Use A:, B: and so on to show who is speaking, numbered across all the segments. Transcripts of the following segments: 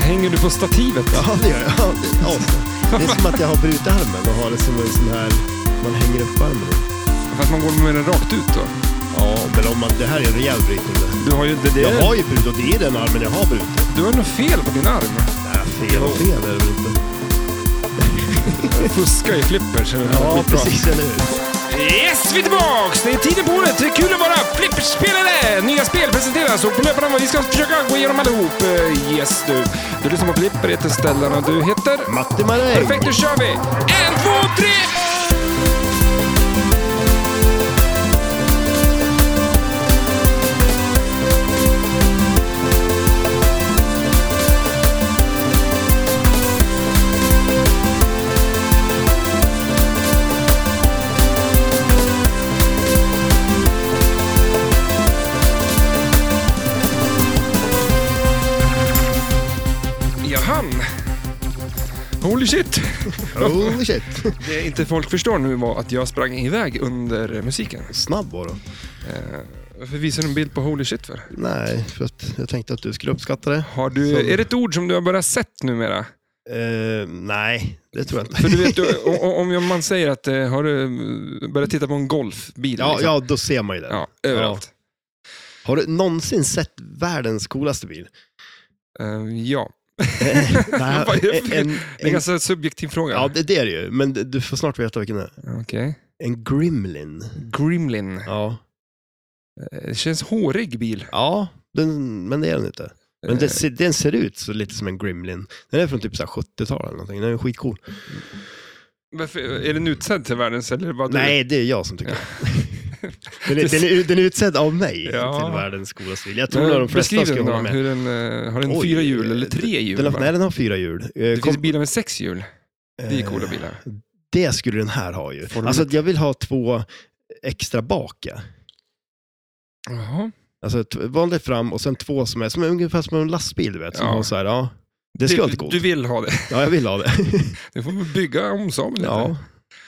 A: Hänger du på stativet? Då?
B: Ja, det gör jag. Ja, det, ja. det är som att jag har brutit armen och har det som en sån här... Man hänger upp armen.
A: Fast man går med den rakt ut då?
B: Ja, men om man, det här är en rejäl brytning. det.
A: Du har ju, det, det,
B: Jag har ju brutit och det är den armen jag har brutit.
A: Du har nog fel på din arm.
B: Nej, fel och fel är det väl inte.
A: Fuska i flippers. eller?
B: Ja,
A: Skitbra.
B: precis. Eller hur?
A: Yes, vi är tillbaks! Det är tiden på året. Det är kul att vara flipperspelare! Nya spel presenteras och på löpande vi ska försöka gå igenom allihop. Eh, Yes, du. Du lyssnar på Flipper, heter Stellan och du heter?
B: Matti Maräng!
A: Perfekt, nu kör vi! En, två, tre! Jaha. Holy shit!
B: Holy shit!
A: Det inte folk förstår nu var att jag sprang iväg under musiken.
B: Snabb var du.
A: Eh, Varför visar du en bild på Holy shit för?
B: Nej, för att jag tänkte att du skulle uppskatta det.
A: Har du,
B: Som-
A: är det ett ord som du har börjat sett numera?
B: Eh, nej, det tror jag inte.
A: För du vet, du, o- o- om jag- man säger att eh, har du eh, börjat titta på en golfbil?
B: Ja,
A: liksom?
B: ja, då ser man ju den.
A: ja. Överallt.
B: Har du någonsin sett världens coolaste bil?
A: Ja. Eh, ja.
B: Nej,
A: Vad är det
B: en,
A: för-
B: en,
A: Det är en ganska subjektiv fråga.
B: ja, det, det är det ju. Men du får snart veta vilken det är.
A: Okej.
B: En Gremlin.
A: Gremlin.
B: Ja.
A: Eh, Det känns hårig bil.
B: Ja, den, men det är den inte. Men
A: Eh,
B: den, ser- den ser ut så lite som en Gremlin. Den är från typ så här 70-talet eller någonting. Den är skitcool.
A: varför, är den utsedd till världens eller vad du?
B: Nej, det är jag som tycker den. Är, den, är, den är utsedd av mig
A: Ja.
B: till världens coolaste bil. Jag
A: Men
B: tror nog de flesta
A: Beskriv
B: skulle
A: den då.
B: hålla med.
A: Hur den, eh, har den
B: Oj,
A: fyra hjul
B: eh,
A: eller tre hjul?
B: Den har,
A: va?
B: nej, den har fyra hjul. Eh,
A: det
B: kom- eh,
A: finns bilar med sex hjul. Det är coola bilar.
B: Det skulle den här ha ju.
A: Får de
B: Alltså
A: lite-
B: att jag vill ha två extra bak. ja.
A: Jaha.
B: Alltså t- vanligt fram och sen två som är som är ungefär som en lastbil du vet. Som
A: Ja.
B: har så här, ja. Det skulle vara
A: du,
B: coolt.
A: du vill ha det.
B: Ja, jag vill ha det.
A: Du får väl bygga om Saab lite.
B: ja.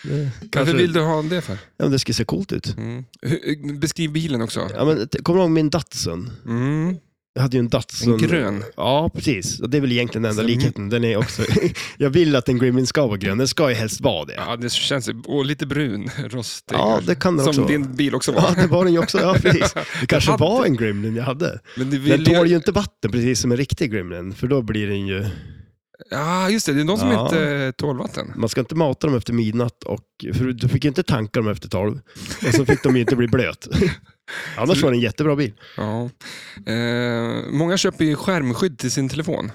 B: Det-
A: Varför
B: Kanske,
A: vill du ha det för?
B: ja, men det skulle se coolt ut.
A: Mm. Hur- Beskriv bilen också.
B: Ja, men, t- kommer du ihåg min Datsun?
A: Mm.
B: Jag hade ju en Datsun.
A: En grön.
B: Ja, precis. Och det är väl egentligen den enda
A: Sen-
B: likheten. Den är också... jag vill att en Gremlin ska vara grön. Den ska ju helst vara det. Ja,
A: Ja, det känns Och lite brun, rostig.
B: Ja, det kan den
A: Som
B: också vara.
A: din bil också var.
B: det var den ju också. Ja, precis. Det kanske
A: hade-
B: var en Gremlin jag hade.
A: Men det
B: Den
A: vill
B: tål
A: ju...
B: ju inte vatten precis som en riktig Gremlin. För då blir den ju...
A: Ja, just det. Det är de som eh,
B: Ja.
A: inte tål vatten.
B: Man ska inte mata dem efter midnatt, och, för du- du fick ju inte tanka dem efter tolv. Och så fick de ju inte bli blöt. Annars var det en jättebra bil.
A: Ja. Eh, många köper ju skärmskydd till sin telefon.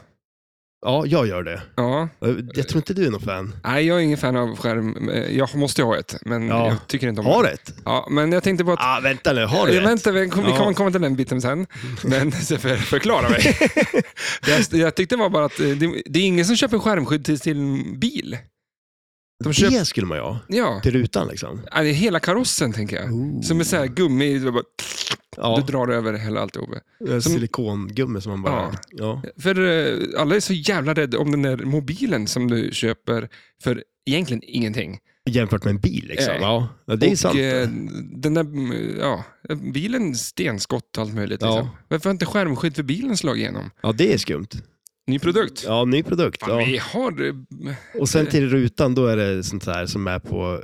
B: Ja, jag gör det.
A: Ja.
B: Eh, Jag tror inte du är någon fan.
A: Nej, jag är ingen fan av skärm. Eh, Jag måste ju ha ett, men
B: Ja.
A: jag tycker inte om
B: Har
A: det.
B: ett?
A: Ja, men jag tänkte på att...
B: Ah, vänta nu, har du
A: Eh,
B: ett?
A: Vänta, vi kommer, vi
B: Ja.
A: kommer komma till den biten sen. Men så för, förklara mig. jag, jag tyckte bara var att eh, det, det är ingen som köper skärmskydd till sin bil. De köper,
B: Det skulle man ju ha.
A: ja,
B: Till rutan liksom.
A: Ja, det är hela karossen tänker jag.
B: Ooh.
A: Som är så här gummi, du, bara,
B: Ja,
A: du drar över hela alltihop.
B: en silikongummi som man bara... Ja.
A: För eh, alla är så jävla rädda om den där mobilen som du köper för egentligen ingenting.
B: Jämfört med en bil liksom.
A: Eh.
B: Ja, Ja, det är
A: och,
B: sant.
A: eh, den där mm, ja, bilen stenskott och allt möjligt.
B: Ja.
A: Liksom. Varför har inte skärmskydd för bilen slagit igenom?
B: Ja, det är skumt.
A: Ny produkt.
B: Ja, ny produkt.
A: Fan,
B: Ja.
A: Vi har... eh,
B: Och sen till rutan, då är det sånt här som är på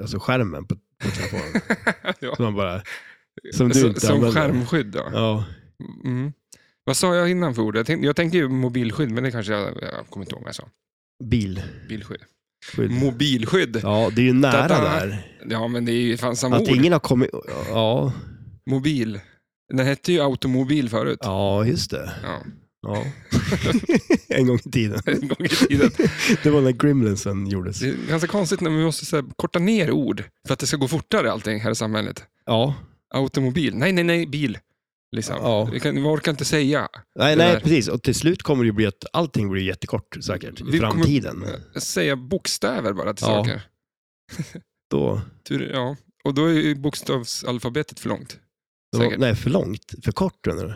B: alltså skärmen på, på telefonen.
A: Ja.
B: Som man bara... Som du
A: Alltså, Som,
B: inte
A: som
B: använder.
A: skärmskydd. Då.
B: Ja.
A: Mm. Vad sa jag innan för ord? Jag tänkte, jag tänkte ju mobilskydd, men det kanske jag, jag kommer inte ihåg vad jag sa.
B: Bil.
A: Bilskydd.
B: Skydd.
A: Mobilskydd.
B: Ja, det är ju nära
A: Da-da.
B: där.
A: Ja, men det är ju fan samma
B: Att
A: ord.
B: ingen har kommit... Ja,
A: Mobil. Den hette ju automobil förut. Ja.
B: ja just det. Ja. en gång i tiden.
A: en gång i tiden.
B: Det var när Gremlinsen gjordes.
A: Det är ganska konstigt när vi måste så här, korta ner ord för att det ska gå fortare allting här i samhället.
B: Ja.
A: Automobil. Nej, nej, nej, bil. Liksom.
B: Ja.
A: Vi, kan, vi orkar inte säga.
B: Nej,
A: Det
B: nej,
A: där.
B: precis. Och till slut kommer det ju bli att allting blir jättekort säkert. I
A: Vi kommer-
B: framtiden.
A: Säga bokstäver bara till
B: Ja.
A: saker.
B: Då,
A: Tur, ja. Och då är ju bokstavsalfabetet för långt.
B: då,
A: Säkert.
B: nej, för långt. För kort menar du?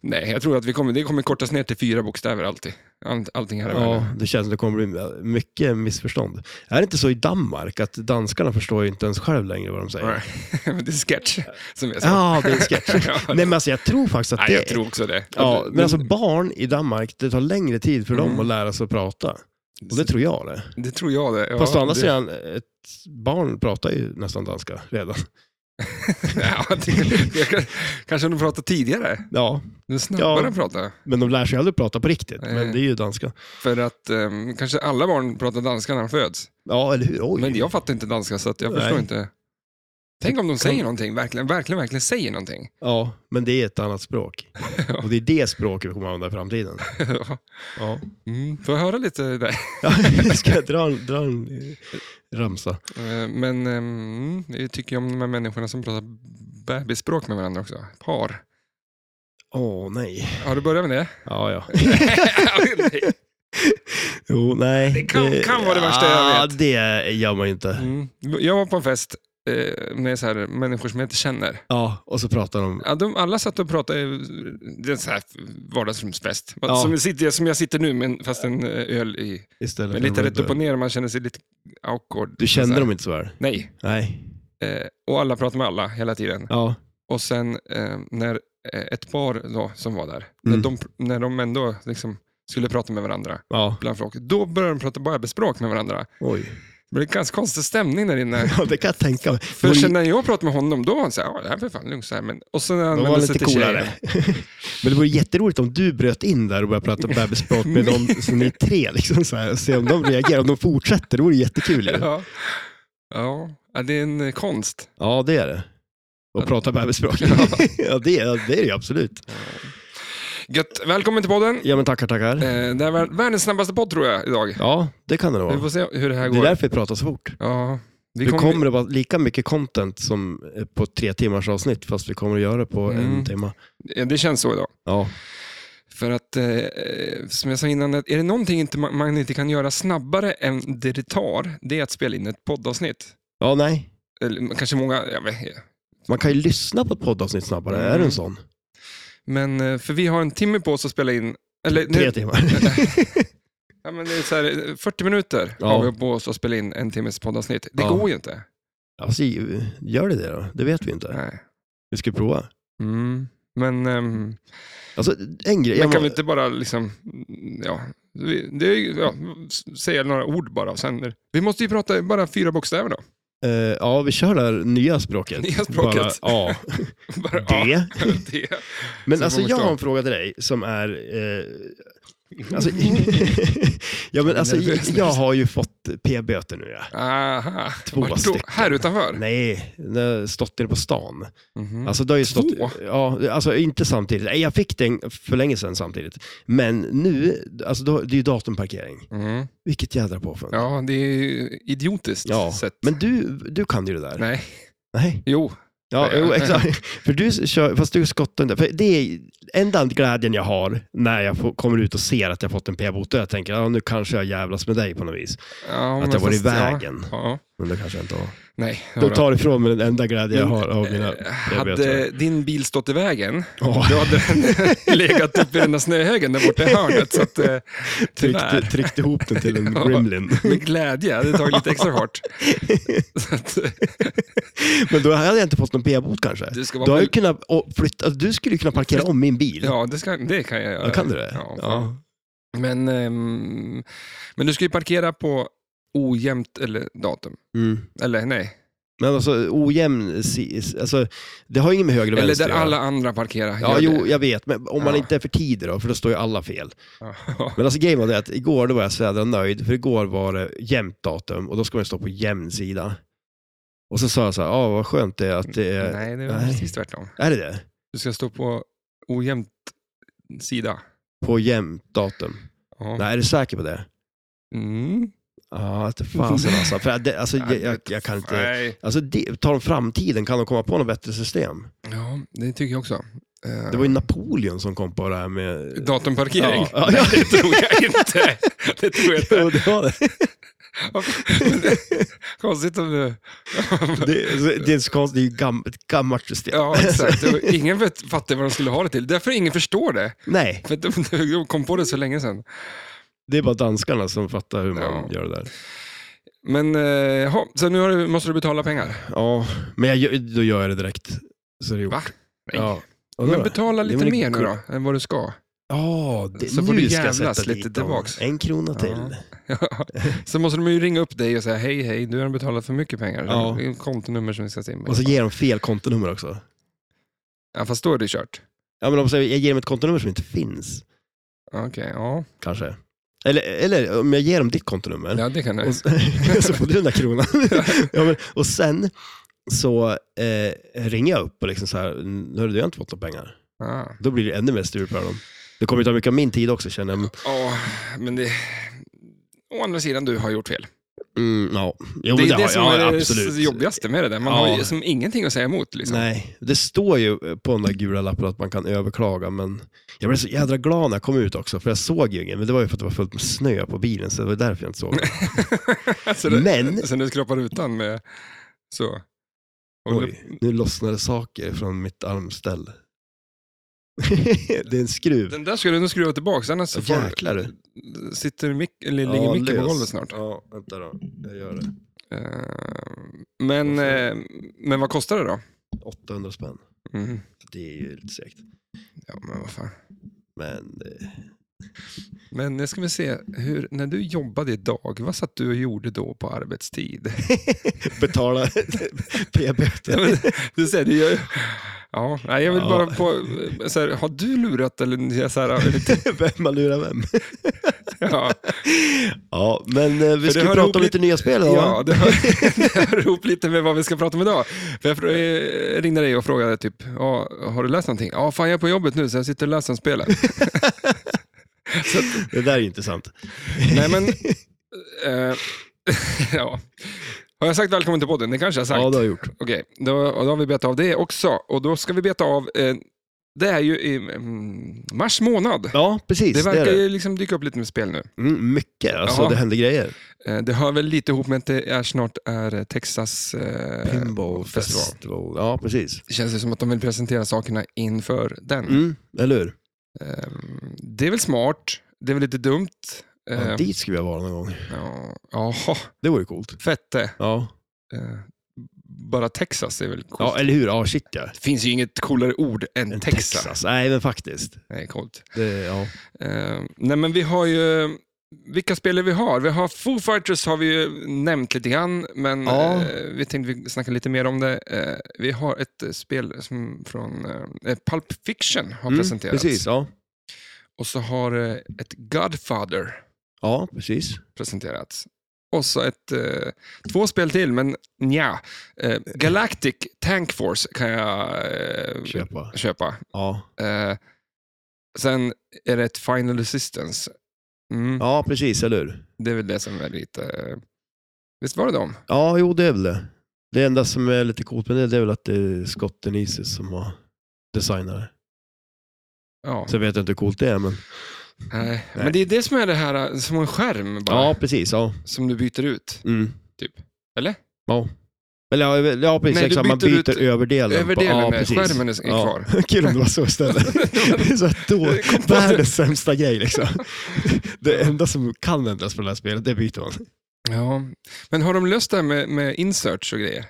A: Nej, jag tror att vi kommer, det kommer kortas ner till fyra bokstäver alltid. All, allting här i världen.
B: Ja, det känns som det kommer bli mycket missförstånd. Är det inte så i Danmark att danskarna förstår ju inte ens själv längre vad de säger?
A: Nej, men det är sketch som jag sa.
B: Ja, det är en sketch.
A: Ja.
B: Nej, men alltså jag tror faktiskt att
A: Nej,
B: det...
A: jag tror också det.
B: Ja, men alltså barn i Danmark, det tar längre tid för dem
A: Mm.
B: att lära sig att prata. Och det tror jag det.
A: det tror jag det. Ja,
B: Fast å andra
A: det-
B: sidan, ett barn pratar ju nästan danska redan.
A: Ja, det, det, kan- kanske de pratar tidigare.
B: Ja,
A: Det är snabbare
B: Ja.
A: att prata.
B: men de lär sig aldrig att prata på riktigt.
A: Nej.
B: Men det är ju danska.
A: För att ehm, kanske alla barn pratar danska när de föds.
B: Ja, eller hur? Oj.
A: Men jag fattar inte danska så att jag
B: Nej.
A: förstår inte. Tänk om de säger någonting, verkligen, verkligen, verkligen säger någonting.
B: Ja, men det är ett annat språk.
A: Ja.
B: Och det är det språket vi kommer använda i framtiden.
A: Ja.
B: Ja.
A: Mm, får jag höra lite där?
B: Ja, ska jag dra, en- dra en eh, ramsa?
A: Eh, Men ehm, jag tycker ju om de här människorna som pratar bebisspråk med varandra också. Par.
B: Åh, nej.
A: Har du börjat med det?
B: Ja, ja.
A: Nej.
B: Jo, nej.
A: Det kan- kan vara det värsta jag
B: Ja,
A: vet.
B: det gör man ju inte.
A: mm. Jag var på en fest eh, med så här, människor som jag inte känner.
B: Ja, och så pratar de...
A: Ja, de, alla satt och pratade, eh, det är en sån här vardagsrumsfest.
B: Ja.
A: Som, jag sitter, som jag sitter nu, men fast en eh, öl i.
B: Istället
A: Men
B: för
A: lite
B: att-
A: rätt upp och ner, man känner sig lite awkward.
B: Du kände
A: Så här.
B: dem inte så väl?
A: Nej.
B: Nej.
A: Eh, och alla pratar med alla hela tiden.
B: Ja.
A: Och sen eh, när eh, ett par då, som var där, när,
B: Mm.
A: de, när de ändå liksom skulle prata med varandra
B: Ja.
A: bland folket, då började de prata bebisspråk med varandra.
B: Oj.
A: Det blev ganska konstig stämning där inne.
B: Ja, det kan jag tänka mig.
A: För
B: Oj,
A: sen när jag pratade med honom, då var han såhär, ja det här blir fan lugnt. Så här, men, och sen när han
B: de
A: vände
B: var
A: sig
B: lite
A: till
B: coolare.
A: tjejerna.
B: Men det vore jätteroligt om du bröt in där och började prata bebisspråk med dem som ni är tre. Liksom, så här, och se om de reagerar, om de fortsätter. Det vore jättekul ju.
A: Ja. Ja. ja, det är en eh, konst.
B: Ja, det är det. Och prata bebisspråk. Ja, det, är- det är det ju absolut.
A: Gött. Välkommen till podden.
B: Ja, men tackar, tackar.
A: Eh, det här var världens snabbaste podd tror jag idag.
B: Ja, det kan det
A: Vi
B: vara.
A: får se hur det här
B: Det är
A: går.
B: därför vi pratar så fort.
A: Ja, vi
B: Det
A: kommer-
B: kommer att vara lika mycket content som eh, på tre timmars avsnitt, fast vi kommer att göra det på
A: Mm.
B: en timme.
A: Ja, det känns så idag.
B: Ja,
A: För att, eh, eh, som jag sa innan, att är det någonting inte, ma- man inte kan göra snabbare än det det tar, det är att spela in ett poddavsnitt.
B: ja nej.
A: Eller kanske många, jag vet inte.
B: Man kan ju lyssna på ett poddavsnitt snabbare.
A: Mm.
B: Är du en sån?
A: Men eh, för vi har en timme på oss att spela in, eller
B: Tre
A: nej,
B: timmar.
A: ja, men det är så här, eh, 40 minuter
B: Ja.
A: har vi på oss att spela in en timmes poddavsnitt. Det
B: Ja.
A: går ju inte.
B: Alltså, gör det det då? Det vet vi inte.
A: Nej.
B: Vi ska prova.
A: Mm. Men, ehm,
B: Alltså, en grej.
A: men
B: Jag
A: kan
B: må...
A: vi inte bara liksom, mm, ja, vi, det är, ju- ja, s- säga några ord bara och sen, vi måste ju prata bara fyra bokstäver då.
B: Eh, ja, vi kör det här nya språket.
A: Nya språket.
B: Bara, ja,
A: Bara, ja,
B: det.
A: det.
B: Men
A: Så
B: alltså,
A: får man förstå.
B: jag har en fråga till dig som är... Eh, alltså, ja, men alltså,
A: Nervös, nervös.
B: jag har ju fått p-böter nu. Ja.
A: Aha.
B: Två
A: Vart då?
B: stycken.
A: Här utanför?
B: Nej, när jag har stått inne på stan.
A: Mhm.
B: Alltså, det har ju stått,
A: Två?
B: ja, alltså inte samtidigt. Nej, jag fick den för länge sedan samtidigt. Men nu, alltså, då, det är ju datumparkering.
A: Mhm.
B: Vilket jädra påfund.
A: Ja, det är ju idiotiskt
B: Ja,
A: sätt.
B: Men du, du kan ju det där.
A: Nej,
B: Nej.
A: jo.
B: Ja,
A: Ja,
B: jo,
A: ja,
B: exakt. För du kör, fast du skottar inte. För det är enda glädjen jag har när jag får, kommer ut och ser att jag fått en p-bot. Jag tänker, ja, nu kanske jag jävlas med dig på något vis.
A: Ja, men
B: att jag var i
A: fast-
B: vägen.
A: Ja, ja.
B: Men det kanske jag inte var.
A: Nej.
B: Du
A: hörru.
B: tar ifrån mig den enda glädjen jag har av mina
A: Eh,
B: p-böter.
A: Hade din bil stått i vägen,
B: Ja.
A: då hade den legat upp i den där snöhögen där borta i hörnet. Så att, eh,
B: Tryckte,
A: tyvärr.
B: tryckte ihop den till en
A: Ja.
B: gremlin.
A: Med glädje, jag hade tagit lite extra hårt. Så att, eh,
B: Men då hade jag inte fått någon p-bot kanske.
A: du ska
B: Du, har
A: vara
B: ju kunnat, och flytta, alltså, du skulle ju kunna parkera om min bil.
A: Ja, det, ska, det kan jag göra.
B: Ja, Kan du det?
A: Ja, fan. Men, ehm, men du ska ju parkera på ojämnt eller datum.
B: Mm.
A: Eller nej,
B: Men alltså ojämn, si- alltså, det har ju inget med höger och
A: Eller
B: vänster
A: där
B: att göra.
A: alla andra parkerar. Gör
B: Ja, jo,
A: det.
B: jag vet. Men om man
A: Ja.
B: inte är för tidig då, för då står ju alla fel.
A: Ja.
B: Men alltså grejen var det att igår då var jag så jädra nöjd, för igår var det jämnt datum och då ska man ju stå på jämn sida. Och så sa jag så här, ja vad skönt det är att det är...
A: Nej, det är
B: nej.
A: precis tvärtom.
B: Är det det?
A: Du ska stå på ojämnt sida.
B: På jämnt datum?
A: Ja.
B: Nej, är du säker på det?
A: Mm.
B: Ja, inte fasen alltså. För det, alltså jag, jag, jag kan inte...
A: Nej.
B: Alltså det, tar de framtiden, kan de komma på något bättre system?
A: Ja, det tycker jag också. Eh,
B: Det var ju Napoleon som kom på det här med...
A: Datumparkering?
B: Ja, ja.
A: Det tror jag inte. Det tror jag inte.
B: Jo, det var det.
A: Konstigt om du...
B: Det, så- det är så konstigt, det är ju gam, ett gammalt system.
A: Ja, exakt. Och Ingen vet- fattar vad de skulle ha det till. Därför ingen förstår det.
B: Nej,
A: För att de, de kom på det så länge sedan.
B: det är bara danskarna som fattar hur man
A: Ja.
B: gör det där.
A: Men, eh, jaha, så nu har du, måste du betala pengar?
B: Ja, men jag, gör- då gör jag det direkt. Så det är gjort.
A: Va? Nej.
B: Ja. Och då
A: Men
B: då?
A: betala
B: Det
A: lite
B: var
A: mer nu
B: kul.
A: då, än vad du ska.
B: Ja, det,
A: Så får
B: nu
A: du
B: ska jag
A: jävlas
B: sätta
A: lite
B: dit dem.
A: tillbaks.
B: En krona till.
A: så måste de ju ringa upp dig och säga, hej, hej, du har betalat för mycket pengar.
B: Ja.
A: Det är ett kontonummer som vi ska se in.
B: Och så ger de fel kontonummer också.
A: Ja, fast då är det kört.
B: Ja, men om jag säger- jag ger dem ett kontonummer som inte finns,
A: Okej, ja.
B: kanske. Eller, eller om jag ger dem ditt kontonummer,
A: ja, det kan du.
B: och så, så får du den där kronan. ja, men, och sen så eh, ringer jag upp och liksom så här, hörru du, jag har inte fått några pengar.
A: Ja,
B: Då blir det ännu mer strul på dem. Det kommer ju ta mycket av min tid också känner jag. Men,
A: Ja, men det... Å andra sidan, du har gjort fel.
B: Mm, ja. Jo,
A: det
B: men
A: är det,
B: har jag.
A: som
B: Ja,
A: är det
B: absolut.
A: jobbigaste med det där. Man har
B: Ja.
A: ju som ingenting att säga emot. Liksom.
B: Nej, det står ju på den där gula lappen att man kan överklaga, men jag blev så jädra glad när jag kom ut också, för jag såg ju ingen, men det var ju för att det var fullt med snö på bilen, så det var därför jag inte såg det.
A: så det,
B: Men-
A: Sen du skrapar utan med... Så. Och
B: Oj, nu lossnade saker från mitt armställ. det är en skruv.
A: Den där ska du nog skruva tillbaka, annars så
B: Åh,
A: får,
B: Jäklar du.
A: sitter mick, eller ligger
B: Ja,
A: mycket
B: lös.
A: på golvet snart.
B: Ja, vänta då. Jag gör det.
A: Eh, men, eh, men vad kostar det då?
B: 800 spänn.
A: Mm.
B: Det är ju lite segt.
A: Ja, men vad fan.
B: Men eh,
A: Men nu ska vi se, hur, när du jobbade idag, vad satt du och gjorde då på arbetstid?
B: betala p-böter.
A: Ja, men, du ser, det gör ju... Ja, nej, jag vill
B: Ja.
A: bara på, så här, har du lurat eller så här, eller-
B: vem man lurar vem.
A: ja,
B: Ja, men eh, vi
A: det
B: ska ju
A: hör
B: prata
A: ihop
B: om lite
A: lite-
B: nya spel idag. va?
A: ja, det hör, det hör ihop lite med vad vi ska prata om idag. För jag frå- eh, ringde dig och frågade typ, ja, har du läst någonting? Ja, fan jag är på jobbet nu så jag sitter och läser om spelet.
B: Det där är ju inte sant.
A: nej men, eh, ja. Har jag sagt välkommen till podden? Det kanske jag har sagt.
B: Ja, det har jag gjort.
A: Okej, då, och då har vi betat av det också. Och då ska vi beta av, eh, det är ju i mm, mars månad.
B: Ja, precis.
A: Det verkar
B: är det.
A: ju liksom dyka upp lite med spel nu.
B: Mm, mycket. Alltså,
A: Jaha.
B: det händer grejer.
A: Eh, Det hör väl lite ihop med att det är snart är eh, Texas... eh,
B: Pinball
A: festival.
B: festival. Ja, precis.
A: Det känns ju som att de vill presentera sakerna inför den.
B: Mm, eller hur?
A: Eh, Det är väl smart, det är väl lite dumt.
B: Ja,
A: Eh,
B: dit skulle jag vara någon gång.
A: ja, Jaha,
B: Det vore coolt.
A: fett det.
B: Ja,
A: Eh, Bara Texas är väl coolt.
B: ja eh- eller hur? Ja, shit ja.
A: Det finns ju inget coolare ord än,
B: En
A: Texas.
B: Texas. Nej, men faktiskt.
A: Det är coolt.
B: Det, ja.
A: Eh, nej men vi har ju, vilka spelare vi har? Vi har Foo Fighters har vi ju nämnt lite grann, men
B: Ja.
A: eh, vi tänkte vi snacka lite mer om det. Eh, vi har ett eh, spel som från eh, Pulp Fiction har
B: Mm,
A: presenterats.
B: Precis, ja.
A: Och så har eh, ett Godfather
B: Ja, precis.
A: presenterats. Och så ett, eh, två spel till, men nja. Eh, Galactic Tank Force kan jag eh,
B: Köpa.
A: köpa.
B: Ja,
A: Eh, sen är det ett Final Resistance. Mm.
B: ja precis, eller hur?
A: Det är väl det som är lite... Visst var det dem?
B: Ja, jo det är väl det. Det enda som är lite coolt med det, det är väl att det är skotten Isis som har designat det.
A: Ja.
B: Sen vet jag inte hur coolt det är, men...
A: Nej. Men det är det som är det här, som en skärm bara,
B: Ja, precis. Ja.
A: som du byter ut.
B: Mm.
A: Typ. Eller?
B: Eller ja, väl- ja precis.
A: Nej, du
B: exakt. Man
A: byter
B: byter
A: ut
B: överdelen. på-
A: Överdelen
B: ja,
A: är-
B: precis.
A: skärmen är- är kvar.
B: Kul om det var så istället. det är så här då,
A: Jag kom på det.
B: världens sämsta grej liksom. Det enda som kan ändras på det här spelet, det byter man.
A: Ja. Men har de löst det här med, med inserts och grejer?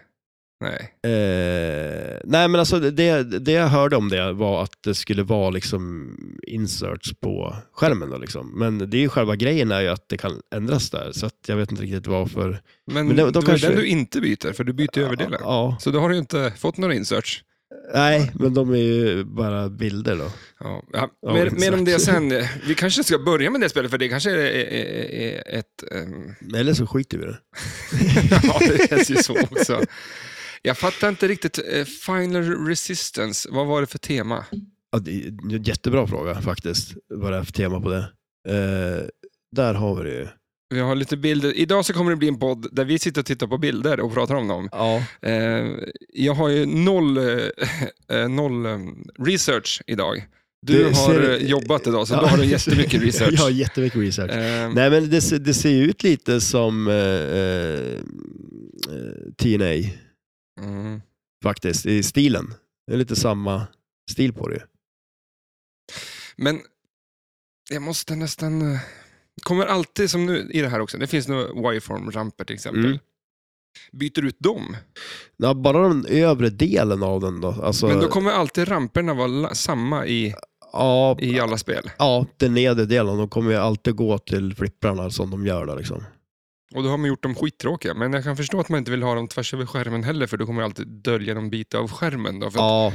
A: Nej.
B: Eh, nej men alltså det, det jag hörde om det var att det skulle vara liksom inserts på skärmen. Då, liksom. Men det är ju själva grejen är ju att det kan ändras där. Så att jag vet inte riktigt varför.
A: Men,
B: Men
A: det,
B: det-
A: var
B: då
A: ju
B: kanske-
A: den du inte byter, för du byter ju överdelen.
B: Ja,
A: Så då har du ju inte fått några inserts.
B: nej, men de är ju bara bilder då.
A: Ja. Ja.
B: Ja,
A: mer,
B: exakt.
A: mer om det sen. Vi kanske ska börja med det spelet, för det kanske är, är, är, är ett... ehm,
B: Eller så skiter vi i det.
A: ja, det känns ju så också. Jag fattar inte riktigt. eh, Final Resistance, vad var det för tema?
B: Ja, det är en jättebra fråga faktiskt, vad det är för tema på det. Eh, där har vi det ju.
A: Vi har lite bilder. Idag så kommer det bli en podd där vi sitter och tittar på bilder och pratar om dem.
B: Ja.
A: Eh, jag har ju noll, eh, eh, noll eh, research idag. Du
B: Det
A: har
B: ser-
A: eh, jobbat idag, så
B: Ja.
A: då har du jättemycket research.
B: jag har jättemycket research.
A: Eh,
B: Nej, men det, ser- det ser ju ut lite som eh, eh, TNA
A: mm.
B: faktiskt, i stilen. Det är lite samma stil på det ju.
A: Men jag måste nästan... eh, Kommer alltid, som nu i det här också, det finns några wireform-ramper till exempel.
B: Mm.
A: Byter ut dem,
B: Ja, bara den övre delen av den då. Alltså,
A: men då kommer alltid ramperna vara la- samma i,
B: ja,
A: i alla spel.
B: ja, den nedre delen, de kommer ju alltid gå till flipprarna som de gör där liksom.
A: Och då har man gjort dem skittråkiga, men jag kan förstå att man inte vill ha dem tvärs över skärmen heller, för då kommer alltid dölja någon bit av skärmen. Då, för att
B: Ja,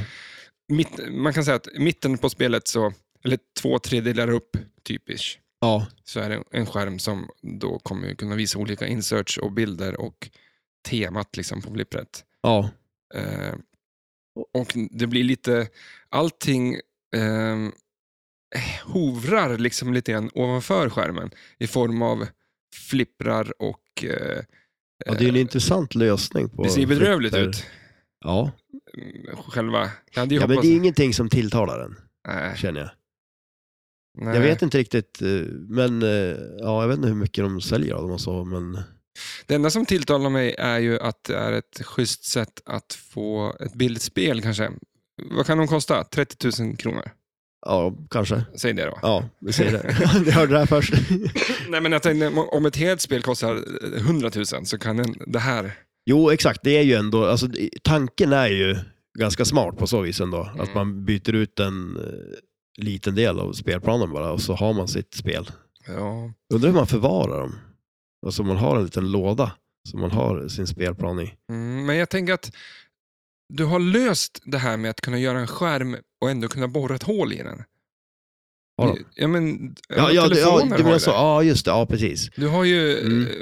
A: mitt, man kan säga att mitten på spelet, så, eller två tredjedelar upp, typiskt.
B: ja,
A: så är det en skärm som då kommer kunna visa olika inserts och bilder och temat liksom på flippret.
B: ja.
A: Eh, och det blir lite, allting eh, hovrar liksom lite grann ovanför skärmen i form av flipprar och eh,
B: ja det är en intressant lösning på
A: det ser bedrövligt
B: flipper.
A: ut.
B: Ja.
A: Mm, Själva, jag hade ju
B: ja, men
A: hoppats...
B: det är ingenting som tilltalar en,
A: Nej,
B: känner jag.
A: nej.
B: Jag vet inte riktigt, eh, men eh, ja, jag vet inte hur mycket de säljer av dem och så, men
A: Det enda som tilltalar mig är ju att det är ett schysst sätt att få ett billigt spel kanske. Vad kan de kosta? 30 000 kronor?
B: ja, kanske.
A: Säg det då.
B: Ja, vi säger det. Ni hörde det här först.
A: Nej, men jag tänkte, om ett helt spel kostar eh, 100 000 så kan en, det här...
B: Jo, exakt. Det är ju ändå, alltså, det- tanken är ju ganska smart på så vis ändå.
A: Mm.
B: Att man byter ut en eh, liten del av spelplanen bara och så har man sitt spel.
A: Ja.
B: Undrar hur man förvarar dem. Alltså man har en liten låda som man har sin spelplan i.
A: Mm, men jag tänker att du har löst det här med att kunna göra en skärm och ändå kunna borra ett hål i den.
B: Har de?
A: Ja, men
B: Ja, ja, det- ja,
A: telefoner
B: du
A: har
B: menar
A: ju
B: så.
A: det.
B: Ja, just det. Ja, precis.
A: Du har ju
B: Mm.
A: eh,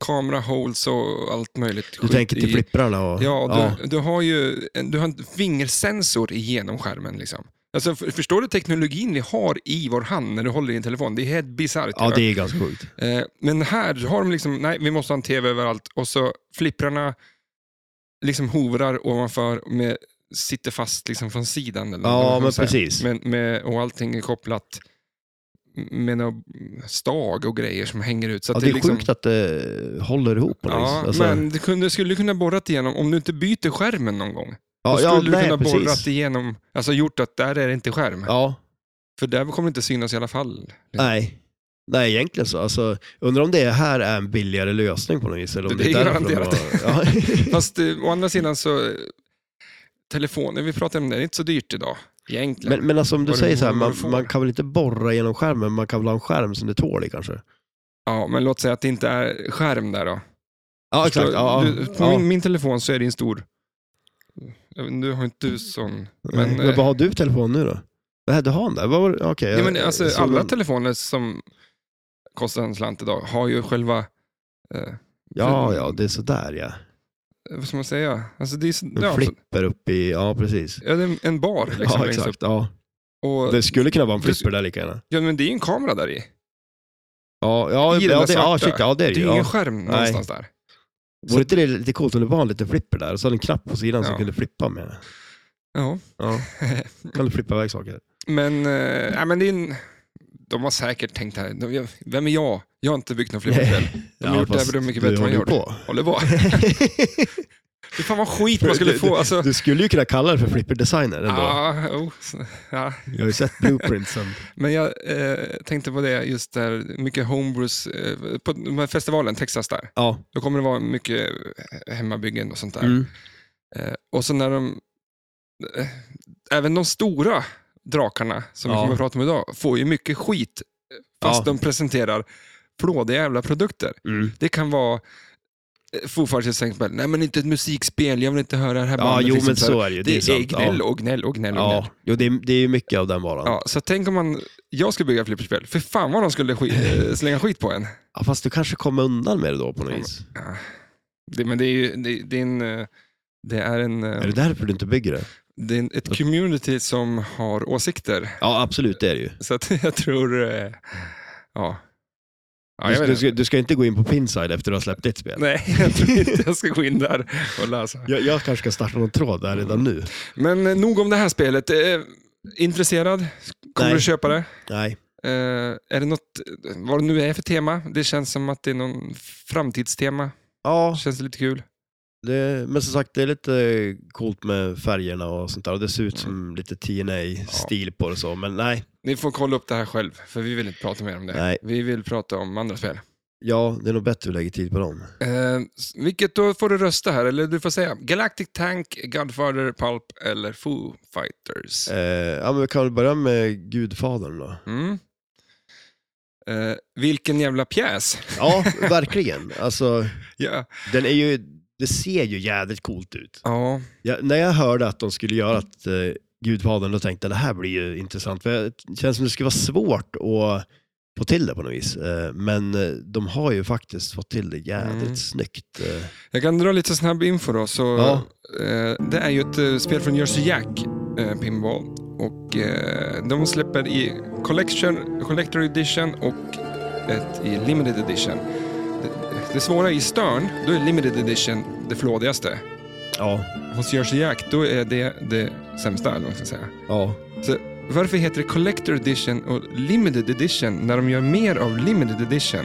A: kameraholes och allt möjligt.
B: Du
A: skit
B: tänker till
A: i-
B: flipprarna och...
A: Ja, du, du har ju en- du har en fingersensor igenom skärmen. Liksom. Alltså, f- förstår du teknologin vi har i vår hand när du håller i en telefon? Det är helt bisarrt.
B: ja,
A: va?
B: det är ganska sjukt.
A: Eh, Men här har de liksom, nej, vi måste ha en tv överallt och så flipprarna liksom hovrar ovanför med sitter fast liksom från sidan. Eller vad man
B: Ja,
A: kan
B: men
A: säga.
B: precis.
A: Men, med, och allting är kopplat med några stag och grejer som hänger ut. Så
B: Ja,
A: att
B: det är
A: liksom,
B: sjukt att det håller ihop på något
A: Ja,
B: vis. Alltså,
A: men du kunde, skulle kunna borrat igenom, om du inte byter skärmen någon gång,
B: ja,
A: då skulle
B: ja,
A: du
B: nej,
A: kunna
B: precis.
A: borrat igenom, alltså gjort att där är det inte skärm.
B: Ja,
A: För där kommer det inte synas i alla fall.
B: nej. Nej, egentligen så. Alltså, undrar om det här är en billigare lösning på något vis. Eller om
A: Det
B: det,
A: är
B: är därför de
A: garanterat.
B: har- ja.
A: Fast eh, å andra sidan så, eh, telefoner, vi pratade om det, det är inte så dyrt idag egentligen.
B: men, men alltså, om du
A: Vad du-
B: säger så här,
A: vad
B: man,
A: du får.
B: man kan väl inte borra genom skärmen, man kan väl ha en skärm som det tål i kanske?
A: ja, men låt säga att det inte är skärm där då.
B: Ja,
A: Förstår
B: exakt. Ja,
A: du, på
B: ja.
A: min, min telefon så är det en stor, jag vet inte, nu har inte du sån, men,
B: Men,
A: eh,
B: vad har du telefon nu då? Nej, du har en där? Vad var, det? Okej,
A: ja, men
B: jag-
A: alltså,
B: så-
A: alla telefoner som kostar en slant idag har ju själva eh,
B: Ja, ja, det är sådär ja.
A: vad ska man säga? Alltså det är, så-
B: En
A: ja, så-
B: flipper upp i, ja precis.
A: ja, det är en bar liksom,
B: ja,
A: längst upp.
B: exakt. Ja.
A: Och,
B: Det skulle kunna vara en
A: Det-
B: flipper där lika gärna.
A: ja, men det är ju en kamera där i.
B: Ja, ja,
A: I den
B: ja,
A: där
B: det, ja,
A: svarta.
B: shit, ja det är
A: Det är
B: det
A: ju
B: ju.
A: ingen
B: Ja.
A: skärm någonstans där.
B: Vore inte det lite coolt om det var en liten flipper där och så hade en knapp på sidan
A: Ja.
B: som kunde flippa med?
A: Ja.
B: Ja. Kan du flippa iväg saker?
A: Men, eh, nej, men det är en, de har säkert tänkt här, de, jag- vem är jag? Jag har inte byggt någon flipperspel. De har
B: Ja,
A: gjort det här
B: fast
A: för de mycket
B: du
A: bättre än
B: håller
A: jag gjort.
B: på.
A: Håller på. Det fan vad skit man skulle
B: Du-
A: få. Alltså,
B: Du skulle ju kunna kalla det för flipperdesigner ändå.
A: ja, jo, så- ja.
B: Jag har ju sett blueprintsen.
A: Men jag eh, tänkte på det just där, mycket homebrews, eh, på de här festivalen, Texas där,
B: Ja.
A: då kommer det vara mycket eh, hemmabyggen och sånt där.
B: Mm.
A: Eh, och så när de, eh, även de stora drakarna som vi
B: Ja.
A: kommer att prata om idag får ju mycket skit eh, fast
B: Ja.
A: de presenterar flådiga jävla produkter.
B: Mm.
A: Det kan vara eh, Foo Fighters till exempel, nej men inte ett musikspel, jag vill inte höra det här
B: Ja,
A: bandet",
B: jo
A: liksom
B: men
A: så här.
B: så är det ju.
A: Det, är,
B: sant.
A: gnäll
B: ja.
A: och gnäll och gnäll. Och gnäll.
B: ja. Jo, det är, det är ju mycket av den varan. Ja.
A: Ja, så tänk om man, jag skulle bygga ett flipperspel, för fan vad de skulle sk- eh, slänga skit på en.
B: fast du kanske kommer undan med det då på något
A: Ja,
B: vis.
A: Det, men det är ju, det, det är en, eh, det är, en, eh,
B: Är det därför du inte bygger det?
A: det är en, ett community som har åsikter.
B: Ja, absolut, det är det ju.
A: Så att jag tror... eh, Ja. ja jag
B: Du,
A: vet
B: du,
A: inte.
B: ska, du ska inte gå in på Pinside efter att du har släppt ditt spel.
A: Nej, jag tror inte jag ska gå in där och läsa.
B: Jag, jag kanske ska starta någon tråd där redan nu.
A: Men eh, nog om det här spelet. Eh, Intresserad? Kommer
B: Nej.
A: du köpa det?
B: Nej.
A: Eh, är det något, vad det nu är för tema? Det känns som att det är någon framtidstema.
B: Ja,
A: Känns lite kul.
B: det, men som sagt det är lite coolt med färgerna och sånt där. Och det ser ut
A: Mm.
B: som lite TNA-stil på det så, men nej.
A: Ni får kolla upp det här själv, för vi vill inte prata mer om det.
B: nej.
A: Vi vill prata om andra spel.
B: Ja, det är nog bättre att lägga tid på dem.
A: Eh, vilket då får du rösta här, eller du får säga Galactic Tank, Godfather, Pulp eller Foo Fighters.
B: Eh, ja, men vi kan väl börja med Gudfadern då.
A: Mm. Eh, vilken jävla pjäs!
B: Ja, verkligen. Alltså,
A: ja.
B: den är ju, det ser ju jädrigt coolt ut.
A: ja,
B: Jag, när jag hörde att de skulle göra att eh, Gudfadern, då tänkte jag det här blir ju intressant. För jag- det känns som det skulle vara svårt att få till det på något vis. Eh, men eh, de har ju faktiskt fått till det jädrigt
A: Mm.
B: snyggt. Eh,
A: jag kan dra lite snabb info då. Så,
B: Ja.
A: eh, det är ju ett eh, spel från Jersey Jack, eh, Pinball. Och, eh, de släpper i Collection, Collector Edition och ett i Limited Edition. Det, det svåra i Stern, då är Limited Edition det flådigaste.
B: ja,
A: Hos Jersey Jack, då är det det sämsta, eller vad man ska säga.
B: ja.
A: Varför heter det Collector Edition och Limited Edition när de gör mer av Limited Edition?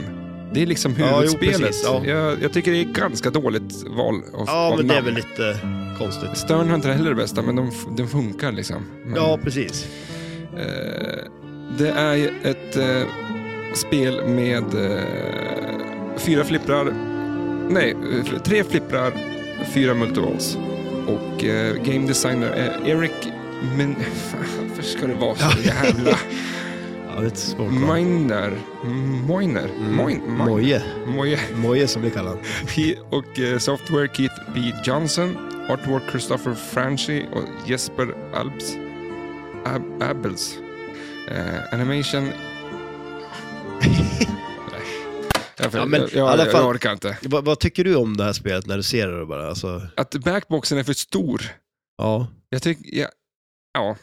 A: Det är liksom
B: Ja, jo,
A: huvudspelet.
B: precis, ja.
A: jag, jag tycker det är ett ganska dåligt val av,
B: ja
A: av
B: men det är
A: namn.
B: väl lite konstigt.
A: Stern har inte heller det bästa, men de, f- den funkar liksom. Men,
B: Ja, precis.
A: eh, det är ju ett eh, spel med eh, fyra flipprar, nej, eh, tre flipprar, fyra multiballs. Och eh, game designer är Eric men fan, varför ska det vara så jävla...
B: Ja, det är ett svårt val.
A: Miner. Moiner.
B: Mm.
A: Moin- Moin-
B: Moje.
A: Moje.
B: Moje som vi kallar honom.
A: He- Och eh, Software Keith B. Johnson. Artwork Christopher Franchi och Jesper Albs. Ab- Abels. Eh, animation... Nej. Jag,
B: Ja, men
A: jag,
B: i alla
A: jag, jag
B: fall-
A: orkar inte.
B: Vad, vad tycker du om det här spelet när du ser det då bara? Alltså,
A: Att backboxen är för stor.
B: ja.
A: Jag tycker... Ja. ja.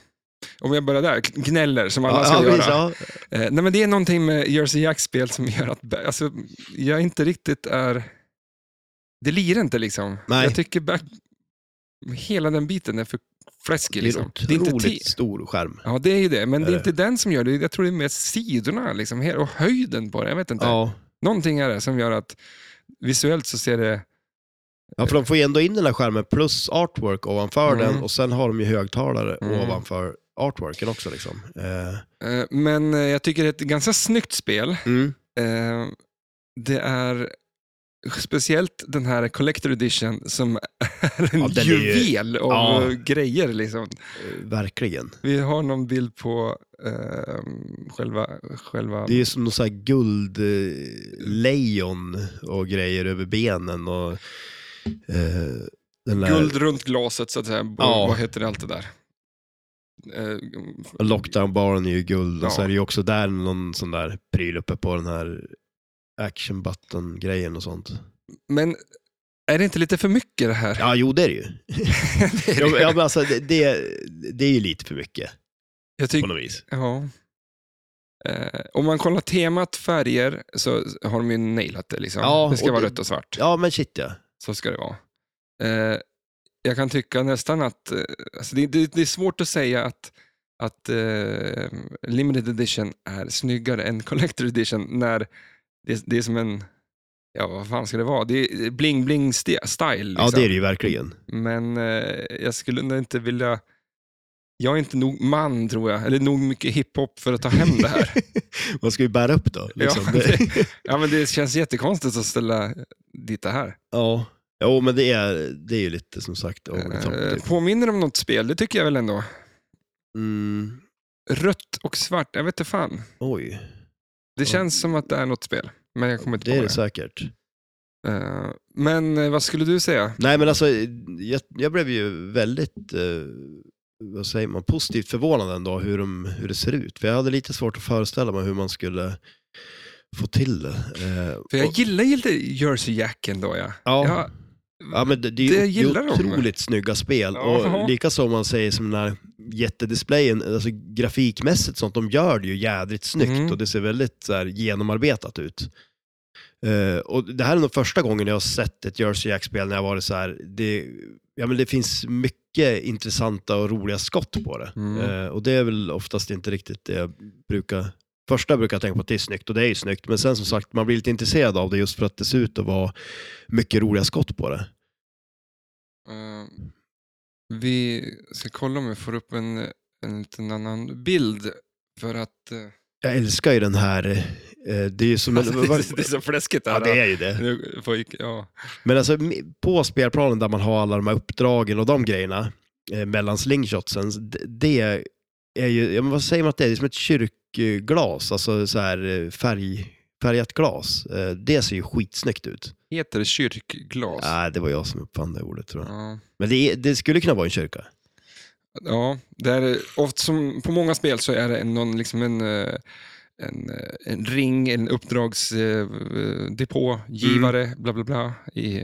A: Om jag börjar där, gnäller som alla ska
B: ja,
A: göra.
B: precis, ja.
A: Eh, nej men det är någonting med Jersey Jacks spel som gör att alltså, jag inte riktigt är... Det lirar inte liksom.
B: Nej.
A: Jag tycker back... hela den biten är för
B: Det
A: fläskig.
B: är en
A: Liksom.
B: otroligt
A: inte ti-
B: stor skärm.
A: Ja, det är ju det. Men det
B: Är
A: är
B: det?
A: inte den som gör det. Jag tror det är mer sidorna liksom, här, och höjden på det. Jag vet inte.
B: Ja.
A: Någonting är det som gör att visuellt så ser det...
B: ja, för de får ju ändå in den här skärmen plus artwork ovanför
A: Mm.
B: den och sen har de ju högtalare
A: Mm.
B: ovanför artworken också. Liksom. Eh,
A: Eh, Men eh, jag tycker det är ett ganska snyggt spel.
B: mm.
A: Eh, det är speciellt den här Collector Edition som är en
B: Ja, den är ju-
A: juvel av
B: Ja.
A: eh, grejer. Liksom.
B: eh, Verkligen.
A: Vi har någon bild på eh, själva... själva...
B: Det är ju som någon sån här guldlejon och grejer över benen och eh, den där
A: Guld runt glaset, så att säga.
B: Ja.
A: Vad heter det, allt det där? Eh,
B: lockdown-baren är ju guld och så
A: Ja.
B: är det ju också där någon sån där pryl uppe på den här action button-grejen och sånt.
A: Men är det inte lite för mycket det här?
B: Ja, jo det är det ju.
A: Det är
B: ja,
A: det.
B: men- ja, men alltså, det, det, det är ju lite för mycket
A: jag
B: på
A: tycker...
B: något vis.
A: Ja. Eh, om man kollar temat färger så har de ju nailat det. Liksom.
B: Ja,
A: det ska
B: och
A: vara
B: det-
A: rött och svart.
B: Ja, men shit ja.
A: Så ska det vara. Eh, jag kan tycka nästan att, eh, alltså det, det, det är svårt att säga att, att eh, limited edition är snyggare än collector edition när det, det är som en, ja vad fan ska det vara, det är bling-bling ste- style. Liksom.
B: Ja, det är det ju verkligen.
A: Men eh, jag skulle nog inte vilja, jag är inte nog man tror jag, eller nog mycket hiphop för att ta hem det här.
B: Vad ska vi bära upp då? Liksom.
A: Ja,
B: Ja, det...
A: ja men det känns jättekonstigt att ställa dit det här.
B: ja. Jo, men det är, det är ju lite som sagt over the top.
A: Eh,
B: Typ.
A: påminner om något spel, det tycker jag väl ändå.
B: Mm.
A: Rött och svart, jag vet inte fan.
B: Oj,
A: Det känns som att det är något spel, men jag kommer inte
B: det är
A: på
B: det
A: det.
B: säkert.
A: Eh, Men eh, vad skulle du säga?
B: Nej, men alltså jag, jag blev ju väldigt, eh, vad säger man, positivt förvånad ändå hur, de, hur det ser ut. För jag hade lite svårt att föreställa mig hur man skulle få till det. Eh,
A: För jag
B: och-
A: gillar ju lite Jersey Jack ändå. Ja.
B: ja.
A: Jag,
B: Ja, men det, det
A: Det
B: är ju
A: gillar de.
B: otroligt snygga spel.
A: Ja.
B: Och likaså om man säger som den här jättedisplayen, alltså grafikmässigt sånt, de gör det ju jädrigt snyggt
A: Mm.
B: och det ser väldigt så här, genomarbetat ut. Eh, och det här är nog första gången jag har sett ett Jersey Jack-spel när jag varit så här, det, ja, men det finns mycket intressanta och roliga skott på det.
A: Mm.
B: Eh, och det är väl oftast inte riktigt det jag brukar, första brukar jag tänka på att det är snyggt och det är ju snyggt, men
A: Mm.
B: sen som sagt, man blir lite intresserad av det just för att det ser ut att vara mycket roliga skott på det.
A: Eh, vi ska kolla om vi får upp en, en liten annan bild. För att... eh,
B: Jag älskar ju den här, eh, det är ju som...
A: alltså, det, är så- det är så fläskigt det
B: Ja,
A: här.
B: det är ju det.
A: Nu får jag- ja.
B: Men alltså m- på spelplanen där man har alla de här uppdragen och de grejerna eh, mellan slingshotsen, d- det är ju, ja, men vad säger man att det är? Det är som ett kyrkglas, alltså så här eh, färg, färgat glas. Eh, Det ser ju skitsnyggt ut.
A: Heter det kyrkglas?
B: Nej, det var jag som uppfann det ordet tror jag.
A: Ja.
B: Men det, är- det skulle kunna vara en kyrka.
A: Ja, det är, oft som, på många spel så är det en- någon, liksom en, eh, en, eh, en ring, en uppdragsdepågivare,
B: Mm.
A: bla bla bla, i,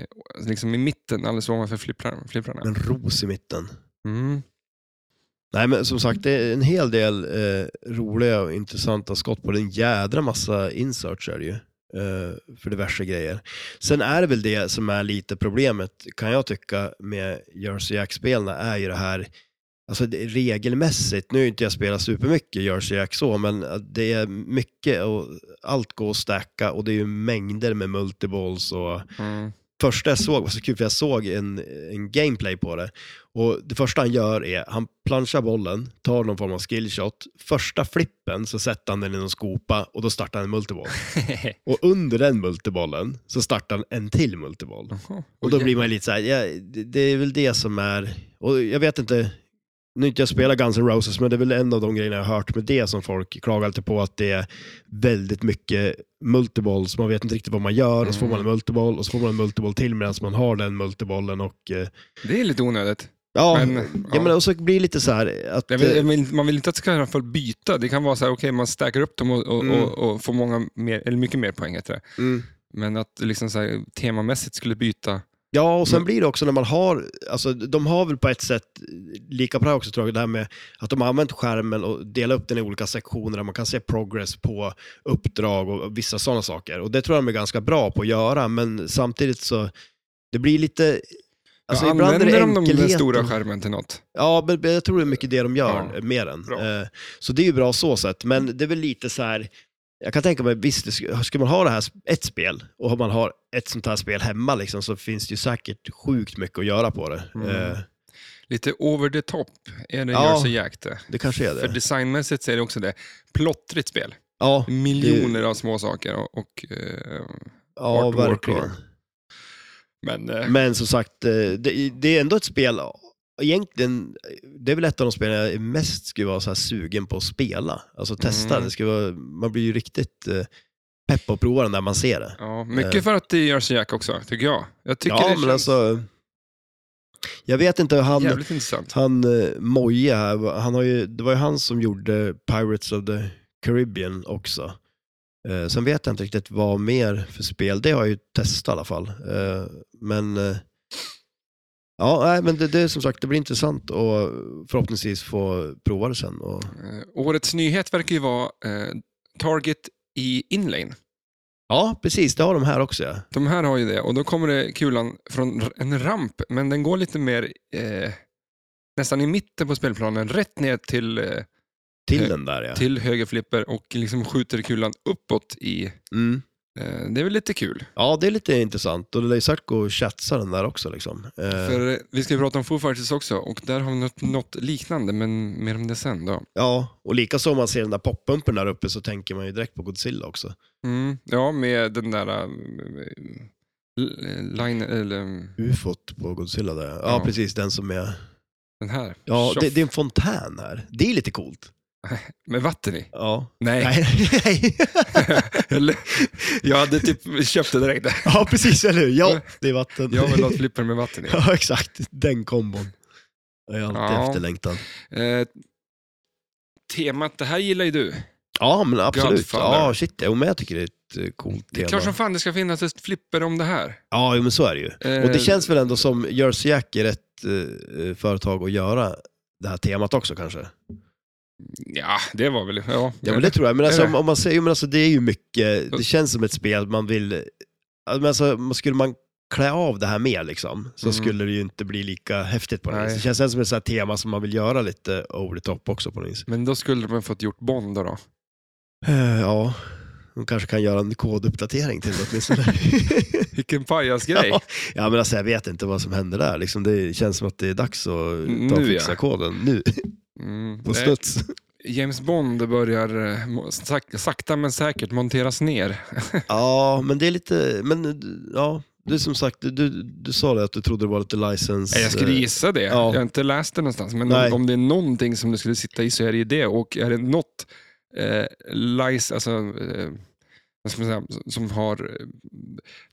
A: liksom i mitten alldeles ovanför flipprar- flipprarna.
B: En ros i mitten.
A: Mm.
B: Nej men som sagt, det är en hel del eh, roliga och intressanta skott på den jädra massa inserts är det ju. Eh, för diverse grejer. Sen är det väl det som är lite problemet, kan jag tycka, med Jersey Jack-spelen är ju det här, alltså det, regelmässigt, nu har ju inte jag spelat supermycket Jersey Jack så, men det är mycket och allt går att stacka och det är ju mängder med multiballs och
A: Mm.
B: första jag såg var så kul, för jag såg en, en gameplay på det. Och det första han gör är, han planchar bollen, tar någon form av skillshot. Första flippen så sätter han den i någon skopa och då startar han en multiboll. Och under den multibollen så startar han en till multiboll.
A: Jaha.
B: Och då blir man lite så här, ja, det, det är väl det som är, och jag vet inte, nu har inte jag spelar Guns N' Roses, men det är väl en av de grejerna jag har hört med det som folk klagar alltid på, att det är väldigt mycket multiboll, så man vet inte riktigt vad man gör, och så får man en
A: Mm.
B: multiboll, och så får man en multiboll till medan man har den multibollen och eh,
A: Det är lite onödigt.
B: ja,
A: Men,
B: ja.
A: ja.
B: men och så blir det lite så här att... eh,
A: Jag vill, jag vill, man vill inte att det ska i alla fall byta. Det kan vara så här, okej, man stackar upp dem och, och,
B: Mm.
A: och, och får många mer, eller mycket mer poäng. Heter det.
B: Mm.
A: Men att liksom så här, temamässigt skulle byta.
B: Ja, och sen
A: Men-
B: blir det också när man har, alltså de har väl på ett sätt, lika bra också tror jag, det här med att de har använt skärmen och delat upp den i olika sektioner där man kan se progress på uppdrag och vissa sådana saker. Och det tror jag de är ganska bra på att göra, men samtidigt så, det blir lite, alltså
A: ja,
B: ibland är det
A: använder de de den
B: enkelheten.
A: stora skärmen till något?
B: Ja, men men jag tror det är mycket det de gör
A: Ja,
B: med den.
A: bra.
B: Eh, Så det är ju bra så sett, men det är väl lite så här, jag kan tänka mig, visst, det sk- skulle man ha det här, sp- ett spel och om man har ett sånt här spel hemma liksom, så finns det ju säkert sjukt mycket att göra på det.
A: Mm.
B: Eh,
A: Lite over the top är det
B: Ja,
A: Jersey Jack det.
B: Det kanske är
A: För
B: det.
A: designmässigt så är det också det. Plottrigt spel.
B: Ja,
A: Miljoner av små saker och... och eh,
B: ja
A: hard work
B: verkligen.
A: och- men eh,
B: Men som sagt, eh, det, det är ändå ett spel, egentligen, det är väl ett av de spel jag är mest skulle vara så här sugen på att spela. Alltså testa,
A: Mm.
B: det skulle vara, man blir ju riktigt eh, pepp att prova den när man ser det.
A: ja, mycket för att det är Jersey Jack också, tycker jag. Jag tycker
B: Eh. ja,
A: det
B: men
A: känns
B: alltså... Jag vet inte hur han...
A: jävligt intressant.
B: Han eh, Moje här, han har ju, det var ju han som gjorde Pirates of the Caribbean också. Eh, sen vet jag inte riktigt vad mer för spel, det har jag ju testat i alla fall. Eh, men eh, ja, nej, men det, det är som sagt, det blir intressant och förhoppningsvis få prova det sen. Och,
A: Eh, årets nyhet verkar ju vara eh, Target i inlane.
B: ja, precis, det har de här också. Ja.
A: De här har ju det och då kommer det kulan från r- en ramp, men den går lite mer eh, nästan i mitten på spelplanen, rätt ner till, eh,
B: Till
A: Eh,
B: den där ja.
A: till höger flipper och liksom skjuter kulan uppåt i...
B: Mm.
A: Eh, det är väl lite kul.
B: Ja, det är lite intressant och det lär ju säkert gå att chatsa den där också. Liksom. Eh,
A: För eh, vi ska ju prata om Foo Fighters också och där har vi något, något liknande, men mer om det sen då.
B: Ja, och likaså om man ser den där poppumpen där uppe så tänker man ju direkt på Godzilla också.
A: Mm, ja, med den där eh, l- eh, line, eller mm,
B: Ufot på Godzilla där. Ja,
A: Ja.
B: precis, den som är...
A: den här.
B: Ja,
A: Tjoff.
B: det, det är en fontän här. Det är lite coolt.
A: Med vatten i.
B: Ja.
A: Nej,
B: Nej. Nej.
A: eller, jag hade typ köpt det direkt.
B: ja, precis, eller hur? Ja, det är vatten.
A: Jag vill ha ett flipper med vatten i.
B: ja, exakt. Den kombon. Jag är alltid
A: Ja.
B: efterlängtad.
A: Eh, temat, det här gillar ju du.
B: Ja, men absolut.
A: Godfather.
B: Ja, shit. Jo, men jag tycker det är ett eh, coolt
A: Det är
B: tema.
A: klart som fan det ska finnas ett flipper om det här.
B: Ja, jo, men så är det ju.
A: Eh,
B: Och det känns väl ändå som Jersey Jack är rätt eh, företag att göra det här temat också kanske.
A: Ja, det var väl... Ja,
B: Ja men det tror jag, men,
A: Är
B: alltså,
A: det?
B: om, om man säger, jo, men alltså, det är ju mycket,
A: Och-
B: det känns som ett spel man vill Ja, Men alltså, skulle man klä av det här mer liksom, så
A: Mm.
B: skulle det ju inte bli lika häftigt på något
A: Nej.
B: vis. Det känns ändå som ett sånt här tema som man vill göra lite over the top också på något vis.
A: Men då skulle de ha fått gjort Bond då. då.
B: Eh, Ja, de kanske kan göra en koduppdatering till det åtminstone.
A: Vilken pajasgrej.
B: Ja. ja, men alltså, jag vet inte vad som hände där. Liksom, det känns som att det är dags att
A: Nu,
B: ta och
A: ja.
B: fixa koden nu,
A: Mm.
B: på
A: Nej,
B: studs.
A: James Bond börjar eh, må- sak- sakta men säkert monteras ner.
B: Ja, men det är lite, men ja, du som sagt, du, du, du sa det att du trodde det var lite licens.
A: Nej, Jag skulle
B: eh,
A: gissa det.
B: ja.
A: Jag har inte läst det någonstans. Men
B: Nej.
A: om, om det är någonting som du skulle sitta i så är det ju det. Och är det något eh, lice, alltså, eh, vad ska man säga, som har, eh,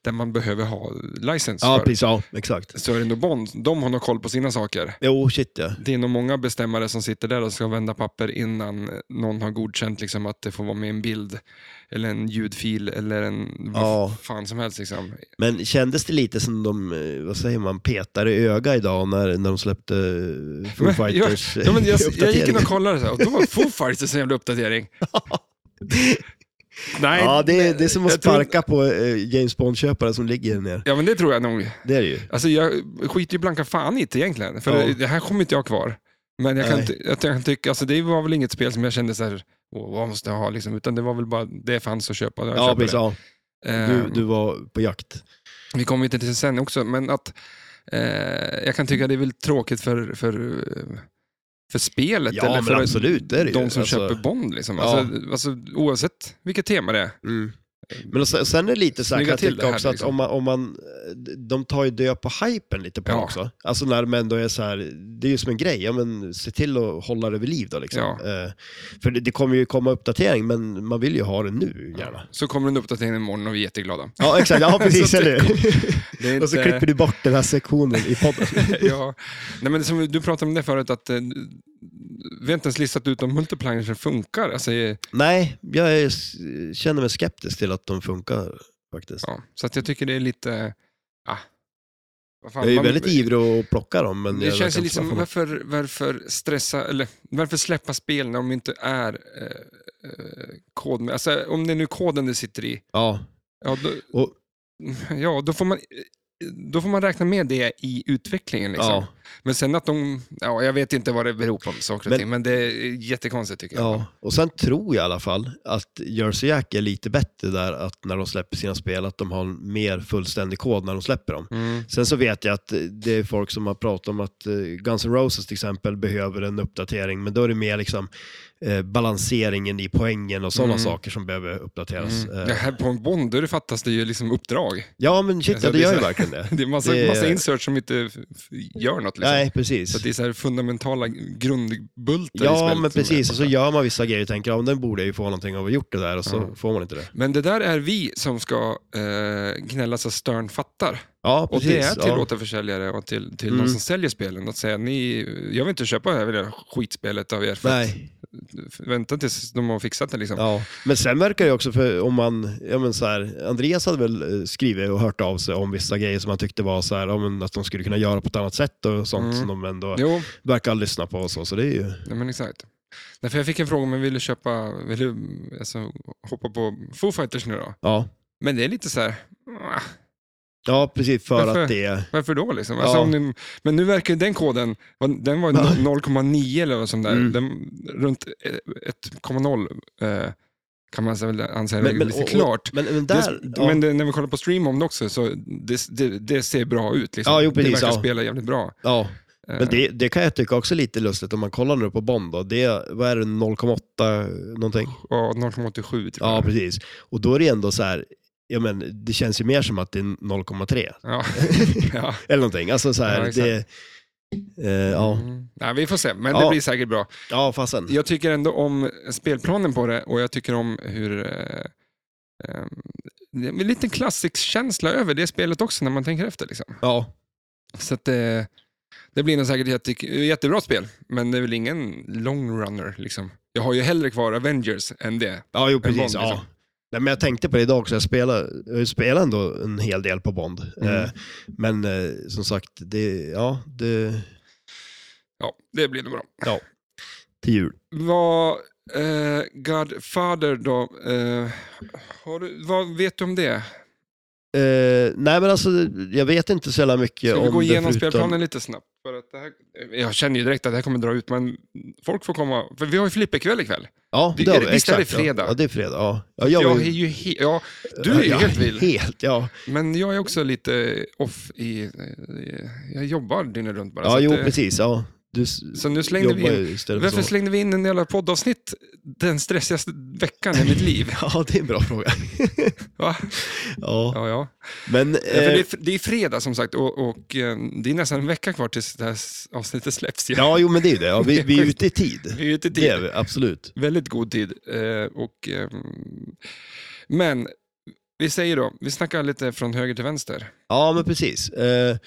A: där man behöver ha license
B: Ja,
A: för,
B: precis, ja, exakt.
A: så är det nog Bond. De har nog koll på sina saker.
B: Jo, shit ja.
A: Det är nog många bestämmare som sitter där och ska vända papper innan någon har godkänt liksom, att det får vara med en bild, eller en ljudfil, eller en vad
B: Ja.
A: fan som helst. Liksom.
B: Men kändes det lite som de, eh, vad säger man, petade öga idag när, när de släppte eh, Foo
A: Men-
B: Fighters eh,
A: Ja, men jag, jag gick in
B: uppdatering?
A: och kollade så här, och då var Foo Fighters en jävla uppdatering. Nej,
B: Ja, det är, det är som att
A: jag tror-
B: sparka på eh, James Bond-köpare som ligger ner.
A: Ja, men det tror jag nog.
B: Det är det ju.
A: Alltså, jag skiter ju blanka fan i det egentligen, för
B: Ja.
A: det här kommer inte jag kvar. Men jag kan,
B: Nej.
A: ty- jag kan tycka, alltså, det var väl inget spel som jag kände så här, åh, vad måste jag ha, liksom, utan det var väl bara det fanns att köpa. Jag
B: Ja,
A: köper
B: precis.
A: det.
B: Ja. Du,
A: Ehm,
B: du var på jakt.
A: Vi kommer ju till det sen också, men att eh, jag kan tycka det är väl tråkigt för, för, eh, för spelet.
B: Ja,
A: eller
B: men
A: för
B: absolut, det är det ju.
A: De som
B: Alltså-
A: köper Bond, liksom.
B: Ja.
A: alltså, alltså, oavsett vilket tema det är.
B: Mm. Men och sen, sen är det lite så här,
A: Ehm, Snygga
B: kan jag
A: till
B: tycka
A: det här,
B: också att
A: liksom.
B: om man, om man, de tar ju död på hypen lite på
A: Ja.
B: det också. Alltså när de ändå är så här, det är ju som en grej, ja men se till att hålla det vid liv då liksom.
A: Ja.
B: Eh, för det, det kommer ju komma uppdatering, men man vill ju ha det nu gärna.
A: Så kommer det en uppdatering imorgon och vi är jätteglada.
B: Ja, exakt, ja precis,
A: Så
B: eller hur?
A: Det är
B: Och så
A: inte-
B: klipper du bort den här sektionen i podden.
A: ja. Nej, men som du pratade om det förut, att eh, vi har inte ens listat ut om multiplangern funkar. Alltså, eh,
B: Nej, jag är, känner mig skeptisk till att de funkar faktiskt.
A: ja. Så att jag tycker det är lite... Ah. Vad fan,
B: Jag är ju
A: man-
B: väldigt ivrig att plocka dem, men
A: Det
B: jag
A: känns ju
B: verkar
A: liksom,
B: inte få-
A: varför, varför stressa, eller varför släppa spel när de inte är eh, eh, kod med, alltså om det är nu koden det sitter i,
B: Ja,
A: ja då,
B: Och-
A: ja, då får man då får man räkna med det i utvecklingen. Liksom.
B: ja,
A: Men sen att de, ja, jag vet inte vad det beror på med saker och
B: Men-
A: ting, men det är jättekonstigt tycker jag.
B: Ja, och sen tror jag i alla fall att Jersey Jack är lite bättre där att när de släpper sina spel, att de har en mer fullständig kod när de släpper dem.
A: Mm.
B: Sen så vet jag att eh, det är folk som har pratat om att eh, Guns N' Roses till exempel behöver en uppdatering, men då är det mer liksom eh, balanseringen i poängen och sådana
A: Mm.
B: saker som behöver uppdateras.
A: Mm. Det
B: Eh,
A: här på en Bond, då fattas det ju liksom uppdrag.
B: ja, men shit,
A: Alltså,
B: ja, det
A: det är
B: gör
A: så-
B: ju verkligen det.
A: Det är massa,
B: Det är-
A: massa inserts som inte f- f- gör något. Liksom.
B: Nej,
A: Så
B: precis.
A: att det är så här fundamentala grundbultar i
B: Ja,
A: spelet
B: men
A: som är
B: precis. Och så
A: borta.
B: gör man vissa grejer och tänker, ja, men den borde jag ju få någonting av att gjort det där, och så
A: Ja.
B: får man inte det.
A: Men det där är vi som ska eh, gnälla så Stern fattar.
B: Ja,
A: Och
B: precis.
A: det är till
B: ja.
A: återförsäljare och till, till
B: Mm.
A: de som säljer spelen att säga ni, jag vill inte köpa det här det här skitspelet av er. För att,
B: Nej,
A: vänta tills de har fixat det. Liksom.
B: Ja, men sen verkar det också för om man, ja men så här, Andreas hade väl eh, skrivit och hört av sig om vissa grejer som han tyckte var så här, ja men att de skulle kunna göra på ett annat sätt och sånt
A: Mm.
B: som de ändå
A: Jo,
B: verkar lyssna på och så, så det är ju,
A: nej, men exakt. Nej, för jag fick en fråga om jag ville köpa, vill du alltså, hoppa på Foo Fighters nu då?
B: ja.
A: Men det är lite så här, "Ah,
B: Ja, precis, för
A: Varför?
B: att det är,
A: varför då liksom? Alltså,
B: Ja.
A: om ni, men nu verkar ju den koden, den var ju
B: Ja.
A: 0,9 eller vad som där,
B: Mm.
A: den, runt eh, 1,0 eh, kan man väl anse
B: Men-
A: men,
B: men-
A: lite
B: och- och-
A: klart.
B: men, men
A: Det-
B: där, ja,
A: Men det, när vi kollar på stream om det också, så det, det, det ser bra ut. Liksom.
B: Ja, jo,
A: det
B: precis,
A: verkar
B: ja.
A: spela jävligt bra.
B: ja.
A: Eh,
B: men det, det kan jag tycka också är lite lustigt om man kollar nu på Bond då, det, är- vad är det, 0,8 någonting?
A: Oh, ja, 0,87 tror
B: Ja,
A: jag.
B: precis. Och då är det ändå så här, ja men det känns ju mer som att det är 0,3
A: Ja. ja.
B: eller någonting, alltså så
A: Ja,
B: här,
A: exakt.
B: det, eh, ja,
A: Mm. Nej, vi får se, men det
B: Ja.
A: blir säkert bra.
B: ja fasen.
A: Jag tycker ändå om spelplanen på det och jag tycker om hur... Eh, eh, det är en liten klassikskänsla över det spelet också när man tänker efter. Liksom.
B: Ja,
A: Så att, eh, det blir nog säkert jätte, jättebra spel, men det är väl ingen long runner. Liksom. Jag har ju hellre kvar Avengers än det.
B: Ja, jo,
A: Bond,
B: precis.
A: liksom.
B: ja. Nej, men jag tänkte på det idag också, jag spelar, jag spelar ändå en hel del på Bond.
A: Mm.
B: Eh, men eh, som sagt, det, ja, det,
A: Ja, det blir nog bra.
B: till jul.
A: Vad eh, Godfather då, eh, har du, vad vet du om det?
B: Eh, nej men alltså, jag vet inte så jävla mycket
A: Ska
B: om
A: vi gå
B: det
A: igenom
B: förutom-
A: spelplanen lite snabbt? För att det här, jag känner ju direkt att det här kommer dra ut, men folk får komma. För vi har ju flipperkväll ikväll.
B: Ja,
A: Det-
B: det har
A: är
B: vi.
A: det- visst är det
B: Exakt,
A: fredag?
B: Ja. ja, det är fredag. Ja. Ja,
A: Jag,
B: var
A: är
B: ju-
A: ju he- ja, du är ju
B: Ja,
A: helt vild.
B: Helt, ja.
A: Men jag är också lite off i... Jag jobbar dygnet runt bara.
B: Ja,
A: så att
B: jo
A: Alltså, det-
B: precis. Ja. Du s-
A: Så nu slängde vi
B: jobbar
A: in...
B: ju istället för
A: Varför
B: så.
A: slängde vi in en jävla poddavsnitt den stressigaste veckan i mitt liv?
B: Ja, det är en bra fråga.
A: Va?
B: Ja,
A: Ja, ja.
B: men...
A: Ja, för det,
B: eh,
A: är, det är fredag som sagt och, och eh, det är nästan en vecka kvar tills det här s- avsnittet släpps. ju.
B: Ja, jo men det är ju det. Ja, vi, vi är ute i tid.
A: Vi är ute i
B: Det
A: tid.
B: är vi, absolut.
A: Väldigt god tid. Eh, och, ehm, men vi säger då, vi snackar lite från höger till vänster.
B: Ja, men precis. Eh,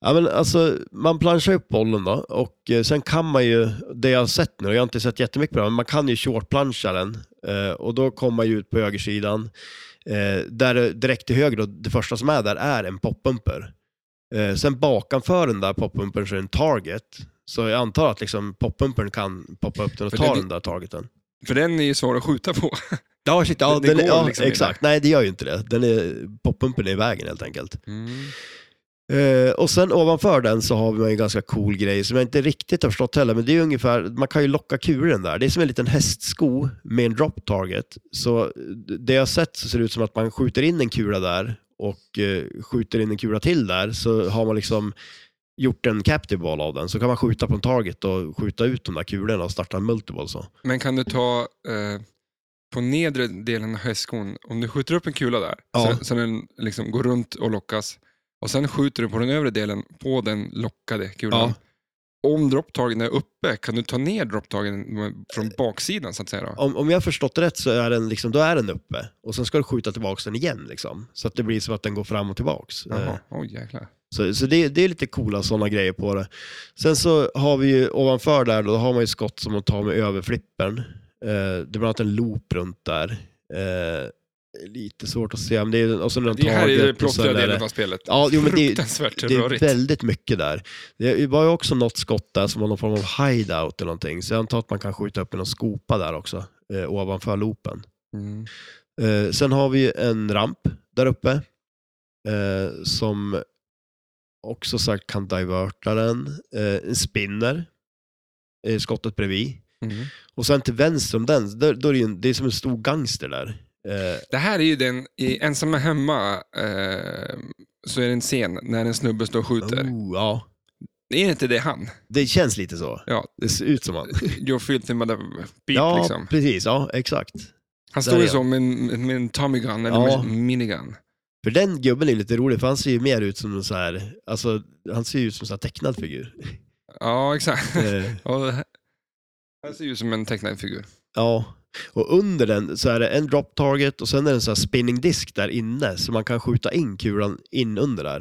B: ja, men alltså, man planchar upp bollen då och eh, sen kan man ju, det jag har sett nu, jag har inte sett jättemycket på det, men man kan ju shortplancha den eh, och då kommer man ju ut på högersidan. Eh, där det- direkt till höger, då, det första som är där är en poppumper. Eh, sen bakanför den där poppumpern så är det en target. Så jag antar att liksom poppumpern kan poppa upp den och
A: För
B: ta
A: det-
B: den där targeten.
A: För den är ju svår att skjuta på.
B: Ja, shit, ja,
A: Det- det
B: den, är-
A: går
B: ja
A: liksom inte.
B: exakt. Nej, det gör ju inte det. Den är, poppumpen är i vägen helt enkelt. Eh, och sen ovanför den så har vi en ganska cool grej som jag inte riktigt har förstått heller, men det är ungefär, man kan ju locka kuren där. Det är som en liten hästsko med en drop target. Så eh, det jag har sett så ser det ut som att man skjuter in en kula där och eh, skjuter in en kula till där, så har man liksom gjort en captive ball av den. Så kan man skjuta på en target och skjuta ut de där kulorna och starta en multiball så.
A: Men kan du ta eh, på nedre delen av hästskon, om du skjuter upp en kula där,
B: Ja.
A: så, så den liksom går runt och lockas, och sen skjuter du på den övre delen på den lockade kulan. Om dropptagen är uppe, kan du ta ner dropptagen från baksidan så att säga? Då?
B: Om, om jag har förstått det rätt så är den, liksom, då är den uppe och sen ska du skjuta tillbaka den igen. Liksom. Så att det blir som att den går fram och tillbaks. Eh,
A: Jaha, oj jäklar.
B: Så, så det, det är lite coola sådana grejer på det. Sen så har vi ju ovanför där, då har man ju skott som man tar med överflippen. Eh, det är bland annat en loop runt där. Eh, lite svårt att se. Men det är, och sen är
A: Det här är den
B: target och sen
A: plottriga
B: är det-
A: delen av spelet.
B: Ja, jo, men det, är-
A: Fruktansvärt
B: det är
A: rörigt.
B: väldigt mycket där. Det var ju också något skott där som var någon form av hideout eller någonting. Så jag antar att man kan skjuta upp med någon skopa där också, eh, ovanför loopen.
A: Mm.
B: Eh, sen har vi ju en ramp där uppe eh, som också sagt kan diverta den. Eh, en spinner, eh, skottet bredvid.
A: Mm.
B: Och sen till vänster om den, där, då är det, ju en, det är som en stor gangster där. Eh,
A: Det här är ju den, i Ensamma Hemma, eh, så är det en scen när en snubbe står och skjuter.
B: oh, ja.
A: Är inte det han?
B: Det känns lite så.
A: Ja.
B: Det ser ut som han.
A: You're filthy mother beep,
B: Ja,
A: liksom.
B: precis. Ja, exakt.
A: Han
B: där
A: står
B: är
A: ju
B: jag.
A: så med, en- med en Tommy Gun, eller
B: Ja.
A: med en minigun.
B: För den gubben är lite rolig, för han ser ju mer ut som en så här, alltså, han ser ju ut som en sån här tecknad figur.
A: Ja, exakt.
B: Eh,
A: Ja, det här- det här ser ju ut som en tecknad figur.
B: Ja, och under den så är det en drop target och sen är det en sån här spinning disk där inne så man kan skjuta in kulan in under där.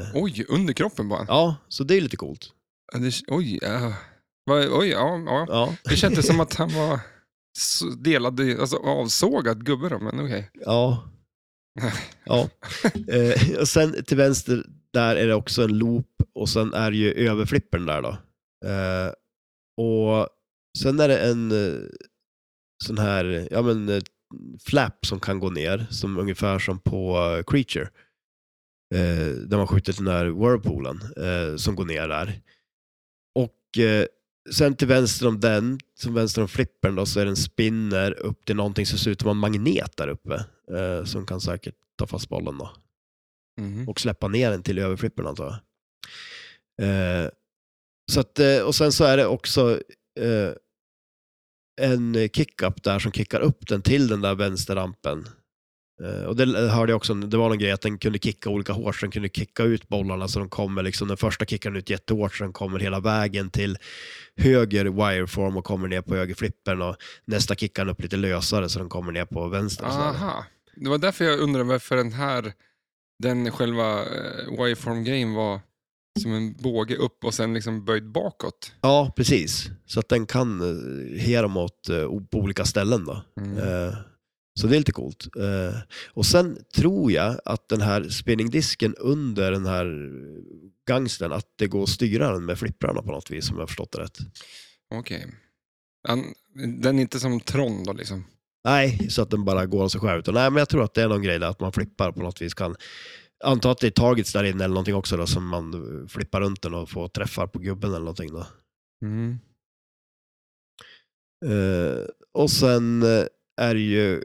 B: Eh,
A: Oj, underkroppen bara.
B: ja, så det är lite coolt.
A: Ja. Det, oj, ja. Vad- oj ja, ja.
B: Ja,
A: Det kändes som att han var så- delad, i- alltså avsågad gubbe då, men okej.
B: ja. ja. Eh, och sen till vänster där är det också en loop och sen är det ju överflippen där då. Eh, och sen är det en eh, sån här, ja men eh, flap som kan gå ner, som ungefär som på eh, Creature. Eh, där man skjuter till den här whirlpoolen eh, som går ner där. Och eh, sen till vänster om den, som vänster om flippern då, så är det en spinner upp till någonting som ser ut som en magnet där uppe. Eh, som kan säkert ta fast bollen då.
A: Mhm.
B: Och släppa ner den till överflippern antar jag. Eh, så att, eh, och sen så är det också eh, en kick-up där som kickar upp den till den där vänsterrampen. Eh, och det hörde jag också, det var någon grej att den kunde kicka olika hårt, så den kunde kicka ut bollarna så de kommer liksom, den första kickar den ut jättehårt så den kommer hela vägen till höger wireform och kommer ner på högerflippen och nästa kickar den upp lite lösare så den kommer ner på vänster. och sådär.
A: Aha. Det var därför jag undrade varför den här, den själva eh, Wireform-grejen var som en båge upp och sen liksom böjd bakåt.
B: Ja, precis. Så att den kan eh, hemåt eh, o- på olika ställen. Då.
A: Mm.
B: Eh, Så det är lite coolt. Eh, Och sen tror jag att den här spinningdisken under den här gangsten, att det går att styra den med flipprarna på något vis, om jag har förstått det rätt.
A: Okej. An- Den är inte som Tron då liksom?
B: Nej, så att den bara går av sig själv. Utan, nej, men jag tror att det är någon grej där att man flippar på något vis. Kan, anta att det är targets där inne eller någonting också då, som man eh, flippar runt den och får träffar på gubben eller någonting. Då.
A: Mm.
B: Eh, och sen eh, är det ju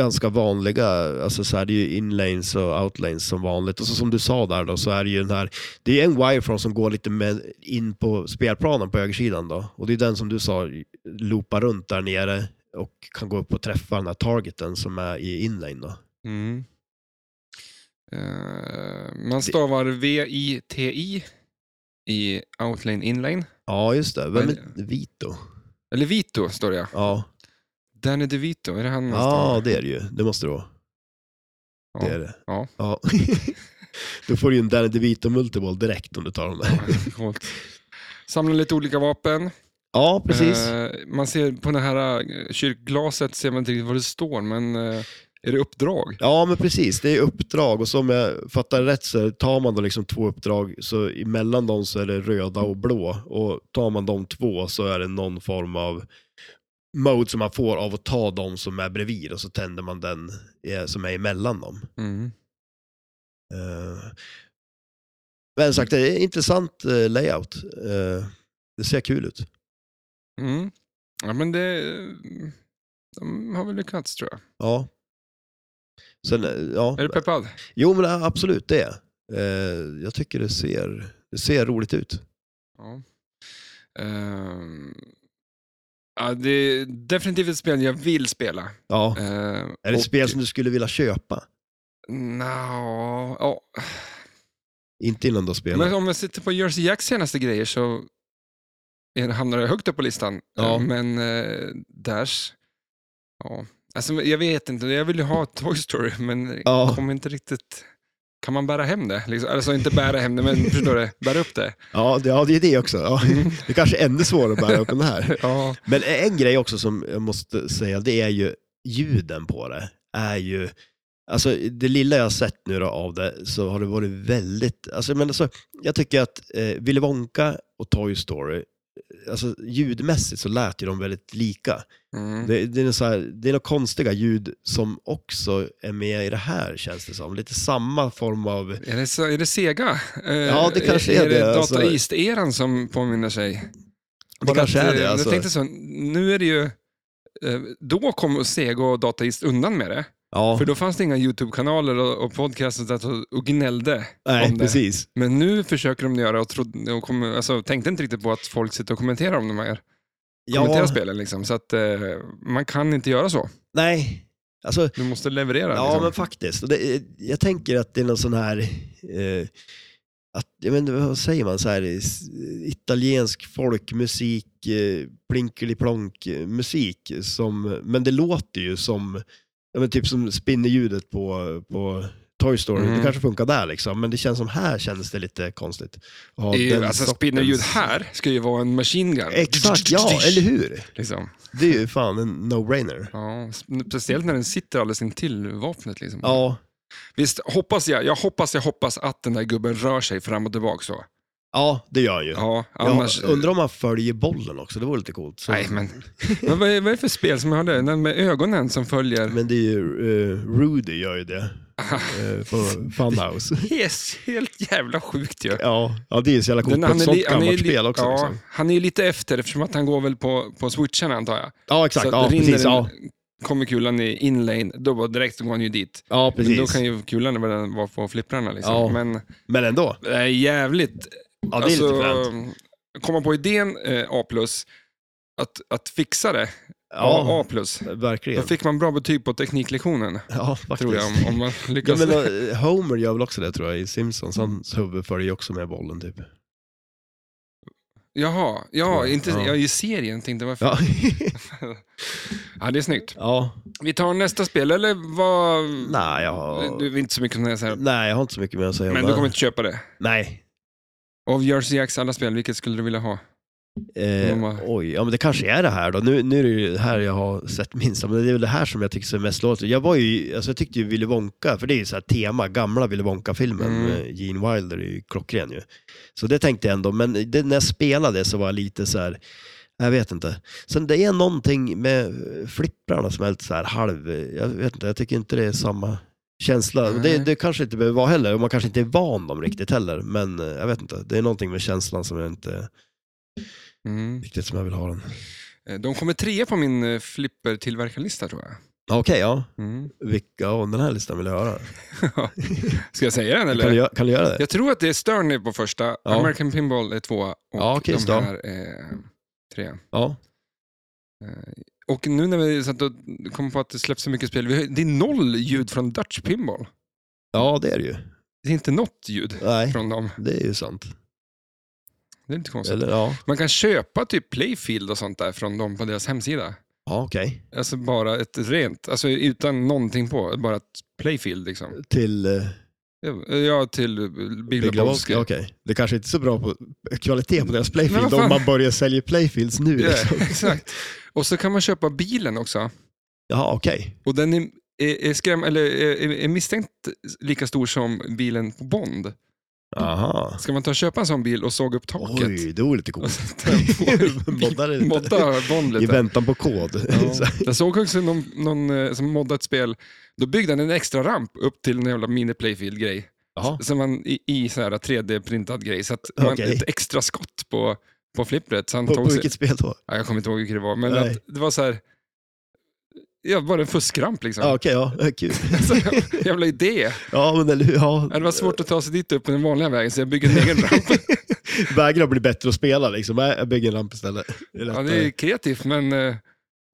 B: ganska vanliga, alltså så här, det är ju inlanes och outlanes som vanligt. Och så som du sa där då, så är det ju den här, det är en wirefront som går lite med, in på spelplanen på högersidan då. Och det är den som du sa, loopar runt där nere och kan gå upp och träffa den här targeten som är i inlane då.
A: Mm. Eh, man stavar V-I-T-I i Outlane Inlane.
B: Ja, just det. Vem är Vito?
A: Eller Vito står det ja.
B: Ja,
A: Danny DeVito, är det han man
B: ja
A: stavar?
B: det är det ju. Det måste det vara.
A: Ja.
B: Det är det.
A: Ja.
B: ja. Då får du ju en Danny DeVito multiball direkt om du tar dem där.
A: Coolt. Samlar lite olika vapen.
B: Ja, precis.
A: Eh, man ser på det här eh, kyrkglaset ser man inte riktigt vad det står, men eh, är det uppdrag?
B: Ja, men precis. Det är uppdrag och som jag fattar rätt så tar man då liksom två uppdrag, så emellan dem så är det röda och blå. Och tar man de två så är det någon form av mode som man får av att ta de som är bredvid och så tänder man den eh, som är emellan dem.
A: Mm.
B: Eh, Men sagt, det är en intressant eh, layout. Eh, Det ser kul ut.
A: Mm. Ja, men det... De har väl lyckats tror jag.
B: Ja. Sen, eh, ja.
A: Mm. Är du peppad?
B: Jo, men eh, absolut det. är jag. Eh, Jag tycker det ser, det ser roligt ut.
A: Ja. Ehm, ja, det är definitivt ett spel jag vill spela.
B: Ja.
A: Ehm,
B: Är det ett
A: och-
B: spel som du skulle vilja köpa?
A: Nja, ja.
B: Inte innan du har spelat?
A: Men om jag sitter på Jersey Jacks senaste grejer så är- hamnar jag högt upp på listan.
B: Ja.
A: Eh, Men eh, Dash, ja. Alltså, jag vet inte, jag vill ju ha Toy Story men
B: Ja.
A: kommer inte riktigt... Kan man bära hem det? Liksom, alltså inte bära hem det, men förstår du? Bära upp det.
B: Ja, det, ja, det är det också. Ja.
A: Mm.
B: Det är kanske är ännu svårare att bära upp än det här.
A: Ja.
B: Men en grej också som jag måste säga, det är ju ljuden på det. är ju, alltså Det lilla jag har sett nu då av det så har det varit väldigt, alltså, men alltså, jag tycker att eh, Willy Wonka och Toy Story, alltså ljudmässigt så lät ju de väldigt lika.
A: Mm.
B: Det, det, är så här, det är några konstiga ljud som också är med i det här känns det som. Lite samma form av
A: Är, det så, är det Sega? Eh,
B: Ja, det kanske är
A: det.
B: det,
A: Data
B: alltså.
A: East-eran som påminner sig?
B: Det kanske är det,
A: eh,
B: alltså.
A: Jag tänkte så, nu är det ju... eh, Då kom Sega och Data East undan med det.
B: Ja,
A: För då fanns det inga YouTube-kanaler och, och podcasts och, sånt där och gnällde
B: nej,
A: om det.
B: precis.
A: Men nu försöker de göra och, trodde, och kom, alltså, tänkte inte riktigt på att folk sitter och kommenterar om de här kommenterar spelen. Liksom. Så att, eh, man kan inte göra så.
B: nej. Alltså,
A: Du måste leverera.
B: ja
A: liksom.
B: men faktiskt. Och Det, eh, jag tänker att det är någon sån här, eh, att, jag vet inte, vad säger man, så här, s- italiensk folkmusik, eh, plinkeliplonk eh, musik. Som, men det låter ju som, ja, men typ som spinnerljudet på, på Toy Story.
A: Mm.
B: Det kanske funkar där liksom, men det känns som här känns det lite konstigt. Ja,
A: Det är ju-
B: den
A: alltså,
B: sortens-
A: Spinnerljud här ska ju vara en machine gun.
B: Exakt, ja, eller hur?
A: Liksom.
B: Det är ju fan en no-brainer.
A: Ja, speciellt när den sitter alldeles intill vapnet. Liksom.
B: Ja,
A: Visst, hoppas jag, jag hoppas, jag hoppas att den där gubben rör sig fram och tillbaka så.
B: ja det gör han ju.
A: Ja,
B: Jag
A: annars...
B: undrar om han följer bollen också, det vore lite coolt. Så-
A: Nej, men, men vad, är, vad är det för spel som har det? Den med ögonen som följer...
B: Men det är ju, eh, Rudy gör ju det eh, på Funhouse.
A: Yes, helt jävla sjukt ju.
B: ja, ja, det är så jävla coolt på ett
A: li-
B: sånt gammalt
A: li-
B: spel också.
A: ja,
B: Liksom.
A: Han är ju lite efter eftersom att han går väl på, på switchen antar jag.
B: Ja, exakt.
A: Så
B: Ja,
A: rinner
B: precis.
A: den-
B: Ja,
A: Kommer kulan i inlane, då bara direkt går han ju dit.
B: ja,
A: Men då
B: precis.
A: kan ju kulan vara den- vara på flipprarna. Liksom.
B: Ja.
A: Men
B: Men ändå.
A: det är jävligt alltså,
B: Ja, det är lite fränt.
A: komma på idén eh, A+, att, att fixa det, A+,
B: Ja,
A: A+. då
B: verkligen.
A: fick man bra betyg på tekniklektionen,
B: Ja, faktiskt.
A: tror jag, om, om man
B: Ja,
A: lyckas.
B: men, eh, Homer gör väl också det tror jag i Simpsons. Hans huvud följer ju också med bollen typ.
A: Jaha, ja,
B: Tror jag.
A: inte,
B: Ja.
A: ja, i serien tänkte jag, varför?
B: Ja,
A: Ja, det är snyggt.
B: ja.
A: Vi tar nästa spel, eller vad...
B: Nej, jag har...
A: Mm. Du är inte så mycket som jag säger,
B: Nej, jag har inte så mycket mer att säga
A: men
B: om
A: du
B: det.
A: kommer inte köpa det.
B: Nej,
A: Av Jersey Jacks alla spel, vilket skulle du vilja ha?
B: Eh,
A: Men vad-
B: Oj, ja men det kanske är det här då. Nu, nu är det ju det här jag har sett minst, men det är väl det här som jag tycker ser mest låter. Jag var ju, alltså jag tyckte ju Willy Wonka, för det är ju så här tema, gamla Willy Wonka-filmen
A: Mm.
B: med Gene Wilder är ju klockren ju. Så det tänkte jag ändå, men det, när jag spelade så var jag lite så här, Jag vet inte. Sen det är någonting med eh, flipprarna som är lite så här halv... Jag vet inte, jag tycker inte det är samma känsla.
A: Nej.
B: Det, det kanske inte behöver vara heller, och man kanske inte är van dem riktigt heller. Men eh, jag vet inte, det är någonting med känslan som jag inte
A: Mm.
B: riktigt som jag vill ha den.
A: Eh, De kommer trea på min eh, flippertillverkarlista tror jag.
B: Ja, Okej, ja.
A: Mm.
B: Vilka, ja, den här listan vill jag höra.
A: Ska jag säga den
B: Kan du,
A: eller?
B: gö- kan du göra det?
A: Jag tror att det är Sterney på första,
B: Ja.
A: American Pinball är tvåa och
B: Ja, okej,
A: de
B: så.
A: här är eh, trea.
B: Ja.
A: Eh, Och nu när vi satt och kom på att det släpps så mycket spel, vi har, det är noll ljud från Dutch Pinball.
B: ja, det är det ju.
A: Det är inte något ljud
B: Nej,
A: från dem.
B: det är ju sant.
A: Det är inte konstigt.
B: Eller, ja,
A: Man kan köpa typ Playfield och sånt där från dem på deras hemsida.
B: ja okej.
A: Alltså bara ett rent, alltså utan någonting på, bara ett Playfield liksom.
B: Till eh,
A: Ja, till Big
B: Big Lebowski,
A: Lebowski.
B: okej. Det kanske inte är så bra på kvalitet på deras
A: Men
B: playfield
A: vad fan?
B: om man börjar sälja playfields nu.
A: Ja,
B: Liksom.
A: exakt. Och så kan man köpa bilen också.
B: Jaha, okej.
A: Och den är, är, är, skräm, eller är, är- är misstänkt lika stor som bilen på Bond.
B: Aha.
A: Ska man ta och köpa en sån bil och såga upp taket
B: Oj, det vore lite
A: och
B: coolt.
A: sätta den på
B: Moddar det lite.
A: modda Bond
B: I
A: lite.
B: väntan på kod. Så-
A: Ja. Jag såg också någon, någon eh, som moddade ett spel. Då byggde han en extra ramp upp till en jävla mini-playfield-grej.
B: Jaha.
A: Som man, i, I så här 3D-printad grej. Så att man,
B: Okej.
A: ett extra skott på, på flippret. Så han
B: På, på
A: tog sig,
B: vilket spel då?
A: ja, jag kommer inte ihåg vilket det var, men
B: Nej.
A: att, det var så här... Ja, bara en fuskramp liksom.
B: Ja, okej, ja. Eh, Kul.
A: Så, jävla idé.
B: ja, men eller hur. Ja.
A: Ja, Det var svårt att ta sig dit upp på den vanliga vägen, så jag bygger en egen ramp.
B: Vägrar bli bättre att spela liksom. Nej, Jag bygger en ramp istället. Det är
A: Ja,
B: lättare.
A: det är kreativt, men... eh,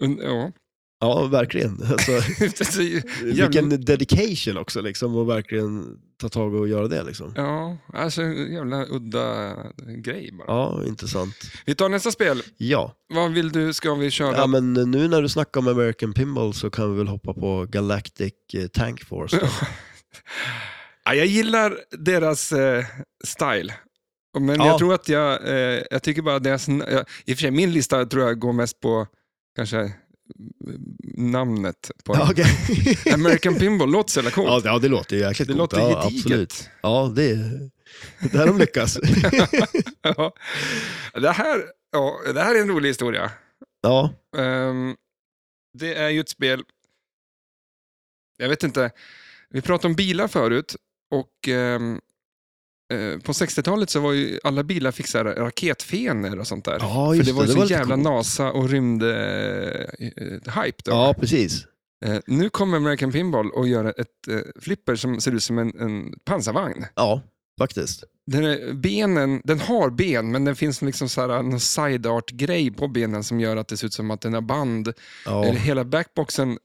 A: und- Ja.
B: ja verkligen. Alltså,
A: Så,
B: vilken dedication också liksom. Och verkligen ta tag och göra det liksom.
A: ja, alltså en jävla udda grej bara.
B: Ja, intressant.
A: Vi tar nästa spel.
B: Ja.
A: Vad vill du, ska vi köra?
B: Ja, men nu när du snackar om American Pinball så kan vi väl hoppa på Galactic eh, Tank Force. då.
A: Ja, jag gillar deras eh, style. Men
B: Ja.
A: jag tror att jag, eh, jag tycker bara deras, jag, i och för sig min lista tror jag går mest på kanske eh, namnet på
B: Ja,
A: den.
B: okej.
A: American Pinball låter så jävla coolt.
B: ja, det- ja, det låter ju jäkligt
A: det
B: coolt.
A: låter
B: ja,
A: gediget.
B: absolut. Ja, det är det där de lyckas.
A: Ja. Det, här, ja, det här är en rolig historia.
B: ja,
A: Ehm, det är ju ett spel, jag vet inte, vi pratade om bilar förut och ehm, eh, på 60-talet så var ju alla bilar fixade raketfenor och sånt där.
B: ja
A: För
B: just
A: det var ju så
B: lite
A: jävla
B: coolt.
A: NASA och rymd-hype då.
B: Ja, precis.
A: Eh, nu kommer American Pinball och gör ett eh, flipper som ser ut som en, en pansarvagn.
B: Ja, faktiskt.
A: Den, är, benen, den har ben, men den finns liksom så här, en side art-grej på benen som gör att det ser ut som att den har band.
B: Ja,
A: Eller hela backboxen,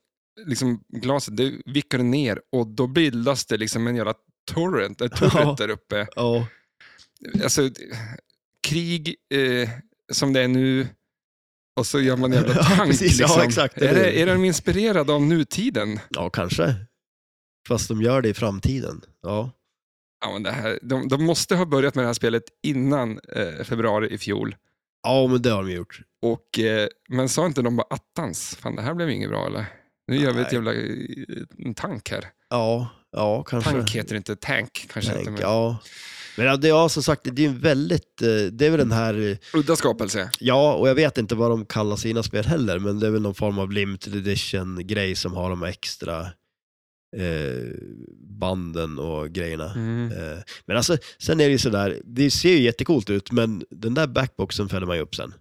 A: liksom glaset, det vickar ner och då bildas det liksom en jävla torrent, en turret
B: Ja.
A: där uppe.
B: ja,
A: Alltså, krig eh, som det är nu, och så gör man en jävla
B: Ja,
A: tank.
B: precis. Ja,
A: liksom.
B: exakt.
A: är, det, är de inspirerade av nutiden?
B: ja, kanske. Fast de gör det i framtiden. Ja,
A: Ja, men det här, de, de måste ha börjat med det här spelet innan eh, februari i fjol.
B: ja men det har de gjort.
A: Och, eh, men sa inte de bara attans, fan det här blev inget bra eller? Nu gör vi ett
B: Nej.
A: jävla eh, en tank här.
B: Ja, ja kanske.
A: Tank heter det inte, tank kanske inte.
B: Tank,
A: Men...
B: ja. Men ja, det är som sagt, det är en väldigt, eh, det är väl den här eh,
A: Udda skapelse.
B: Ja, och jag vet inte vad de kallar sina spel heller, men det är väl någon form av limited edition-grej som har de extra eh, banden och grejerna.
A: Mm.
B: Eh, men alltså, sen är det ju sådär, det ser ju jättecoolt ut, men den där backboxen fäller man ju upp sen.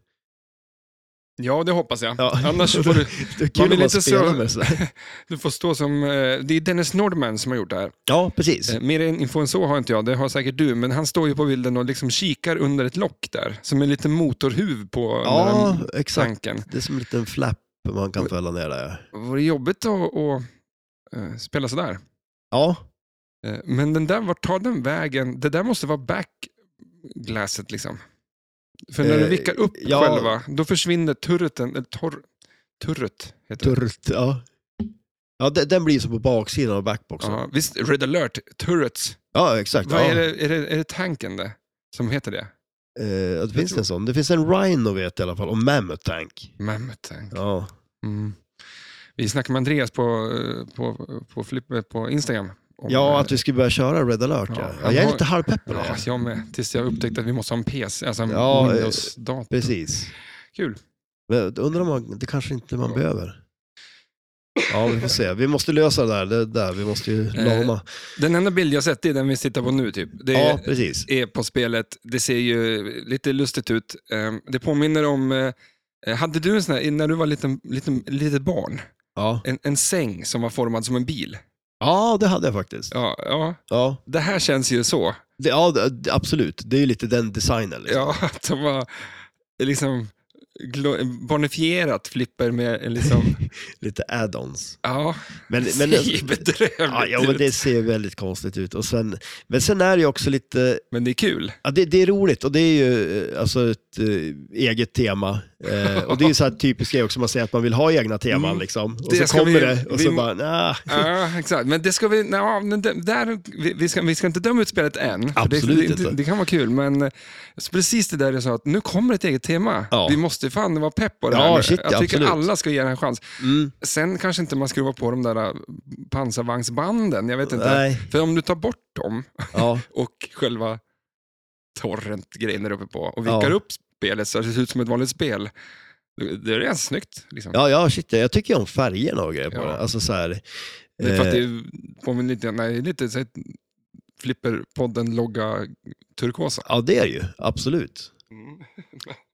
A: Ja, det hoppas jag.
B: Ja.
A: Annars får du,
B: Det är kul
A: vill
B: om man
A: inte
B: spelar
A: så-
B: med sådär.
A: du får stå som... Eh, det är Dennis Nordman som har gjort det här.
B: Ja, precis.
A: Eh, mer info än så har inte jag, det har säkert du. Men han står ju på bilden och liksom kikar under ett lock där. Som en liten motorhuv på den
B: Ja,
A: här
B: exakt.
A: tanken.
B: Det är som en liten flapp man
A: Mm.
B: kan fälla ner där.
A: Var det jobbigt att, att eh, spela sådär?
B: Ja,
A: Eh, Men den där, vart tar den vägen? Det där måste vara backglasset liksom. För när du
B: Eh,
A: vickar upp
B: ja.
A: själva, då försvinner turreten, eller torr, turret heter det.
B: turrt, ja. Ja, de- den blir som på baksidan av backboxen. Ja,
A: Ja, visst, Red alert, turrets.
B: exakt.
A: Vad
B: ja.
A: är, det, är, det, är det tanken det? Som heter det?
B: Eh, att det finns
A: tror-
B: en sån. Det finns en Rhino vet jag i alla fall, och Mammoth Tank.
A: Mammoth tank.
B: Ja,
A: Mm. Vi snackade med Andreas på, eh, på, på, Flipp- på Instagram. om-
B: ja att vi skulle börja köra Red Alert. Ja.
A: Ja,
B: Ja, jag är
A: jag-
B: lite halvpepp på det.
A: Ja,
B: här.
A: jag med. Tills jag upptäckte att vi måste ha en PC, alltså en
B: Ja, eh,
A: Windows-dator.
B: Precis.
A: Kul.
B: Men Undrar om man, det kanske inte man behöver. Ja, vi får se. Vi måste lösa det där. Det där. Vi måste ju lama.
A: Den enda bild jag sett det är den vi sitter på nu typ. Eh, Det
B: Ja,
A: är,
B: precis.
A: är på spelet. Det ser ju lite lustigt ut. Ehm, Det påminner om... eh, Hade du en sån här, när du var liten, liten, litet barn,
B: Ja.
A: en, en säng som var formad som en bil?
B: ja, det hade jag faktiskt.
A: Ja, ja.
B: Ja,
A: Det här känns ju så.
B: det, ja det, absolut. Det är ju lite den designen. Liksom.
A: Ja, att de var liksom glo- bonifierat flipper med en liksom...
B: Lite add-ons.
A: Ja,
B: Men,
A: det
B: men,
A: ser ju bedrövligt
B: ja, ja, men
A: ut.
B: det ser väldigt konstigt ut. Och sen, men sen är det ju också lite,
A: Men det är kul.
B: ja, det, det är roligt och det är ju eh, alltså ett eh, eget tema. Eh, och det är ju så här typiskt grej också, man säger att man vill ha egna teman
A: Mm.
B: liksom. Och
A: Det
B: så
A: ska
B: kommer
A: vi-
B: det och så
A: vi-
B: bara, nah.
A: Ja, exakt. Men det ska vi... Ja, men det- där, vi, vi, ska, vi ska inte döma ut spelet än. för
B: Absolut
A: det, det,
B: inte.
A: Det, kan vara kul, men eh, så precis det där jag sa, att nu kommer ett eget tema.
B: Ja.
A: Vi måste fan vara pepp på det
B: Ja,
A: här nu.
B: shit,
A: Jag tycker
B: absolut.
A: alla ska ge den en chans.
B: Mm,
A: Sen kanske inte man skruvar på de där eh, pansarvagnsbanden, jag vet inte.
B: nej,
A: För om du tar bort dem
B: ja,
A: och själva torrent-grejen där uppe på och vickar
B: Ja.
A: upp spelet så att det ser ut som ett vanligt spel, då- då är det ganska snyggt. Liksom.
B: ja, ja, shit, jag tycker om färgerna och grejer på
A: Ja.
B: det. Alltså så här,
A: Det är för att
B: eh,
A: det påminner lite, nej, lite så här, Flipperpodden-logga turkosa.
B: ja, det är ju, absolut.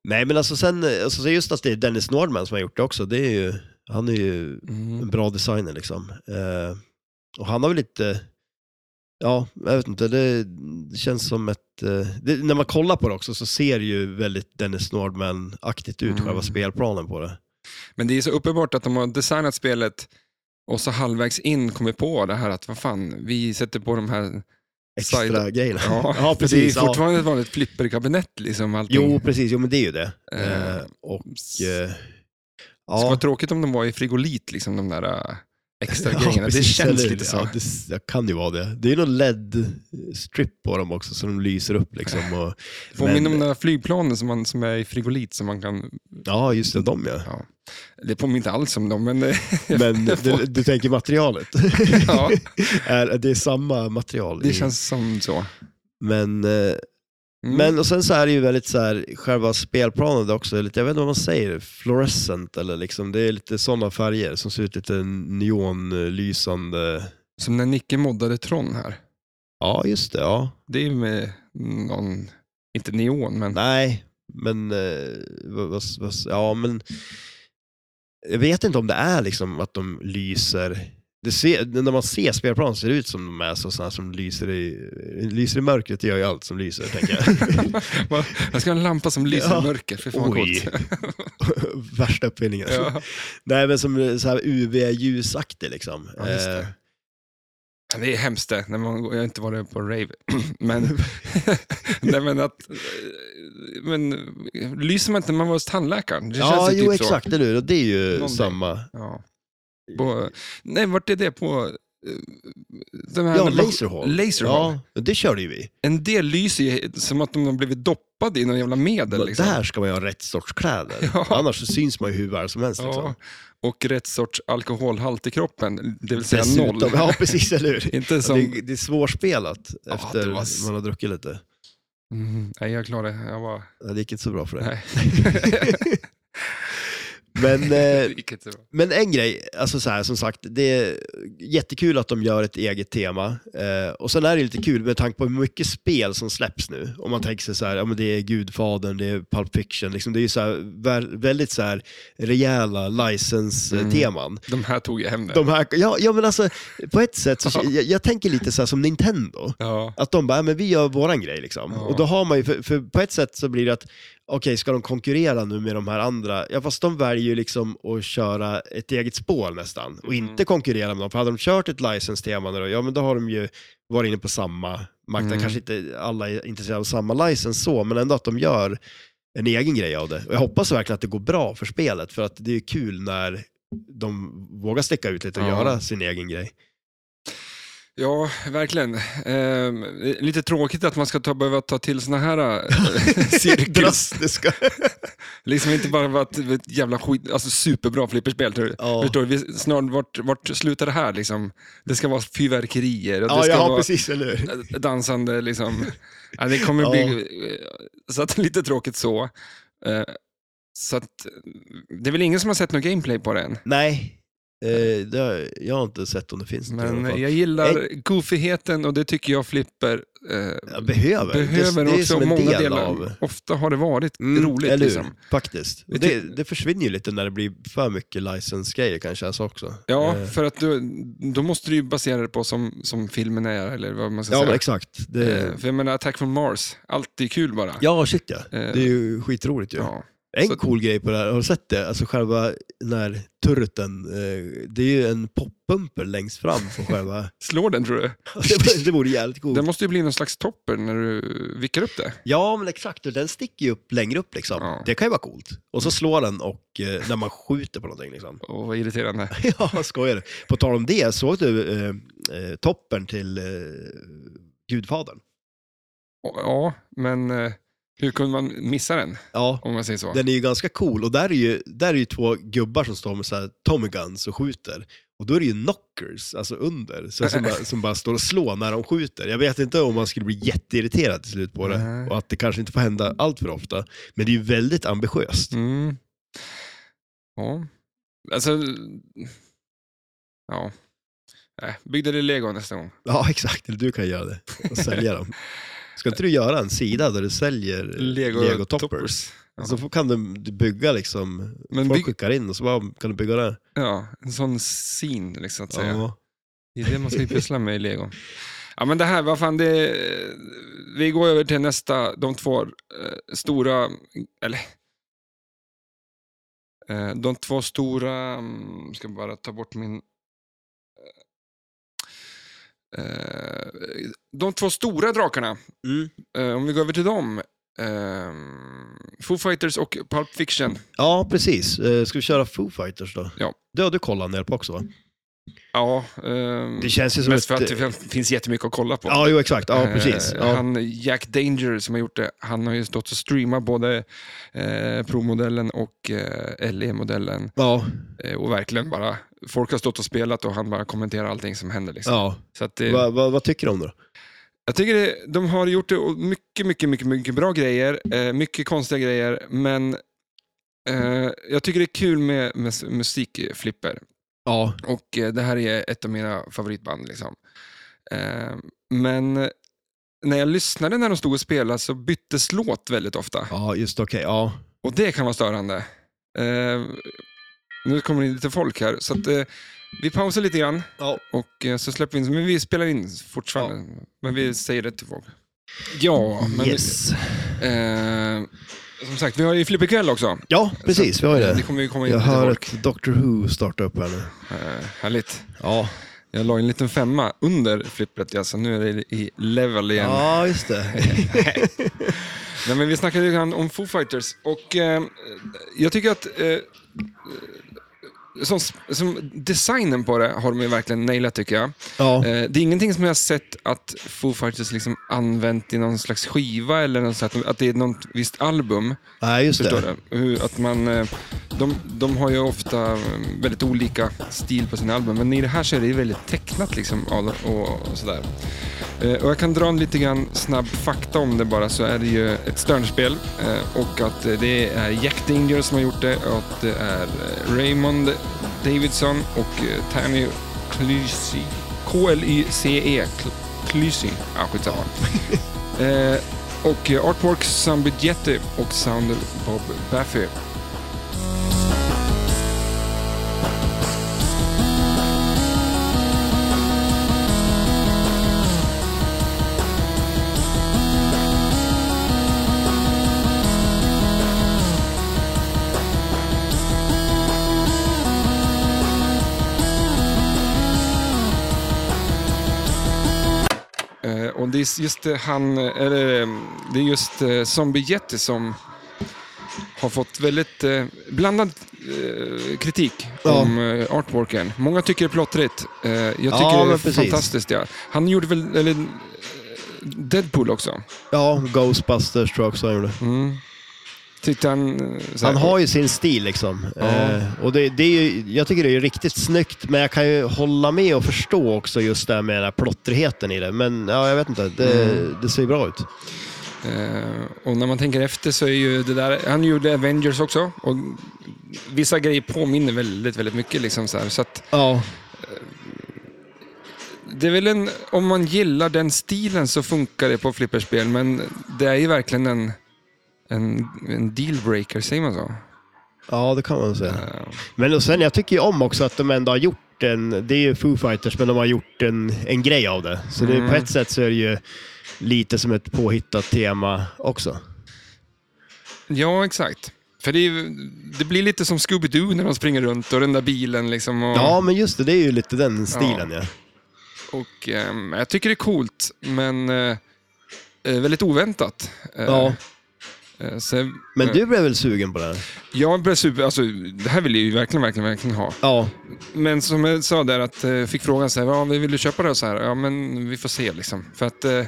B: Nej, men alltså sen, alltså just att det är Dennis Nordman som har gjort det också, det är ju, han är ju en
A: Mm.
B: bra designer liksom. Eh, och han har väl lite, ja, jag vet inte, det, det känns som ett, eh, det, när man kollar på det också så ser det ju väldigt Dennis Nordman-aktigt ut,
A: Mm.
B: själva spelplanen på det.
A: Men det är så uppenbart att de har designat spelet och så halvvägs in kommer på det här att vad fan, vi sätter på de här...
B: Extra
A: Side-
B: grejerna.
A: Ja, för
B: Ja,
A: det är
B: precis. Ja.
A: fortfarande ett vanligt flipperkabinett. Liksom, allting.
B: Jo, precis, jo men det är ju det.
A: Eh,
B: Eh, och,
A: S-
B: eh,
A: Det skulle
B: ja.
A: vara tråkigt om de var i frigolit, liksom, de där äh, extra
B: Ja,
A: grejerna. det
B: precis,
A: känns
B: eller-
A: lite så.
B: Ja, det, det kan ju vara det. Det är någon LED-strip på dem också, så de lyser upp liksom. Och,
A: Påminner
B: men-
A: om den här flygplanen som, man, som är i frigolit. Som man kan,
B: ja, just det, de ja.
A: det påminner inte alls om dem, men eh,
B: Men du, du tänker materialet?
A: ja,
B: är, det är samma material.
A: det
B: i-
A: känns som så.
B: Men, eh,
A: Mm.
B: men och sen så är det ju väldigt så här, själva spelplanen där också, är lite, jag vet inte vad man säger, fluorescent eller liksom, det är lite sådana färger som ser ut lite neonlysande.
A: Som när Nicke moddade Tron här.
B: Ja, just det, ja.
A: Det är ju med någon, inte neon, men
B: Nej, men, eh, vad, vad, vad, ja men, jag vet inte om det är liksom att de lyser, det ser, när man ser spelplanen ser det ut som de är så, sådana som lyser i, lyser i mörkret, det gör ju allt som lyser tänker jag.
A: Man- jag ska ha en lampa som lyser
B: Ja.
A: i mörker. Fy fan vad
B: Oj.
A: coolt.
B: Värsta uppfinningen.
A: Ja.
B: Nej, men som så här UV-ljusaktig liksom.
A: Ja, just det.
B: Eh,
A: Det är hemskt det, när man, jag har inte varit på rave. men, nej, men att, men, lyser man inte när man var hos tandläkaren? Det
B: Eh, ja,
A: känns ju
B: jo
A: typ
B: exakt, eller hur? Och det är ju
A: Någonting.
B: samma.
A: så. Ja. På, nej, vart är det? På eh, den här
B: Ja, Laserhall.
A: Laserhall.
B: Ja, det körde ju vi.
A: En del lyser ju som att de har blivit doppade i någon jävla medel. Liksom.
B: Där ska man ju ha rätt sorts kläder.
A: Ja.
B: Annars så syns man ju hur väl som helst. Liksom.
A: Ja, och rätt sorts alkoholhalt i kroppen, det vill säga noll.
B: Ja, precis, eller hur?
A: Inte som...
B: Det, det är svårspelat
A: Ja,
B: efter
A: det var-
B: man har druckit lite.
A: Mm, nej, jag klarade det. Jag var...
B: Ja, Det gick inte så bra för det.
A: Nej.
B: Men,
A: det
B: eh,
A: gick inte bra.
B: Men en grej, alltså så här, som sagt, det är jättekul att de gör ett eget tema. Eh, och sen är det ju lite kul med tanke på hur mycket spel som släpps nu. Om man tänker sig så här, ja men det är Gudfadern, det är Pulp Fiction, liksom, det är ju så här, vä- väldigt så här rejäla licensteman.
A: De här tog ju hem det.
B: De här, ja, ja men alltså, på ett sätt, så, jag, jag tänker lite så här som Nintendo.
A: Ja.
B: Att de bara, "Ja, men vi gör våran grej liksom.
A: Ja.
B: Och då har man ju, för, för på ett sätt så blir det att, okej ska de konkurrera nu med de här andra? Ja fast de väljer ju liksom att köra ett eget spår nästan och
A: Mm.
B: inte konkurrera med dem. För hade de kört ett license-tema nu då, ja men då har de ju varit inne på samma marknad.
A: Mm.
B: Kanske inte alla är intresserade av samma license så, men ändå att de gör en egen grej av det. Och jag hoppas verkligen att det går bra för spelet, för att det är ju kul när de vågar sticka ut lite och
A: Ja.
B: göra sin egen grej.
A: ja, verkligen. Ehm, lite tråkigt att man ska ta, behöva ta till såna här eh, cirkus.
B: Drastiska.
A: liksom inte bara vara ett, ett jävla skit, alltså superbra flipperspel. Tror du?
B: Ja.
A: Förstår du? Vi, snart, vart, vart slutar det här liksom? Det ska vara fyrverkerier och det
B: Ja,
A: ska
B: ja
A: vara
B: precis, eller hur?
A: dansande liksom. Ja, det kommer
B: Ja.
A: bli, så att det är lite tråkigt så. Eh, Så att, eh, det är väl ingen som har sett något gameplay på det än.
B: Nej, eh, det har, jag har inte sett om det finns något i alla
A: Men
B: fall.
A: jag gillar goofigheten och det tycker jag Flipper eh,
B: jag behöver.
A: behöver
B: det, det är
A: också.
B: som en
A: många
B: del
A: delar.
B: av...
A: Ofta har det varit
B: Mm,
A: roligt.
B: eller hur?
A: Liksom.
B: Faktiskt. Och
A: Jag
B: Det,
A: ty-
B: det försvinner ju lite när det blir för mycket license-grejer kanske alltså också.
A: Ja,
B: Eh,
A: för att du, då måste du ju basera det på som, som filmen är, eller vad man ska
B: ja men
A: säga.
B: exakt.
A: Eh,
B: Det,
A: För jag menar, Attack from Mars, allt är kul bara.
B: ja, shit ja.
A: Eh,
B: Det är ju skitroligt ju.
A: ja.
B: En
A: Så-
B: cool grej på det här, har du sett det? Alltså själva den här turreten, eh, det är ju en poppumper längst fram på själva...
A: Slår den tror du?
B: Oh. det, det vore jävligt coolt.
A: Den måste ju bli någon slags topper när du vickar upp det.
B: Ja, men exakt. Och den sticker ju upp längre upp liksom.
A: Ja.
B: Det kan ju vara coolt. Och så slår den och eh, när man skjuter på någonting liksom.
A: Åh, vad irriterande.
B: ja, skojar du? På tal om det, såg du eh, eh, toppen till eh, Gudfadern?
A: Och- Ja, men eh, hur kunde man missa den,
B: Ja.
A: om man säger så?
B: Den är ju ganska cool och där är ju, där är ju två gubbar som står med så här Tommy Guns och skjuter. Och då är det ju knockers, alltså under, så som, bara, som bara står och slår när de skjuter. Jag vet inte om man skulle bli jätteirriterad till slut på det
A: Nej.
B: och att det kanske inte får hända allt för ofta. Men det är ju väldigt ambitiöst.
A: Mm. Ja. Alltså... Ja. Nej, bygg det i lego nästa gång.
B: Ja, exakt. Eller du kan göra det och sälja dem. Ska inte du göra en sida där du säljer Lego, toppers?
A: Ja.
B: Så kan du bygga liksom,
A: Men
B: folk
A: bygg-
B: skickar in och så bara, kan du bygga det?
A: Ja, en sån scene liksom att säga.
B: Ja.
A: Det är det man ska ju pyssla med i lego. Ja men det här, vad fan det... Vi går över till nästa, de två eh, stora, eller... Eh, de två stora, mm, ska bara ta bort min... eh, eh, De två stora drakarna,
B: Mm.
A: eh, om vi går över till dem. Eh, Foo Fighters och Pulp Fiction.
B: ja, precis. Eh, Ska vi köra Foo Fighters då?
A: Ja.
B: Det har du kollat en del på också va?
A: Ja, ehm,
B: Det känns ju som
A: mest för att
B: ett...
A: det finns jättemycket att kolla på.
B: Ja, jo exakt. Ja,
A: Eh,
B: precis. Ja.
A: Han, Jack Danger som har gjort det, han har ju stått och streamat både eh, Pro-modellen och eh, LE-modellen.
B: Ja,
A: Eh, och verkligen bara, folk har stått och spelat och han bara kommenterar allting som händer. Liksom.
B: ja.
A: Så att det,
B: Va, va, vad tycker du om det då?
A: jag tycker det, de har gjort det och mycket, mycket, mycket, mycket bra grejer. Eh, mycket konstiga grejer, men eh, jag tycker det är kul med, med s- musikflipper.
B: Ja,
A: Och eh, det här är ett av mina favoritband. Liksom. Eh, men eh, när jag lyssnade när de stod och spelade så byttes låt väldigt ofta.
B: ja just okej. Ja.
A: Och det kan vara störande. Eh, nu kommer det in lite folk här, så att, eh, vi pausar lite grann
B: Ja.
A: och eh, så släpper vi in. Men vi spelar in fortfarande, men vi säger det till folk. Ja, men
B: yes.
A: eh, som sagt, vi har ju flipperkväll också.
B: Ja, precis. Vi har ju
A: Det
B: det.
A: kommer ju komma in
B: Jag
A: lite
B: hör
A: folk.
B: ett Doctor Who starta upp här nu.
A: Eh, härligt.
B: Ja,
A: Jag la en liten femma under flippret, ja, så nu är det i level igen.
B: ja just det.
A: Nej, men vi snackade lite grann om Foo Fighters och eh, jag tycker att eh, som, som designen på det har de ju verkligen nailat tycker jag.
B: Ja.
A: Eh, det är ingenting som jag har sett att Foo Fighters liksom använt i någon slags skiva eller något, så att, att det är något visst album.
B: Nej, just
A: Förstår
B: det.
A: du? Hur, att man, eh, de, de har ju ofta eh, väldigt olika stil på sina album, men i det här så är det ju väldigt tecknat. Liksom, och, och, och sådär. Eh, och jag kan dra en lite grann snabb fakta om det bara, så är det ju ett Sternspel eh, och att eh, det är Jack Dinger som har gjort det, och att det är eh, Raymond Davidson och eh, Tammy Clycy. K-L-Y-C-E. Cl- Clycy. E, Ja, skitsamma. Eh, och eh, artwork Sam Budgetti och sound Bob Baffy. Eh, och det är just eh, han, eh, eller eh, det är just eh, Zombie Jetty som har fått väldigt eh, blandad eh, kritik
B: Ja.
A: om eh, artworken. Många tycker det är plottrigt. Eh, jag tycker
B: Ja,
A: det är
B: men precis.
A: fantastiskt. Ja. Han gjorde väl, eller eh, Deadpool också.
B: Ja, Ghostbusters tror jag också han gjorde.
A: Mm. Tyckte han... eh, så här-
B: Han har ju sin stil liksom.
A: Ja.
B: Eh, och det, det är ju, jag tycker det är ju riktigt snyggt, men jag kan ju hålla med och
A: Mm.
B: förstå också just det här med den här plottrigheten i det. Men ja, jag vet inte, det, det ser ju bra ut.
A: Eh, och när man tänker efter så är ju det där, han gjorde Avengers också och vissa grejer påminner väldigt, väldigt mycket. Liksom så här. så att
B: Ja,
A: det är väl en, om man gillar den stilen så funkar det på flipperspel, men det är ju verkligen en, en, en dealbreaker, säger man så?
B: ja det kan man säga.
A: Eh,
B: Men och sen, jag tycker ju om också att de ändå har gjort en, det är ju Foo Fighters, men de har gjort en, en grej av det. Så det,
A: Mm.
B: på ett sätt så är det ju lite som ett påhittat tema också.
A: Ja, exakt. För det, är, ju- det blir lite som Scooby-Doo när de springer runt och den där bilen. Liksom och,
B: Ja, men just det, det är ju lite den stilen ja.
A: och, ehm, jag tycker det är coolt, men eh, eh, väldigt oväntat. Eh,
B: ja.
A: eh, så,
B: Men
A: eh,
B: du blev väl sugen på det här?
A: Jag blev super, alltså, det här vill jag ju verkligen, verkligen, verkligen ha.
B: Ja,
A: Men som jag sa där, att eh, fick frågan så här, ja, vi vill du köpa det? Och så här, ja, men vi får se liksom. För att eh,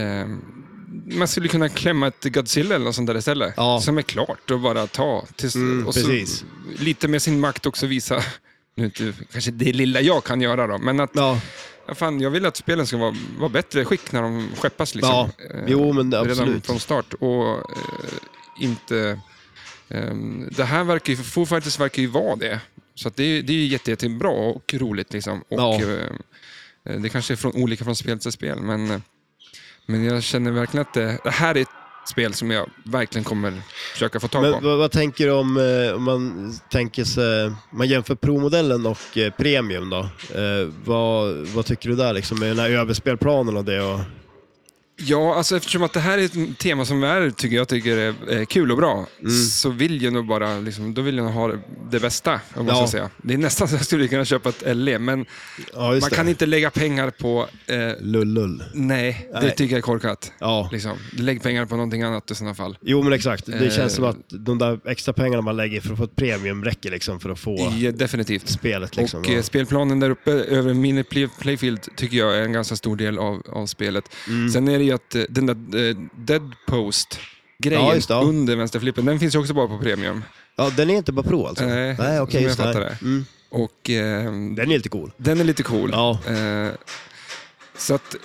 A: eh, man skulle kunna klämma ett Godzilla eller något sånt där istället.
B: Ja.
A: Som är klart och bara ta. Tills,
B: Mm,
A: och så,
B: precis.
A: Lite med sin makt också visa, nu inte, kanske det lilla jag kan göra då, men att
B: ja,
A: ja, fan, jag vill att spelen ska vara, vara bättre skick när de skeppas. Liksom.
B: ja.
A: Eh,
B: Jo, men det-
A: redan
B: absolut.
A: från start. Och eh, inte... ehm, det här verkar ju, Foo Fighters verkar ju vara det. Så att det, det är ju jätte, jättebra och roligt. Liksom. Och,
B: Ja.
A: eh, det kanske är från, olika från spel till spel, men, eh, men jag känner verkligen att det, det här är ett spel som jag verkligen kommer försöka få tag
B: Men
A: på.
B: vad, vad tänker du om, eh, om man tänker sig, man jämför Pro-modellen och eh, Premium då? Eh, vad, vad tycker du där liksom, med den här överspelplanen och det? Och,
A: Ja, alltså eftersom att det här är ett tema som är, tycker jag tycker är eh, kul och bra,
B: Mm.
A: så vill jag nog bara, liksom, då vill jag nog ha det- det bästa, om man
B: Ja.
A: ska säga. Det är nästan så jag skulle kunna köpa ett LE, men
B: ja, just
A: man
B: det.
A: kan inte lägga pengar på... Eh,
B: Lullull.
A: nej, det
B: Nej.
A: tycker jag är korkat.
B: Ja.
A: Liksom. Lägg pengar på någonting annat i sådana fall.
B: Jo men exakt, det känns
A: Eh.
B: som att de där extra pengarna man lägger för att få ett premium räcker liksom för att få
A: Ja, definitivt.
B: spelet. Liksom.
A: och eh, spelplanen där uppe över mini play- playfield tycker jag är en ganska stor del av, av spelet.
B: Mm.
A: Sen är det ju att eh, den där eh, dead post grejen
B: Ja, just det, ja.
A: under vänsterflippen, den finns ju också bara på premium.
B: Ja, den är inte bara pro alltså?
A: Nej,
B: Nej okej,
A: som jag
B: just det.
A: fattar
B: Nej. Mm.
A: Och ehm,
B: Den är lite cool.
A: den är lite cool.
B: Ja.
A: Eh, så att eh,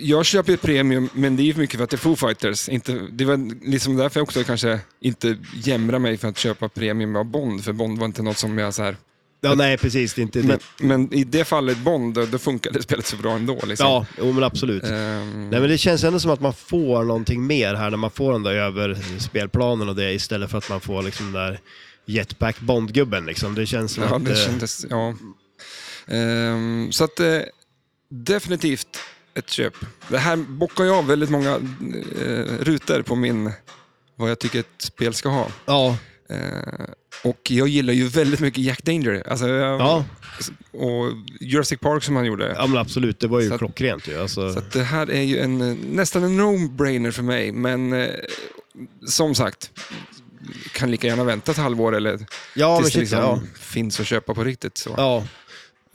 A: jag köper ju premium, men det är ju mycket för att det är Foo Fighters. Inte, det var liksom därför jag också kanske inte jämrar mig för att köpa premium av Bond, för Bond var inte något som jag så här...
B: Ja, nej precis, det är inte...
A: Men, men i det fallet Bond, då, då funkade spelet så bra ändå. Liksom.
B: ja, jo, men absolut.
A: Ehm,
B: Nej, men det känns ändå som att man får någonting mer här när man får den där över spelplanen och det istället för att man får liksom den där jetpack Bondgubben liksom. Det känns som
A: ja,
B: att...
A: det
B: eh,
A: kändes... Ja. Ehm, så att eh, definitivt ett köp. Det här bockar jag av väldigt många eh, rutor på min, vad jag tycker ett spel ska ha.
B: Ja,
A: Eh, och jag gillar ju väldigt mycket Jack Danger. Alltså, jag,
B: ja,
A: Och Jurassic Park som han gjorde.
B: ja, men absolut. Det var ju
A: Så att-
B: klockrent ju. Alltså,
A: Så att det här är ju en, eh, nästan en no-brainer för mig, men eh, som sagt, kan lika gärna vänta ett halvår eller
B: ja, men
A: tills det
B: shit,
A: liksom
B: ja.
A: finns att köpa på riktigt. Så.
B: Ja.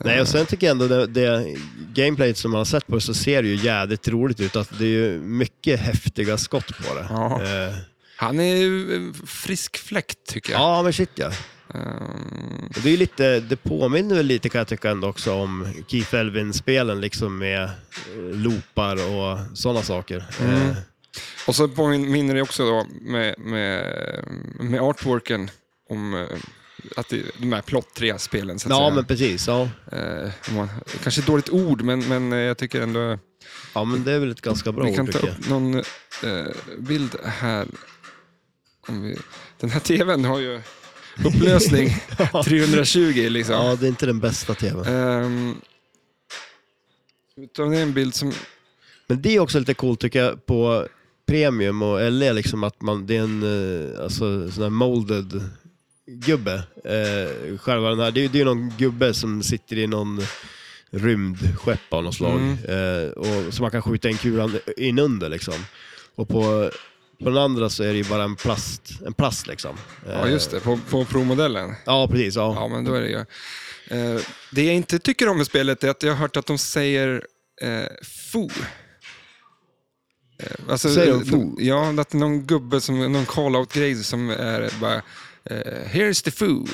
B: Nej, och sen tycker jag ändå det, det gameplayet som man har sett på det så ser det ju jädrigt roligt ut. Att det är ju mycket häftiga skott på det.
A: Ja.
B: Eh,
A: Han är ju en frisk fläkt tycker jag.
B: ja men shit ja.
A: Ehm,
B: Och Det, är ju lite, det påminner väl lite kan jag tycka ändå också om Keith Elvin-spelen liksom med eh, loopar och sådana saker.
A: Mm.
B: Eh,
A: och så påminner det också då med, med, med artworken om eh, att det, de här plottriga spelen. Så att
B: ja
A: säga.
B: men precis. Ja.
A: Eh, om man, kanske ett dåligt ord, men, men eh, jag tycker ändå...
B: ja men det är väl ett ganska bra
A: vi kan
B: ord
A: ta
B: tycker jag.
A: upp någon eh, bild här. Om vi, den här tvn har ju upplösning 320 liksom.
B: Ja, det är inte den bästa tvn.
A: Ehm, utan det är en bild som...
B: Men det är också lite coolt tycker jag på Premium och LE, liksom att man, det är en eh, alltså, sån här molded gubbe. Eh, själva den här, det är ju det är någon gubbe som sitter i någon rymdskepp av något slag.
A: Mm.
B: Eh, och, så man kan skjuta in kulan in under liksom. Och på, på den andra så är det ju bara en plast. En plast liksom. Eh,
A: Ja, just det. På, på Pro-modellen.
B: Ja, precis. Ja.
A: Ja, men då är det ju... Eh, det jag inte tycker om med spelet är att jag har hört att de säger eh, fo. Eh, alltså,
B: Säger de
A: eh,
B: fo?
A: Ja, att någon gubbe, som, någon call-out-grej som är bara... Eh, Here's the foo.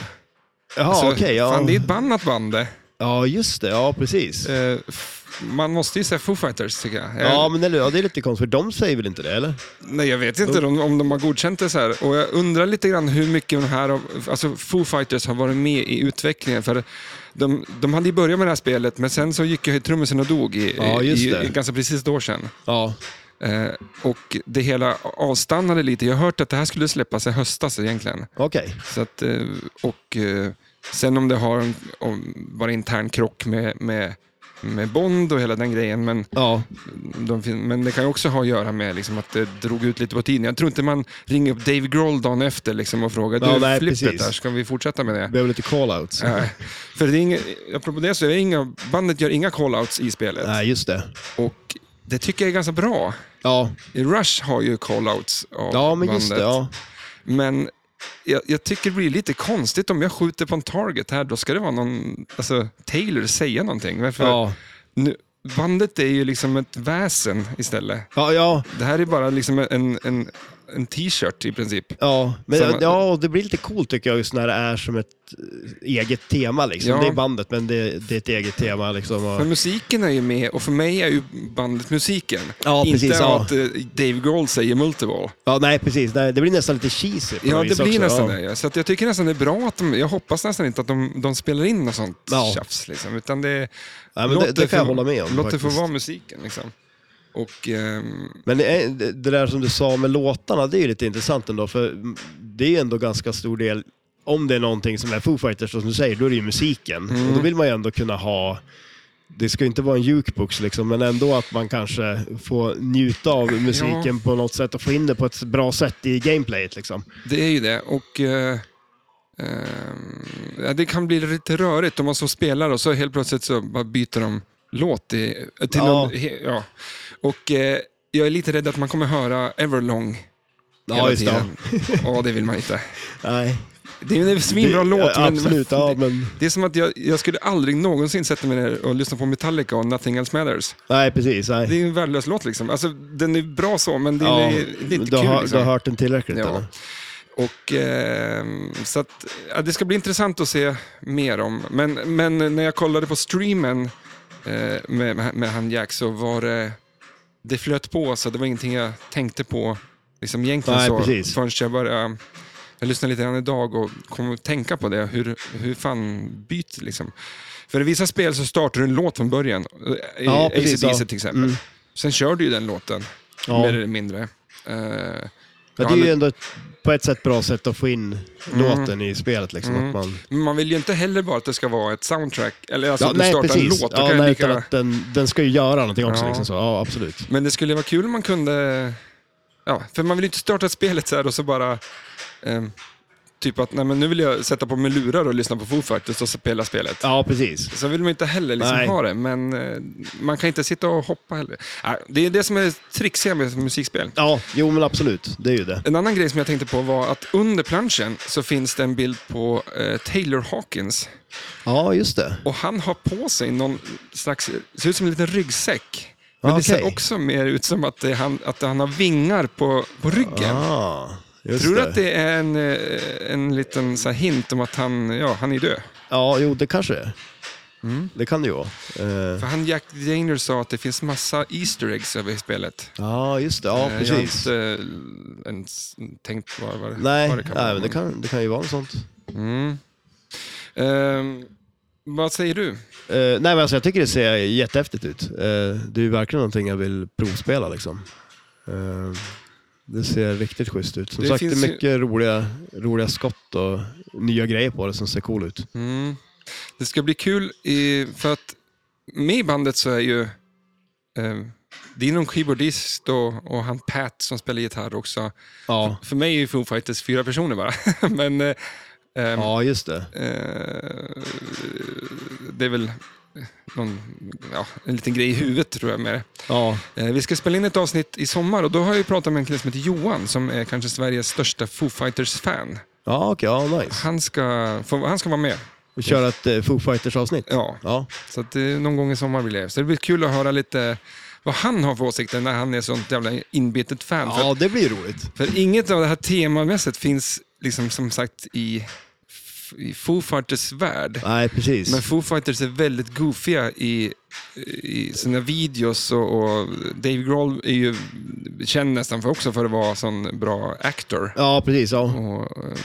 B: Jaha,
A: Alltså,
B: okej. ja.
A: fan, det är ett bannat band det.
B: Ja, just det. Ja, precis.
A: Eh, f- man måste ju säga Foo Fighters tycker jag. Eh,
B: Ja, men eller, ja, det är lite konstigt, för de säger väl inte det, eller?
A: Nej, jag vet
B: Oh.
A: inte om, om de har godkänt det så här. Och jag undrar lite grann hur mycket de här, av- alltså Foo Fighters har varit med i utvecklingen. För de, de hade ju börjat med det här spelet, men sen så gick ju trummisen och dog i,
B: Ja, just
A: i,
B: det.
A: i ganska precis ett år sedan.
B: Ja.
A: Eh, och det hela avstannade lite. Jag har hört att det här skulle släppas i höstas egentligen.
B: Okej.
A: Så att, eh, och eh, sen om det har en- om, bara intern krock med, med, med Bond och hela den grejen. Men,
B: Ja.
A: de fin- men det kan ju också ha att göra med liksom, att det drog ut lite på tiden. Jag tror inte man ringer upp Dave Grohl dagen efter liksom, och frågar
B: Ja,
A: du,
B: nej,
A: flippet
B: precis.
A: där, ska vi fortsätta med det?
B: Behöver lite call-outs.
A: Nej. För det är inga, apropå det så är det inga, bandet gör inga call-outs i spelet.
B: Nej, just det.
A: Och det tycker jag är ganska bra.
B: Ja,
A: Rush har ju call-outs av
B: ja men
A: bandet.
B: just det. Ja.
A: Men jag, jag tycker det blir lite konstigt om jag skjuter på en target här, då ska det vara någon, alltså Taylor säga någonting. Varför?
B: Ja.
A: Nu, bandet är ju liksom ett väsen istället.
B: Ja, ja,
A: Det här är bara liksom en, en, en t-shirt i princip.
B: ja. Men,
A: Samma-
B: ja, och det blir lite coolt tycker jag just när det är som ett eh, eget tema. Liksom.
A: Ja.
B: Det är bandet, men det, det är ett eget tema. Liksom, och...
A: Men musiken är ju med och för mig är ju bandet musiken.
B: Ja,
A: Inte
B: precis, ja.
A: att eh, Dave Grohl säger multiball.
B: Ja, nej, precis. Nej, det blir nästan lite cheesy på
A: Ja,
B: något
A: det
B: vis
A: blir
B: också.
A: nästan
B: ja.
A: det. ja. Så att jag tycker nästan det är bra att de, jag hoppas nästan inte att de, de spelar in något sånt
B: Ja.
A: tjafs. Liksom, utan det,
B: Ja, men
A: låt
B: det, det kan jag
A: få-
B: hålla med om.
A: Låt det få
B: faktiskt.
A: vara musiken. Liksom. Och, ehm,
B: Men det, är- det det där som du sa med låtarna, det är ju lite intressant ändå, för det är ju ändå ganska stor del, om det är någonting som är Foo Fighters, som du säger, då är det ju musiken.
A: Mm.
B: Och då vill man ju ändå kunna ha, det ska ju inte vara en jukebox liksom, men ändå att man kanske får njuta av musiken på något sätt och få in det på ett bra sätt i gameplayet liksom.
A: Det är ju det. Och, eh, ehm, ja, det kan bli lite rörigt om man så spelar och så helt plötsligt så bara byter de låt. I, till
B: Ja.
A: någon, he, ja. Och eh, jag är lite rädd att man kommer höra Everlong hela
B: Ja, just det.
A: tiden. Ja, det vill man inte.
B: Nej.
A: Det är en svinbra
B: Det-
A: låt,
B: ja,
A: men
B: Absolut, ja men...
A: det är som att jag, jag skulle aldrig någonsin sätta mig ner och lyssna på Metallica och Nothing Else Matters.
B: Nej, precis.
A: Det
B: Nej.
A: är ju en värdelös låt liksom. Alltså, den är bra så, men det
B: Ja,
A: är, det är inte
B: du,
A: kul.
B: har,
A: liksom.
B: du har hört den tillräckligt
A: Ja.
B: eller?
A: Och, ehm, så att, ja, det ska bli intressant att se mer om. Men, men när jag kollade på streamen eh, med, med han Jack så var det... Det flöt på, så det var ingenting jag tänkte på liksom egentligen
B: Nej,
A: så,
B: precis.
A: förrän jag började... Jag lyssnade lite grann idag och kom att tänka på det. Hur, hur fan byter liksom. För i vissa spel så startar du en låt från början. eh, I
B: Ja, precis,
A: ACDC
B: ja.
A: till exempel.
B: Mm.
A: Sen kör du ju den låten,
B: Ja.
A: mer eller mindre. Eh,
B: Ja, det är ju ändå ett, på ett sätt bra sätt att få in
A: Mm.
B: låten i spelet. Liksom, att man...
A: Men man vill ju inte heller bara att det ska vara ett soundtrack, eller alltså
B: ja,
A: att du startar en låt. då
B: Ja,
A: kan jag
B: nej,
A: lika...
B: utan att den, den ska ju göra någonting också.
A: Ja.
B: Liksom, så. Ja, absolut.
A: Men det skulle vara kul om man kunde... Ja, för man vill ju inte starta spelet så här och så bara... ehm, typ att nej, men nu vill jag sätta på mig lurar och lyssna på Foo Fighters och spela spelet.
B: Ja, precis.
A: Så vill man ju inte heller liksom
B: Nej.
A: ha det, men eh, man kan inte sitta och hoppa heller. Nej, det är det som är trixiga med musikspel.
B: Ja, jo men absolut. Det är ju det.
A: En annan grej som jag tänkte på var att under planschen så finns det en bild på eh, Taylor Hawkins.
B: Ja, just det.
A: Och han har på sig någon slags, ser ut som en liten ryggsäck. Men
B: Ah,
A: det ser
B: okej.
A: också mer ut som att, det är han, att han har vingar på, på ryggen.
B: Ah, just
A: Tror du
B: det.
A: att det är en, eh, en liten så här hint om att han, ja, han är död?
B: Ja, jo det kanske är.
A: Mm.
B: Det kan det ju vara. Eh,
A: För han Jack Daner sa att det finns massa Easter eggs över i spelet.
B: ja, just det. Ja,
A: Eh, Jag har
B: precis.
A: inte eh, ens tänkt på vad,
B: Nej,
A: vad det kan vara.
B: nej men det, kan, det kan ju vara något sånt.
A: Mm. Ehm, vad säger du?
B: Eh, nej, men alltså, jag tycker det ser jättehäftigt ut. Eh, det är ju verkligen någonting jag vill provspela. Liksom. Eh, det ser riktigt schysst ut. Som
A: Det
B: sagt, det
A: finns ju-
B: är mycket roliga, roliga skott och nya grejer på det som ser cool ut.
A: Mm. Det ska bli kul, i, för att med i bandet så är ju eh, det är någon keyboardist och, och han Pat som spelar gitarr också.
B: Ja,
A: För mig är Foo Fighters fyra personer bara. Men eh, ehm,
B: ja just det.
A: eh, det är väl någon, ja, en liten grej i huvudet tror jag med det.
B: Ja,
A: Eh, vi ska spela in ett avsnitt i sommar och då har jag ju pratat med en kille som heter Johan som är kanske Sveriges största Foo Fighters-fan.
B: ja okej. Ja, nice.
A: Han ska, få, han ska vara med.
B: Vi kör ett eh, Foo Fighters-avsnitt.
A: Ja,
B: Ja.
A: Så att det är någon gång i sommar blir det. Så det blir kul att höra lite vad han har för åsikter när han är sånt jävla inbitet fan.
B: ja, det blir roligt.
A: För, för inget av det här temamässigt finns liksom som sagt i f- i Foo Fighters värld.
B: Nej, precis.
A: Men Foo Fighters är väldigt goofiga i, i sina videos och, och Dave Grohl är ju känd nästan för också för att vara sån bra actor.
B: Ja, precis. Ja.
A: Och eh,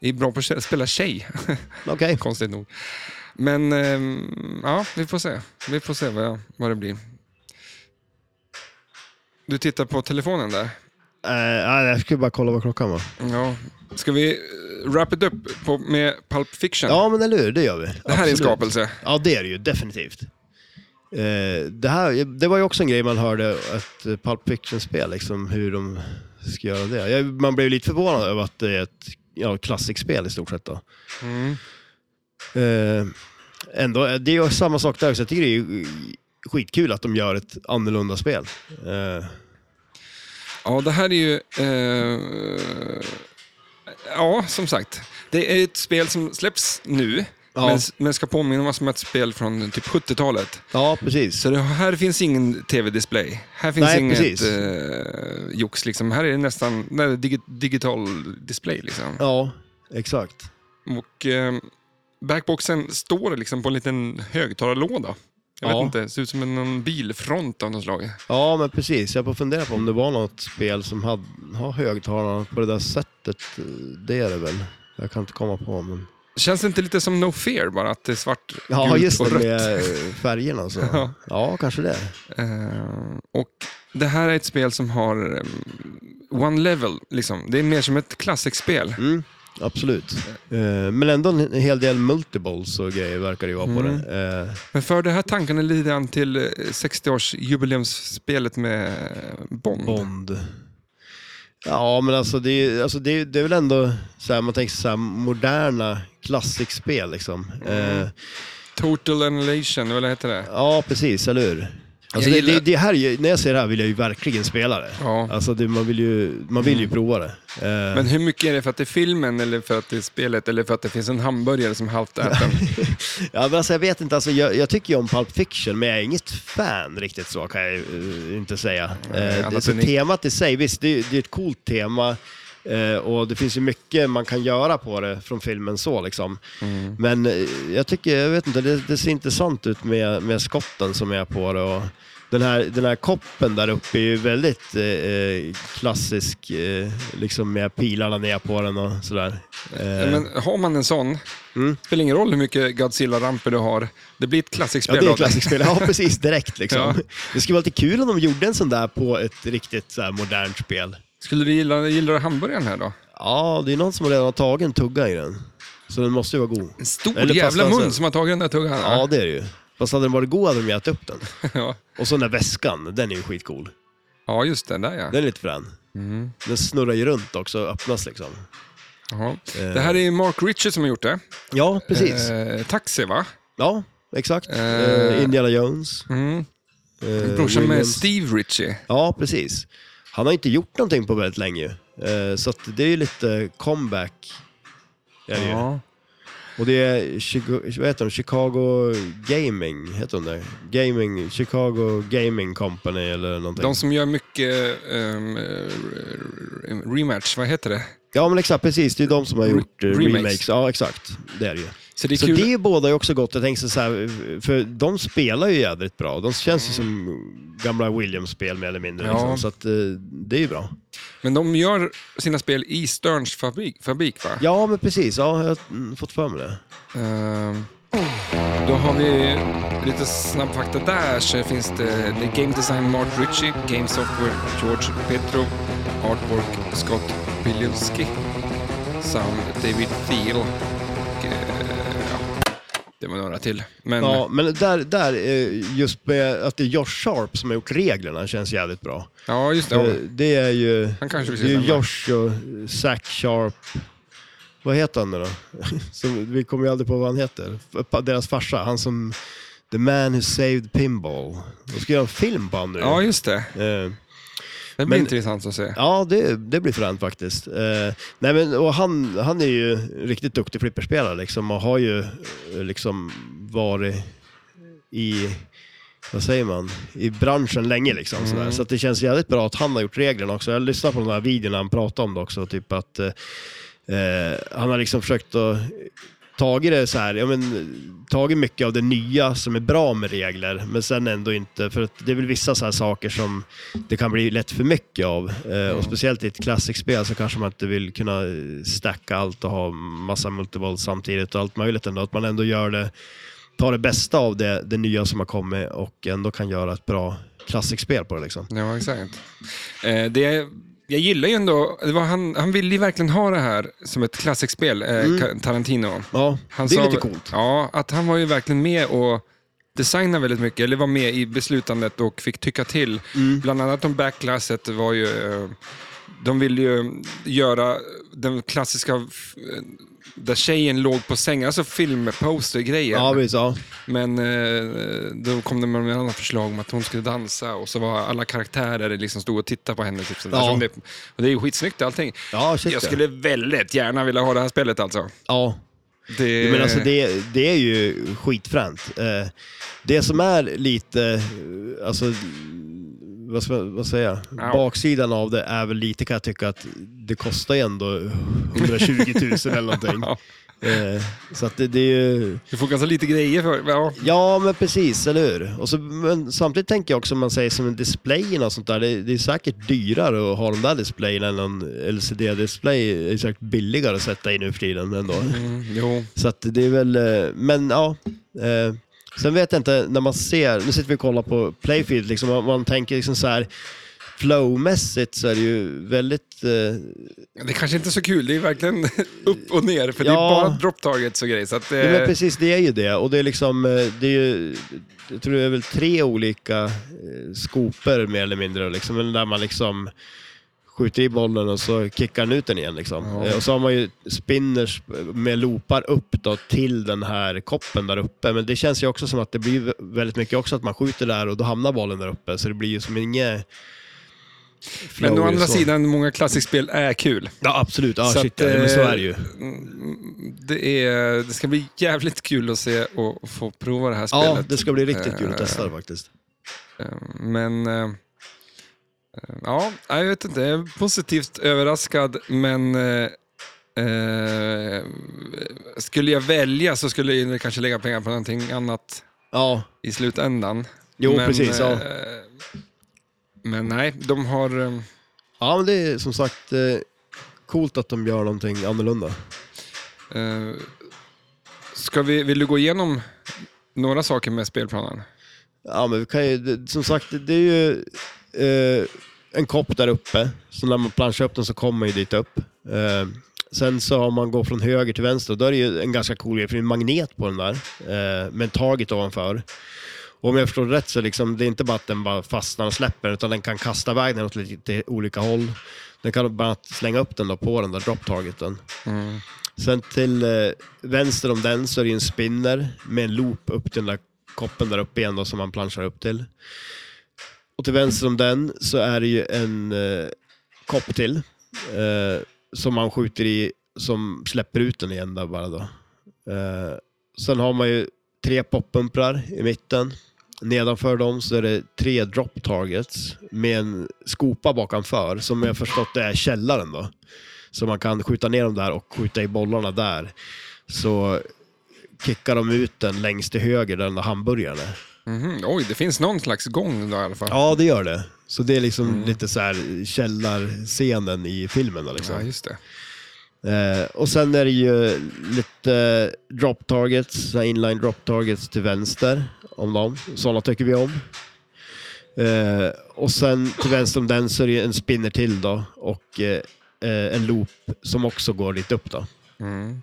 A: är bra på att spela tjej,
B: Okej. Eh,
A: konstigt nog. Men eh, ja, vi får se. Vi får se vad, jag, vad det blir. Du tittar på telefonen där.
B: Eh, nej, jag skulle bara kolla vad klockan var.
A: Ja. Ska vi eh, wrap it up på, med Pulp Fiction?
B: Ja, men eller hur, det gör vi.
A: det här är en skapelse.
B: Ja, det är det ju definitivt. Eh, det, här, det var ju också en grej man hörde, ett Pulp Fiction-spel, liksom, hur de ska göra det. Jag, man blev ju lite förvånad över att det är ett ja, klassikspel i stort sett. Då.
A: Mm.
B: Eh, ändå, eh, det är ju samma sak där, så jag tycker det är ju skitkul att de gör ett annorlunda spel. Eh,
A: Ja, det här är ju... Eh, ja, som sagt. Det är ett spel som släpps nu,
B: Ja.
A: men, men ska påminna oss om ett spel från typ 70-talet.
B: ja, precis.
A: Så det, här finns ingen tv-display. Här finns
B: Nej,
A: inget
B: precis.
A: eh, jox. Liksom. Här är det nästan nej, det är digi- digital display. Liksom.
B: Ja, exakt.
A: Och, eh, backboxen står liksom på en liten högtalarlåda. Jag
B: Ja.
A: vet inte, det ser ut som en någon bilfront av något slag.
B: Ja, men precis. Jag får fundera på om det var något spel som hade ha högtalarna på det där sättet. Det är det väl. Jag kan inte komma på. Men...
A: Känns det inte lite som No Fear bara, att det är svart,
B: Ja,
A: gult
B: just
A: och
B: det
A: rött?
B: med eh, färgerna. Så.
A: Ja.
B: ja. kanske det.
A: Eh, och det här är ett spel som har eh, one level. Liksom. Det är mer som ett klassikspel.
B: Mm, absolut. Eh, Men ändå en hel del multiballs och grejer verkar det ju vara på
A: Mm.
B: det. Eh,
A: Men för det här tankarna lite grann till eh, 60-årsjubileumsspelet med eh, Bond.
B: Bond. Ja, men alltså det, är- alltså det, är- det är väl ändå så här, man tänker så här, moderna klassikspel liksom. Eh,
A: Total Annihilation, eller vad heter det?
B: Ja, precis, eller hur? Alltså
A: Jag
B: det,
A: gillar-
B: det, det här, är ju- när jag ser det här vill jag ju verkligen spela det.
A: Ja. Mm.
B: Alltså det, man, vill ju, man vill ju prova det. Eh,
A: Men hur mycket är det för att det är filmen, eller för att det är spelet, eller för att det finns en hamburgare som halvt äten?
B: Eh. ja, men alltså, jag vet inte, alltså, jag, jag tycker ju om Pulp Fiction, men jag är inget fan riktigt så kan jag eh, inte säga.
A: Nej,
B: Eh,
A: alla
B: det, så
A: sina-
B: temat i sig, visst det, är- det är ett coolt tema eh, och det finns ju mycket man kan göra på det från filmen så liksom. Men eh, jag tycker, jag vet inte, det, det ser intressant ut med, med skotten som är på det. Och, den här, den här koppen där uppe är ju väldigt eh, eh, klassisk, eh, liksom med pilarna ner på den och sådär. Eh,
A: Men har man en sån,
B: Mm.
A: spelar ingen roll hur mycket Godzilla-ramper du har, det blir ett
B: Ja,
A: klassikspel
B: det är
A: av
B: ett klassikspel. Ja, precis. Direkt liksom.
A: Ja.
B: Det skulle vara lite kul om de gjorde en sån där på ett riktigt så här, modernt spel.
A: Skulle du gilla, gillar du hamburgaren här då?
B: Ja, det är någon som redan har tagit en tugga i den. Så den måste ju vara god.
A: En stor
B: Eller fast
A: jävla mun
B: alltså-
A: som har tagit den där tuggan.
B: Ja, det är det ju. Fast hade den varit god hade de ju ätit upp den.
A: Ja.
B: Och så den där väskan, den är ju skitcool.
A: ja, just det. Där ja.
B: Den är lite frän.
A: Mm.
B: Den snurrar ju runt också och öppnas liksom.
A: Jaha.
B: Eh,
A: Det här är Mark Richard som har gjort det.
B: Ja, precis.
A: Eh, taxi, va?
B: Ja, exakt.
A: Eh,
B: Eh, Indiana Jones.
A: Mm.
B: eh,
A: Brorsan med
B: Williams.
A: Steve Ritchie.
B: Ja, precis. Han har inte gjort någonting på väldigt länge ju. Eh, Så att det är ju lite comeback. Är det ju.
A: Ja.
B: Och det är Chico- vad heter de? Chicago Gaming, heter de det? Gaming, Chicago Gaming Company eller någonting.
A: De som gör mycket ehm, rematch, vad heter det?
B: Ja men exakt, precis. Det är de som har
A: Re-
B: gjort eh,
A: remakes.
B: remakes. Ja exakt, det är det ju.
A: Så det är
B: Så
A: kul.
B: det båda ju också gott. Jag tänkte så här, för de spelar ju jädrigt bra. De känns ju som gamla Williams-spel mer eller mindre.
A: Ja.
B: Liksom. Så att, eh, det är ju bra.
A: Men de gör sina spel i Sterns fabrik, fabrik va?
B: Ja men precis, ja, jag har mm, fått för mig det.
A: Ehm, då har vi lite snabb fakta där. Så finns det, det är Game Design Mark Ritchie, Game Software George Petro, Artwork Scott Bilewski, Sound David Thiel. Och, eh, ja, det var några till. Men
B: Ja,
A: ja,
B: men där, där eh, just med att det är Josh Sharp som har gjort reglerna känns jävligt bra.
A: just det.
B: Eh, Det är ju,
A: Han kanske vill
B: det är ju
A: sitta med.
B: Josh och eh, Zach Sharp. Vad heter han nu då? som, vi kommer ju aldrig på vad han heter. F- Deras farsa, han som The man who saved pinball. De ska göra en film på honom nu.
A: Ja, just det.
B: Eh,
A: Det blir
B: Men-
A: intressant att se.
B: Ja, det, det blir fränt faktiskt. Eh, nej men, och han, han är ju riktigt duktig flipperspelare liksom, och har ju eh, liksom varit i, vad säger man, i branschen länge. Liksom, sådär. Så att det känns jävligt bra att han har gjort reglerna också. Jag lyssnade på de här videorna han pratade om det också, typ att eh, eh, han har liksom försökt att tagit det så här, ja, men, tagit mycket av det nya som är bra med regler, men sen ändå inte, för att det är väl vissa så här saker som det kan bli lätt för mycket av. Eh,
A: Mm.
B: Och speciellt i ett klassikspel så kanske man inte vill kunna eh, stacka allt och ha massa multivolt samtidigt och allt möjligt ändå, att man ändå gör det, tar det bästa av det, det nya som har kommit och ändå kan göra ett bra klassikspel på det liksom.
A: Ja, exakt. Eh, det, jag gillar ju ändå, det var han, han ville ju verkligen ha det här som ett klassikspel, eh, Ka- Tarantino.
B: Ja,
A: Han
B: Mm. det är
A: sa-
B: lite coolt.
A: Ja, att han var ju verkligen med och designade väldigt mycket, eller var med i beslutandet och fick tycka till.
B: Mm.
A: Bland annat om backlasset var ju, eh, de ville ju göra den klassiska, f- eh, där tjejen låg på sängen, alltså filmpostergrejer.
B: Ja, visst. Ja.
A: Men eh, då kom det med en annan förslag om att hon skulle dansa och så var alla karaktärer liksom stod och tittade på henne. Typ sådär.
B: Ja.
A: Som det, och det är ju skitsnyggt allting.
B: Ja, shit,
A: Jag
B: ja.
A: skulle väldigt gärna vilja ha det här spelet alltså.
B: ja.
A: Det,
B: Men alltså det, det är ju skitfränt. Eh, Det som är lite, eh, alltså, vad, ska, vad säger jag?
A: Ja.
B: Baksidan av det är väl lite kan jag tycka att det kostar ju ändå 120 000 eller någonting.
A: Ja.
B: Eh, Så att det, det är ju...
A: Du får ganska lite grejer för ja.
B: Ja, men precis, eller hur? Och så, men samtidigt tänker jag också, om man säger som en displayen och sånt där, det, det är säkert dyrare att ha de där displayerna än en LCD-display. Det är säkert billigare att sätta in nu för tiden ändå.
A: Mm, jo.
B: Så att det är väl, eh, men ja. Eh, sen vet jag inte, när man ser, nu sitter vi och kollar på Playfield, liksom, om man tänker liksom så här flowmässigt så är det ju väldigt, eh,
A: Det kanske inte är så kul. Det är verkligen upp och ner. För det är
B: Ja.
A: bara drop targets och grejer. Så att, eh,
B: ja, men precis det är ju det. Och det är liksom, eh, det är ju, jag tror det är väl tre olika eh, skopor mer eller mindre, liksom, men där man liksom skjuter i bollen och så kickar den ut den igen. Liksom.
A: Ja.
B: Eh, Och så har man ju spinners med loopar upp då till den här koppen där uppe. Men det känns ju också som att det blir vä- väldigt mycket också att man skjuter där och då hamnar bollen där uppe. Så det blir ju som inget...
A: men å
B: flow
A: andra
B: så.
A: sidan, många klassikspel är kul.
B: Ja, absolut. Ja,
A: Så
B: shit,
A: att,
B: ja. Men så
A: eh, mm,
B: är det ju.
A: Det, är, det ska bli jävligt kul att se och få prova det här spelet.
B: Ja, det ska bli riktigt kul att testa det faktiskt.
A: Eh, Men eh, eh, ja, jag vet inte. Jag är positivt överraskad, men eh, eh, skulle jag välja så skulle jag kanske lägga pengar på någonting annat
B: Ja,
A: i slutändan.
B: Jo, precis, ja.
A: eh, Men nej, de har... eh,
B: Ja, men det är som sagt eh, coolt att de gör någonting annorlunda.
A: eh, Ska vi, vill du gå igenom några saker med spelplanen?
B: Ja, men vi kan ju, det, som sagt, det- det är ju eh, en kopp där uppe, så när man planschar upp den så kommer man ju dit upp. Eh, sen så om man går från höger till vänster, då är det ju en ganska cool grej, för det är en magnet på den där, eh, med en target ovanför. Och om jag förstår det rätt så liksom, det är inte bara att den bara fastnar och släpper, utan den kan kasta iväg den åt lite olika håll. Den kan bara slänga upp den då på den där drop-targeten.
A: Mm.
B: Sen till eh, vänster om den så är det ju en spinner med en loop upp till den där koppen där uppe igen då, som man planschar upp till. Och till vänster om den så är det ju en eh, kopp till eh, som man skjuter i som släpper ut den igen där bara då. Eh, sen har man ju tre poppumprar i mitten. Nedanför dem så är det tre drop targets med en skopa bakanför som jag förstått det är källaren då. Så man kan skjuta ner dem där och skjuta i bollarna där. Så kickar de ut den längst till höger där den där hamburgaren är.
A: Mhm, Oj, det finns någon slags gång då i alla fall.
B: Ja, det gör det. Så det är liksom lite så här källarscenen i filmen. Då, liksom.
A: Ja, just det.
B: Eh, och sen är det ju lite drop targets, så här inline drop targets till vänster om dem. Sådana tycker vi om. Eh, och sen till vänster om den så är det ju en spinner till då och eh, eh, en loop som också går lite upp då.
A: Mm.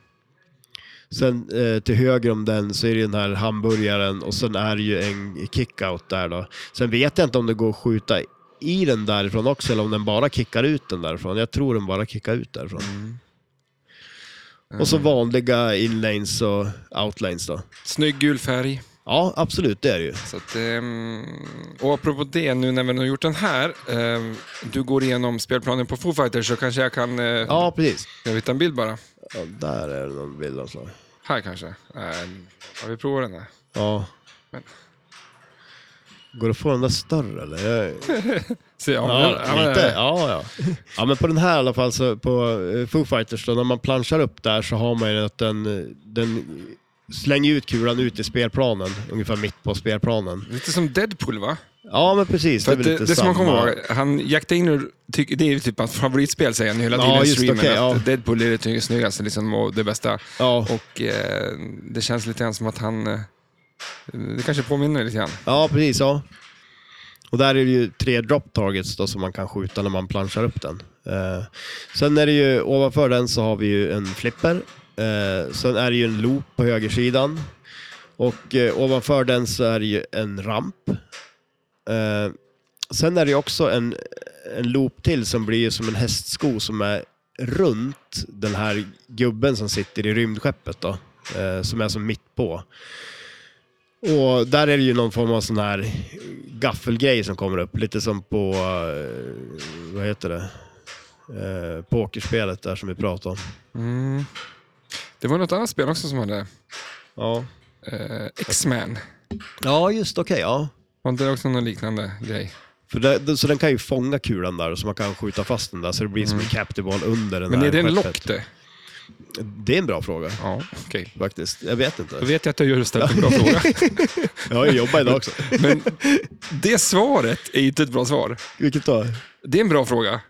B: Sen eh, till höger om den så är det den här hamburgaren och sen är det ju en kickout där då. Sen vet jag inte om det går att skjuta i den därifrån också eller om den bara kickar ut den därifrån. Jag tror den bara kickar ut därifrån. Och så vanliga inlanes och outlanes då.
A: Snygg gul färg.
B: Ja, absolut, det är det ju.
A: Så att, ehm, och apropå det, nu när vi har gjort den här, ehm, du går igenom spelplanen på Foo Fighters så kanske jag kan... Eh,
B: Ja, precis.
A: Jag hittar en bild bara.
B: Ja, där är det någon bild alltså. av slag.
A: Här kanske. Eh, ja, vi provar den här.
B: Ja.
A: Men-
B: Går det att få den där större eller? Jag-
A: Så ja,
B: Ja,
A: men-
B: lite.
A: men-
B: Ja, ja. ja, men på den här i alla fall, så på eh, Foo Fighters, då, när man planschar upp där så har man ju att den, eh, den slänger ut kulan ut i spelplanen, ungefär mitt på spelplanen.
A: Lite som Deadpool va?
B: Ja, men precis.
A: För
B: Det är
A: att
B: väl
A: det,
B: lite
A: det som
B: samma.
A: man kommer ihåg, han, Jack Daniel, tycker- det är ju typ hans favoritspel säger han hela
B: Ja,
A: tiden i
B: just det,
A: streamen.
B: okej,
A: att
B: ja.
A: Deadpool är det ty- snyggaste liksom, och det bästa.
B: Ja.
A: Och eh, det känns lite grann som att han... Eh, det kanske påminner lite grann.
B: ja, precis. Ja. Och där är det ju tre drop targets då, som man kan skjuta när man planschar upp den. Eh, sen är det ju ovanför den så har vi ju en flipper. Eh, sen är det ju en loop på högersidan. Och eh, ovanför den så är det ju en ramp. Eh, sen är det ju också en, en loop till som blir ju som en hästsko som är runt den här gubben som sitter i rymdskeppet då. Eh, som är som mitt på. Och där är det ju någon form av sån här gaffelgrej som kommer upp. Lite som på, eh, vad heter det? Eh, pokerspelet där som vi pratade om.
A: Mm. Det var något annat spel också som hade
B: Ja,
A: eh, X-Man.
B: ja just okej. ja.
A: Var inte det också någon liknande grej?
B: För det, så den kan ju fånga kulan där så man kan skjuta fast den där så det blir som en captive ball under den
A: Men
B: här
A: är det en
B: skeppet.
A: lock det?
B: Det är en bra fråga
A: Ja, okej.
B: faktiskt. Jag vet inte.
A: Då vet jag att jag just ställt en bra fråga.
B: Jag har ju jobbat idag också.
A: Men det svaret är inte ett bra svar.
B: Vilket då?
A: Det är en bra fråga.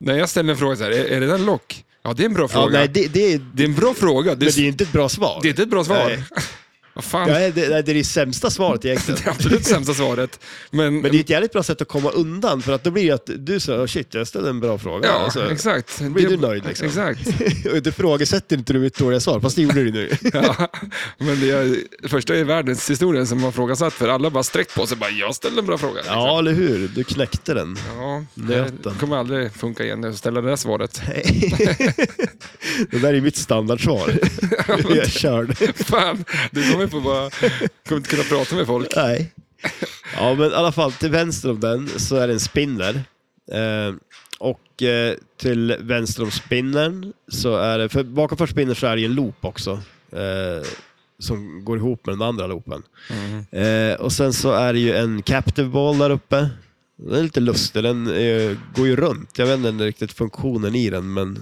A: När jag ställer en fråga så här, är, är det där en lock? Ja, det är en bra
B: Ja,
A: fråga.
B: nej, det, det, är, men
A: Det är en bra fråga. Det
B: det
A: är,
B: är ju inte ett bra svar.
A: det är inte ett bra svar.
B: Nej.
A: Vad fan,
B: Ja, det, det är det sämsta svaret egentligen.
A: det är absolut sämsta svaret. Men,
B: Men det är ett jävligt bra sätt att komma undan för att då blir det att du säger "Oh, shit, jag ställde en bra fråga.
A: ja,
B: Alltså,
A: exakt.
B: blir
A: Det-
B: du nöjd, liksom.
A: Exakt.
B: och du frågesätter inte du mitt dåliga svar, fast det gjorde du nu.
A: Ja, men det är det första i världens historien som har frågasatt för alla bara sträckt på sig bara, jag ställde en bra fråga. liksom.
B: ja, eller hur? Du knäckte den.
A: Ja, det
B: Nöten.
A: kommer aldrig funka igen att ställa det där svaret.
B: det där är mitt standardsvar. jag körde.
A: Fan, du kommer få bara, kommer inte kunna prata med folk.
B: Nej. Ja, men i alla fall till vänster om den så är det en spinner. Eh, och eh, till vänster om spinnern så är det, för bakom för spinnern så är det ju en loop också. Eh, som går ihop med den andra loopen.
A: Mm.
B: Eh, och sen så är det ju en captive ball där uppe. Den är lite lustig, den eh, går ju runt. Jag vet inte riktigt funktionen i den, men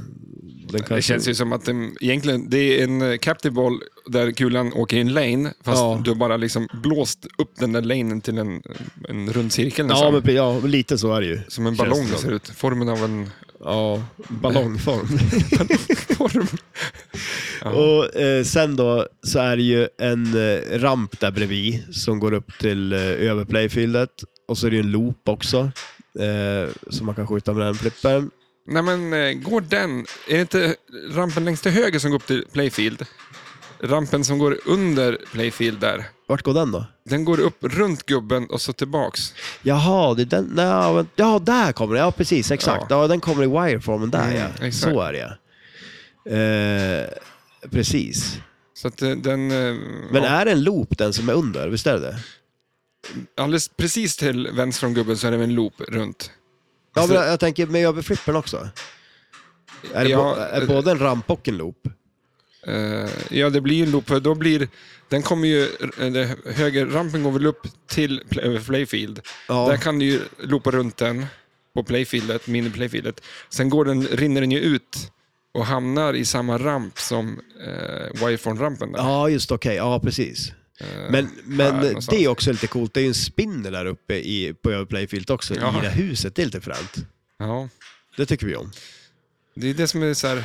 B: den kanske...
A: Det känns ju som att det, egentligen, det är en eh, captive ball där kulan åker i en lane, fast
B: Ja.
A: du har bara liksom blåst upp den där lanen till en, en rund cirkel
B: Ja,
A: nästan.
B: men, ja, men lite så är det ju.
A: Som en
B: Känns
A: ballong
B: det
A: ser
B: som.
A: ut. Formen av en
B: Ja, ballongform.
A: form. Ja.
B: Och eh, sen då så är det ju en eh, ramp där bredvid som går upp till eh, över playfieldet. Och så är det ju en loop också eh, som man kan skjuta med den flippern.
A: Nej men, eh, går den... Är det inte rampen längst till höger som går upp till playfield? Rampen som går under playfield där.
B: Vart går den då?
A: Den går upp runt gubben och så tillbaks.
B: Jaha, det är den. Nej, men, ja, där kommer den. Ja, precis. Exakt. Ja, den kommer i wireformen där
A: Mm,
B: ja.
A: exakt.
B: Så är det ja. eh, Precis.
A: Så att eh, den... eh,
B: Men
A: ja,
B: är det en loop den som är under? Visst är det det?
A: alldeles precis till vänster om gubben så är det en loop runt.
B: Ja,
A: Alltså-
B: men jag tänker med överflippen också. Är, det
A: Ja,
B: bo- är
A: eh,
B: både en ramp och en loop?
A: Eh, ja, det blir ju en loop. för Då blir, den kommer ju, eh, eller, högerrampen går väl upp till play, över playfield.
B: Ja.
A: Där kan du ju loopa runt den på playfieldet, mini-playfieldet. Sen går den, rinner den ju ut och hamnar i samma ramp som eh, wireform-rampen. där.
B: Ja, just okej. Ja, precis.
A: Eh,
B: Men, men
A: någonstans.
B: det är också lite coolt. Det är ju en spinner där uppe i, på Överplayfield också,
A: Ja.
B: i det här huset. Det är lite fränt.
A: ja.
B: Det tycker vi om.
A: Det är det som är så här,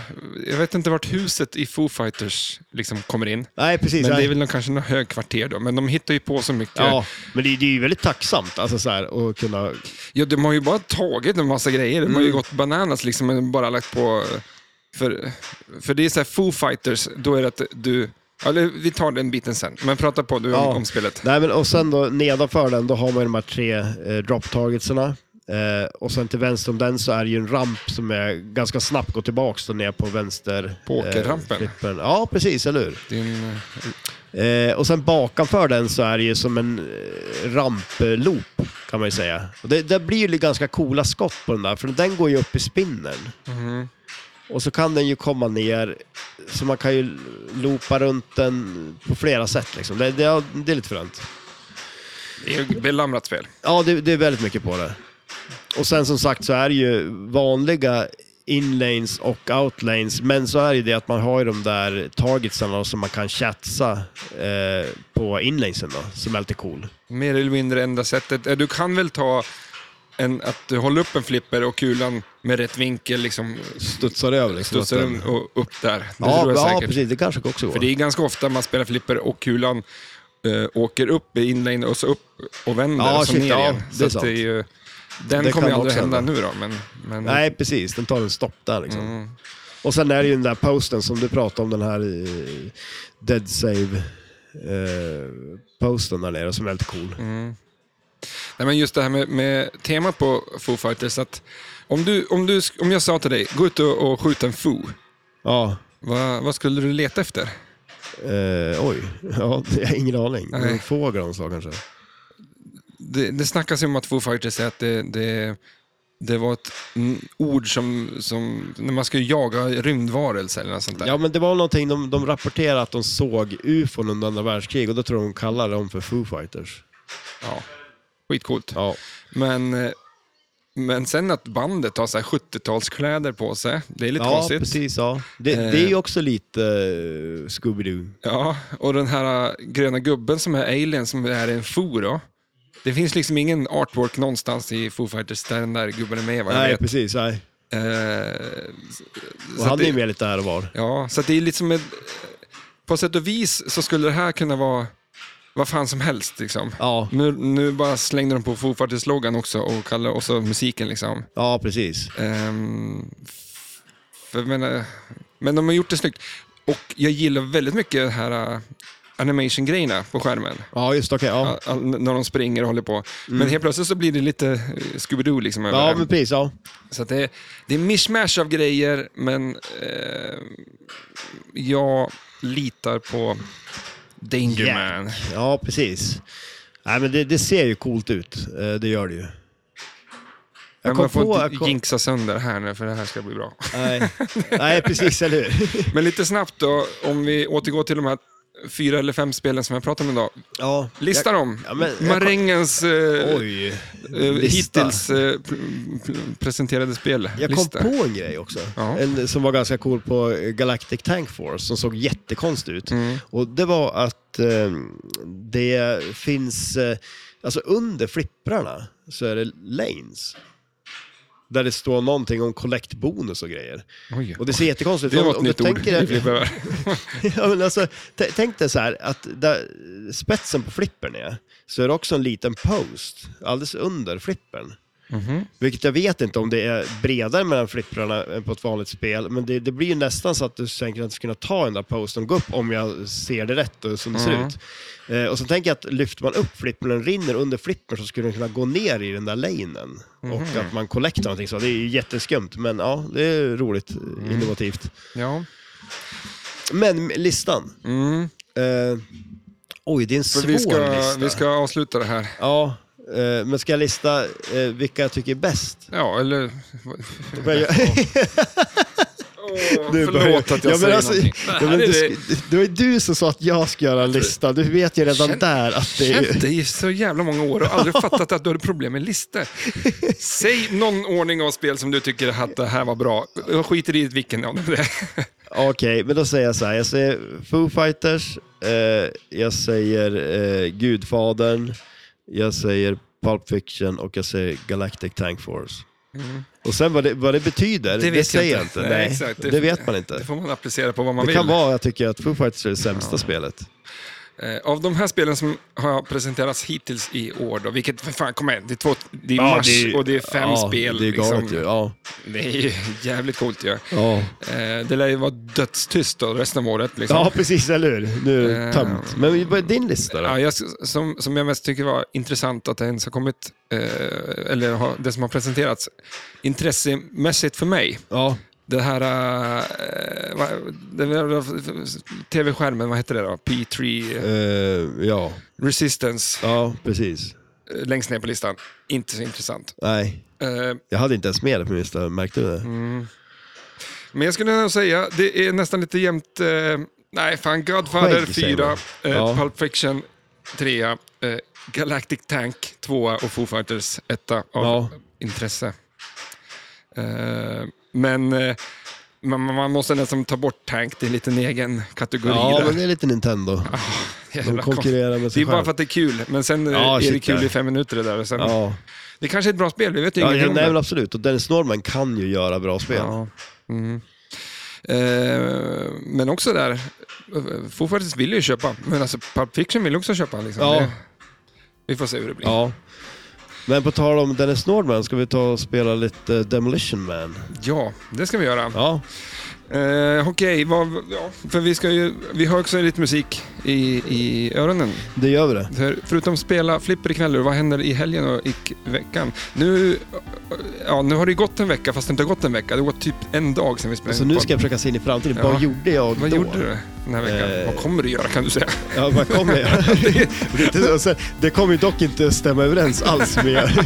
A: jag vet inte vart huset i Foo Fighters liksom kommer in.
B: Nej, precis.
A: Men det
B: nej.
A: är väl någon, kanske något högkvarter då, men de hittar ju på så mycket.
B: Ja, men det, det är ju väldigt tacksamt alltså, så här, att kunna...
A: Ja, de har ju bara tagit en massa grejer. De har
B: Mm.
A: ju gått bananas liksom, men bara lagt på... För, för det är så här Foo Fighters, då är det att du... Eller vi tar den biten sen, men prata på du om,
B: Ja.
A: om spelet.
B: Nej, men, och sen då nedanför den, då har man ju de här tre eh, drop targetsarna. Eh, och sen till vänster om den så är det ju en ramp som är ganska snabbt går tillbaka ner på vänster... eh,
A: Pokerrampen.
B: flippen. ja, precis, eller hur?
A: Din, eh,
B: Eh, och sen bakanför den så är det ju som en eh, ramploop kan man ju säga. Och det, det blir ju ganska coola skott på den där, för den går ju upp i spinnen.
A: mhm.
B: Och så kan den ju komma ner, så man kan ju loopa runt den på flera sätt. Liksom. Det, det, det är lite fränt.
A: Det är ju ett belamrat spel.
B: Ja, det, det är väldigt mycket på det. Och sen som sagt så är det ju vanliga inlanes och outlanes, men så är det ju det att man har ju de där targetsarna som man kan chatsa eh, på inlanesen då, som är lite cool.
A: Mer eller mindre enda sättet. Eh, Du kan väl ta en, att du håller upp en flipper och kulan med rätt vinkel liksom
B: Studsar över liksom.
A: studsar
B: att
A: den och upp där. Det
B: Ja,
A: tror jag
B: ja
A: säkert.
B: precis. Det kanske också går.
A: För det är ganska ofta man spelar flipper och kulan eh, åker upp i inlane och så upp och vänder
B: Ja,
A: och så
B: shit,
A: ner
B: ja,
A: igen.
B: det är
A: Så att
B: sant.
A: det är ju, den
B: Det
A: kommer ju
B: kan
A: aldrig
B: också
A: hända
B: hända.
A: nu då, men, men
B: Nej, precis. Den tar en stopp där liksom.
A: Mm.
B: Och sen är det ju den där posten som du pratade om, den här eh, Dead Save eh, posten där nere som är lite cool.
A: Mm. Nej, men just det här med, med temat på Foo Fighters. Att om, du, om, du, om jag sa till dig, gå ut och, och skjut en Foo,
B: Ja,
A: vad, vad skulle du leta efter?
B: eh, oj. Ja, jag har ingen aning.
A: Nej.
B: En Fågel de sa kanske.
A: Det, det snackas ju om att Foo Fighters säger att det, det, det var ett mm, ord som, som, när man ska jaga rymdvarelser eller något sånt där.
B: Ja, men det var någonting, de, de rapporterade att de såg ufon under andra världskrig och då tror jag de kallade dem för Foo Fighters.
A: Ja. Skitcoolt.
B: Ja,
A: Men, eh, men sen att bandet har så här 70-talskläder på sig, det är lite
B: ja
A: konstigt.
B: precis. Ja. Det,
A: Eh.
B: det är ju också lite eh, Scooby-Doo.
A: Ja, och den här eh, gröna gubben som är alien som är en fo då. Det finns liksom ingen artwork någonstans i Foo Fighters där den där gubben är med vad jag
B: Nej,
A: vet.
B: precis. Nej.
A: Eh, så-
B: Och
A: så
B: han
A: att
B: är ju
A: det,
B: med lite här och var.
A: ja, så att det är liksom ett, på sätt och vis så skulle det här kunna vara vad fan som helst liksom.
B: Ja,
A: Nu, nu bara slängde de på Foo Fighters-loggan också och kallade och så musiken liksom.
B: ja precis.
A: Ehm, f- för, jag menar, men de har gjort det snyggt. Och jag gillar väldigt mycket det här äh, animation-grejerna på skärmen.
B: Ja, just okej. ja.
A: Ja, all- När de springer och håller på. Men helt plötsligt så blir det lite eh, Scooby-Doo liksom över
B: Mm. Ja,
A: det.
B: men precis. Ja.
A: Så att det, är- det är en mishmash av grejer, men eh, jag litar på Danger
B: Yeah.
A: Man.
B: ja, precis. Nej, men det, det ser ju coolt ut. Eh, Det gör det ju.
A: Men
B: kom
A: man får
B: på-
A: inte
B: jag kom-
A: jinxa sönder här nu, för det här ska bli bra.
B: Nej, Nej precis. Eller hur?
A: Men lite snabbt då, om vi återgår till de här fyra eller fem spelen som jag pratade om idag.
B: Ja,
A: Lista
B: jag,
A: dem.
B: Ja, men jag kom-
A: Marängens eh,
B: Oj.
A: eh,
B: lista.
A: hittills eh, pr- pr- presenterade spel.
B: Jag kom
A: Lista.
B: på en grej också.
A: Ja.
B: En som var ganska cool på eh, Galactic Tank Force, som såg jättekonstig ut.
A: Mm.
B: Och det var att eh, det finns, eh, alltså under flipprarna så är det lanes. Där det står någonting om collect-bonus och grejer.
A: Oj.
B: Och det ser jättekonstigt ut.
A: Det
B: Om-
A: var ett
B: om du
A: nytt ord.
B: tänker-
A: vi behöver.
B: ja, men alltså, t- tänk dig så här, att där spetsen på flippern är, så är det också en liten post alldeles under flippern.
A: Mhm.
B: Vilket jag vet inte om det är bredare mellan flipprarna än på ett vanligt spel, men det, det blir ju nästan så att du tänker att du ska kunna ta den där posten och gå upp om jag ser det rätt och som det
A: Mm.
B: ser ut. Eh, och så tänker jag att lyfter man upp flippern och den rinner under flippern så skulle den kunna gå ner i den där lanen. Och att man collectar någonting så, det är ju jätteskumt, men ja, det är roligt, innovativt.
A: Ja.
B: Men listan.
A: Mm.
B: Eh, oj, det är en
A: För
B: svår
A: vi, ska,
B: lista.
A: vi ska avsluta det här.
B: Ja, eh, men ska jag lista eh, vilka jag tycker är bäst?
A: Ja, eller...
B: Då börjar jag-
A: Åh,
B: Nu börjar jag-
A: förlåt att jag
B: Ja, men
A: säger
B: alltså,
A: någonting.
B: ja, men du, sk- det var ju du som sa att jag ska göra en lista. Du vet ju redan
A: Känn-
B: där att det
A: känt
B: är...
A: dig i så jävla många år och aldrig fattat att du hade problem med listor. Säg någon ordning av spel som du tycker att det här var bra. Jag skiter i vilken av dem det är.
B: Okej, men då säger jag så här. Jag säger Foo Fighters, eh, jag säger eh, Gudfadern, jag säger Pulp Fiction och jag säger Galactic Tank Force. Och sen vad det, vad det betyder, det,
A: Mm. vet jag
B: säger jag
A: inte.
B: inte.
A: Nej,
B: Nej,
A: exakt. Det-
B: det, vet man inte.
A: Det får man applicera på vad man
B: Det
A: vill.
B: kan vara, jag tycker, att Foo Fighters är det sämsta spelet.
A: Eh, Av de här spelen som har presenterats hittills i år, då, vilket, för fan, kom igen, det är, två, det är mars och det är fem
B: ja,
A: spel.
B: Det är galet
A: liksom.
B: ju. Ja.
A: Det är ju jävligt coolt ju.
B: Ja.
A: Eh, Det lär ju vara dödstyst då, resten av året. Liksom.
B: ja, precis, eller hur? Nu är
A: Eh,
B: det tömt. Men vad är din lista då?
A: Ja, jag, som, som jag mest tycker var intressant att det ens har kommit, eh, eller har, det som har presenterats, intressemässigt för mig,
B: Ja,
A: det här eh, vad- det var- tv-skärmen, vad heter det då? P3 eh,
B: eh, ja.
A: Resistance,
B: ja precis.
A: eh, längst ner på listan. Inte så intressant.
B: Nej,
A: Eh,
B: jag hade inte ens med det på min lista, märkte du det?
A: Mm. men jag skulle nog säga, det är nästan lite jämnt, eh, nej fan, Godfather
B: Skägg, säger
A: 4,
B: man.
A: eh,
B: Ja.
A: Pulp Fiction 3, eh, Galactic Tank 2 och Foo Fighters 1 av
B: Ja.
A: intresse. Eh, men eh, man, man måste nästan ta bort Tank till en liten egen kategori.
B: Ja,
A: där.
B: men det är lite Nintendo. De
A: Jävla konst-
B: konkurrerar med
A: det är
B: sig
A: bara
B: själv.
A: för att det är kul, men sen eh,
B: Ja,
A: är det
B: shit,
A: kul
B: ja.
A: i fem minuter det där. Och sen,
B: Ja,
A: Det kanske är ett bra spel, vi vet ju
B: ja
A: ingenting
B: nej,
A: om det.
B: men absolut. Och Dennis Norman kan ju göra bra spel.
A: Ja. Mm. Eh, men också där, eh, Foo Fighters vill ju köpa, men alltså Pulp Fiction vill också köpa. Liksom.
B: Ja.
A: Det, vi får se hur det blir.
B: Ja. Men på tal om Dennis Nordman, ska vi ta och spela lite eh, Demolition Man?
A: Ja, det ska vi göra.
B: Ja,
A: Eh, Okej, vad- ja, för vi, ska ju, vi har också lite musik i, i öronen.
B: det gör vi det.
A: För, förutom spela flipper ikväll, vad händer i helgen och i k- veckan? Nu, ja, nu har det gått en vecka, fast det inte har gått en vecka. Det har gått typ en dag sedan vi spelade
B: Så
A: in
B: Alltså, nu
A: podd.
B: ska jag försöka se in i framtiden.
A: Ja.
B: Vad gjorde jag
A: Vad
B: då?
A: gjorde du den här veckan?
B: Eh.
A: Vad kommer du göra kan du säga?
B: Ja, vad kom jag göra? Det är inte så- sen- Det kommer ju dock inte stämma överens alls med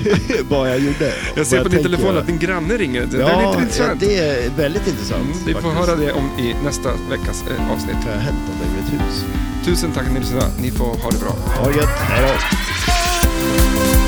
B: vad jag gjorde.
A: Jag ser
B: Vad
A: på din
B: tänker
A: telefon
B: göra.
A: att din granne ringer. Det där är
B: Ja,
A: lite
B: ja,
A: intressant.
B: det är väldigt intressant.
A: Mm, Vi får
B: faktiskt.
A: höra det om i nästa veckas eh, avsnitt.
B: Vad har hänt om det i mitt hus?
A: Tusen tack Nilsson. Ni får ha det bra.
B: Ha det gött. Hej då.
C: Thank you.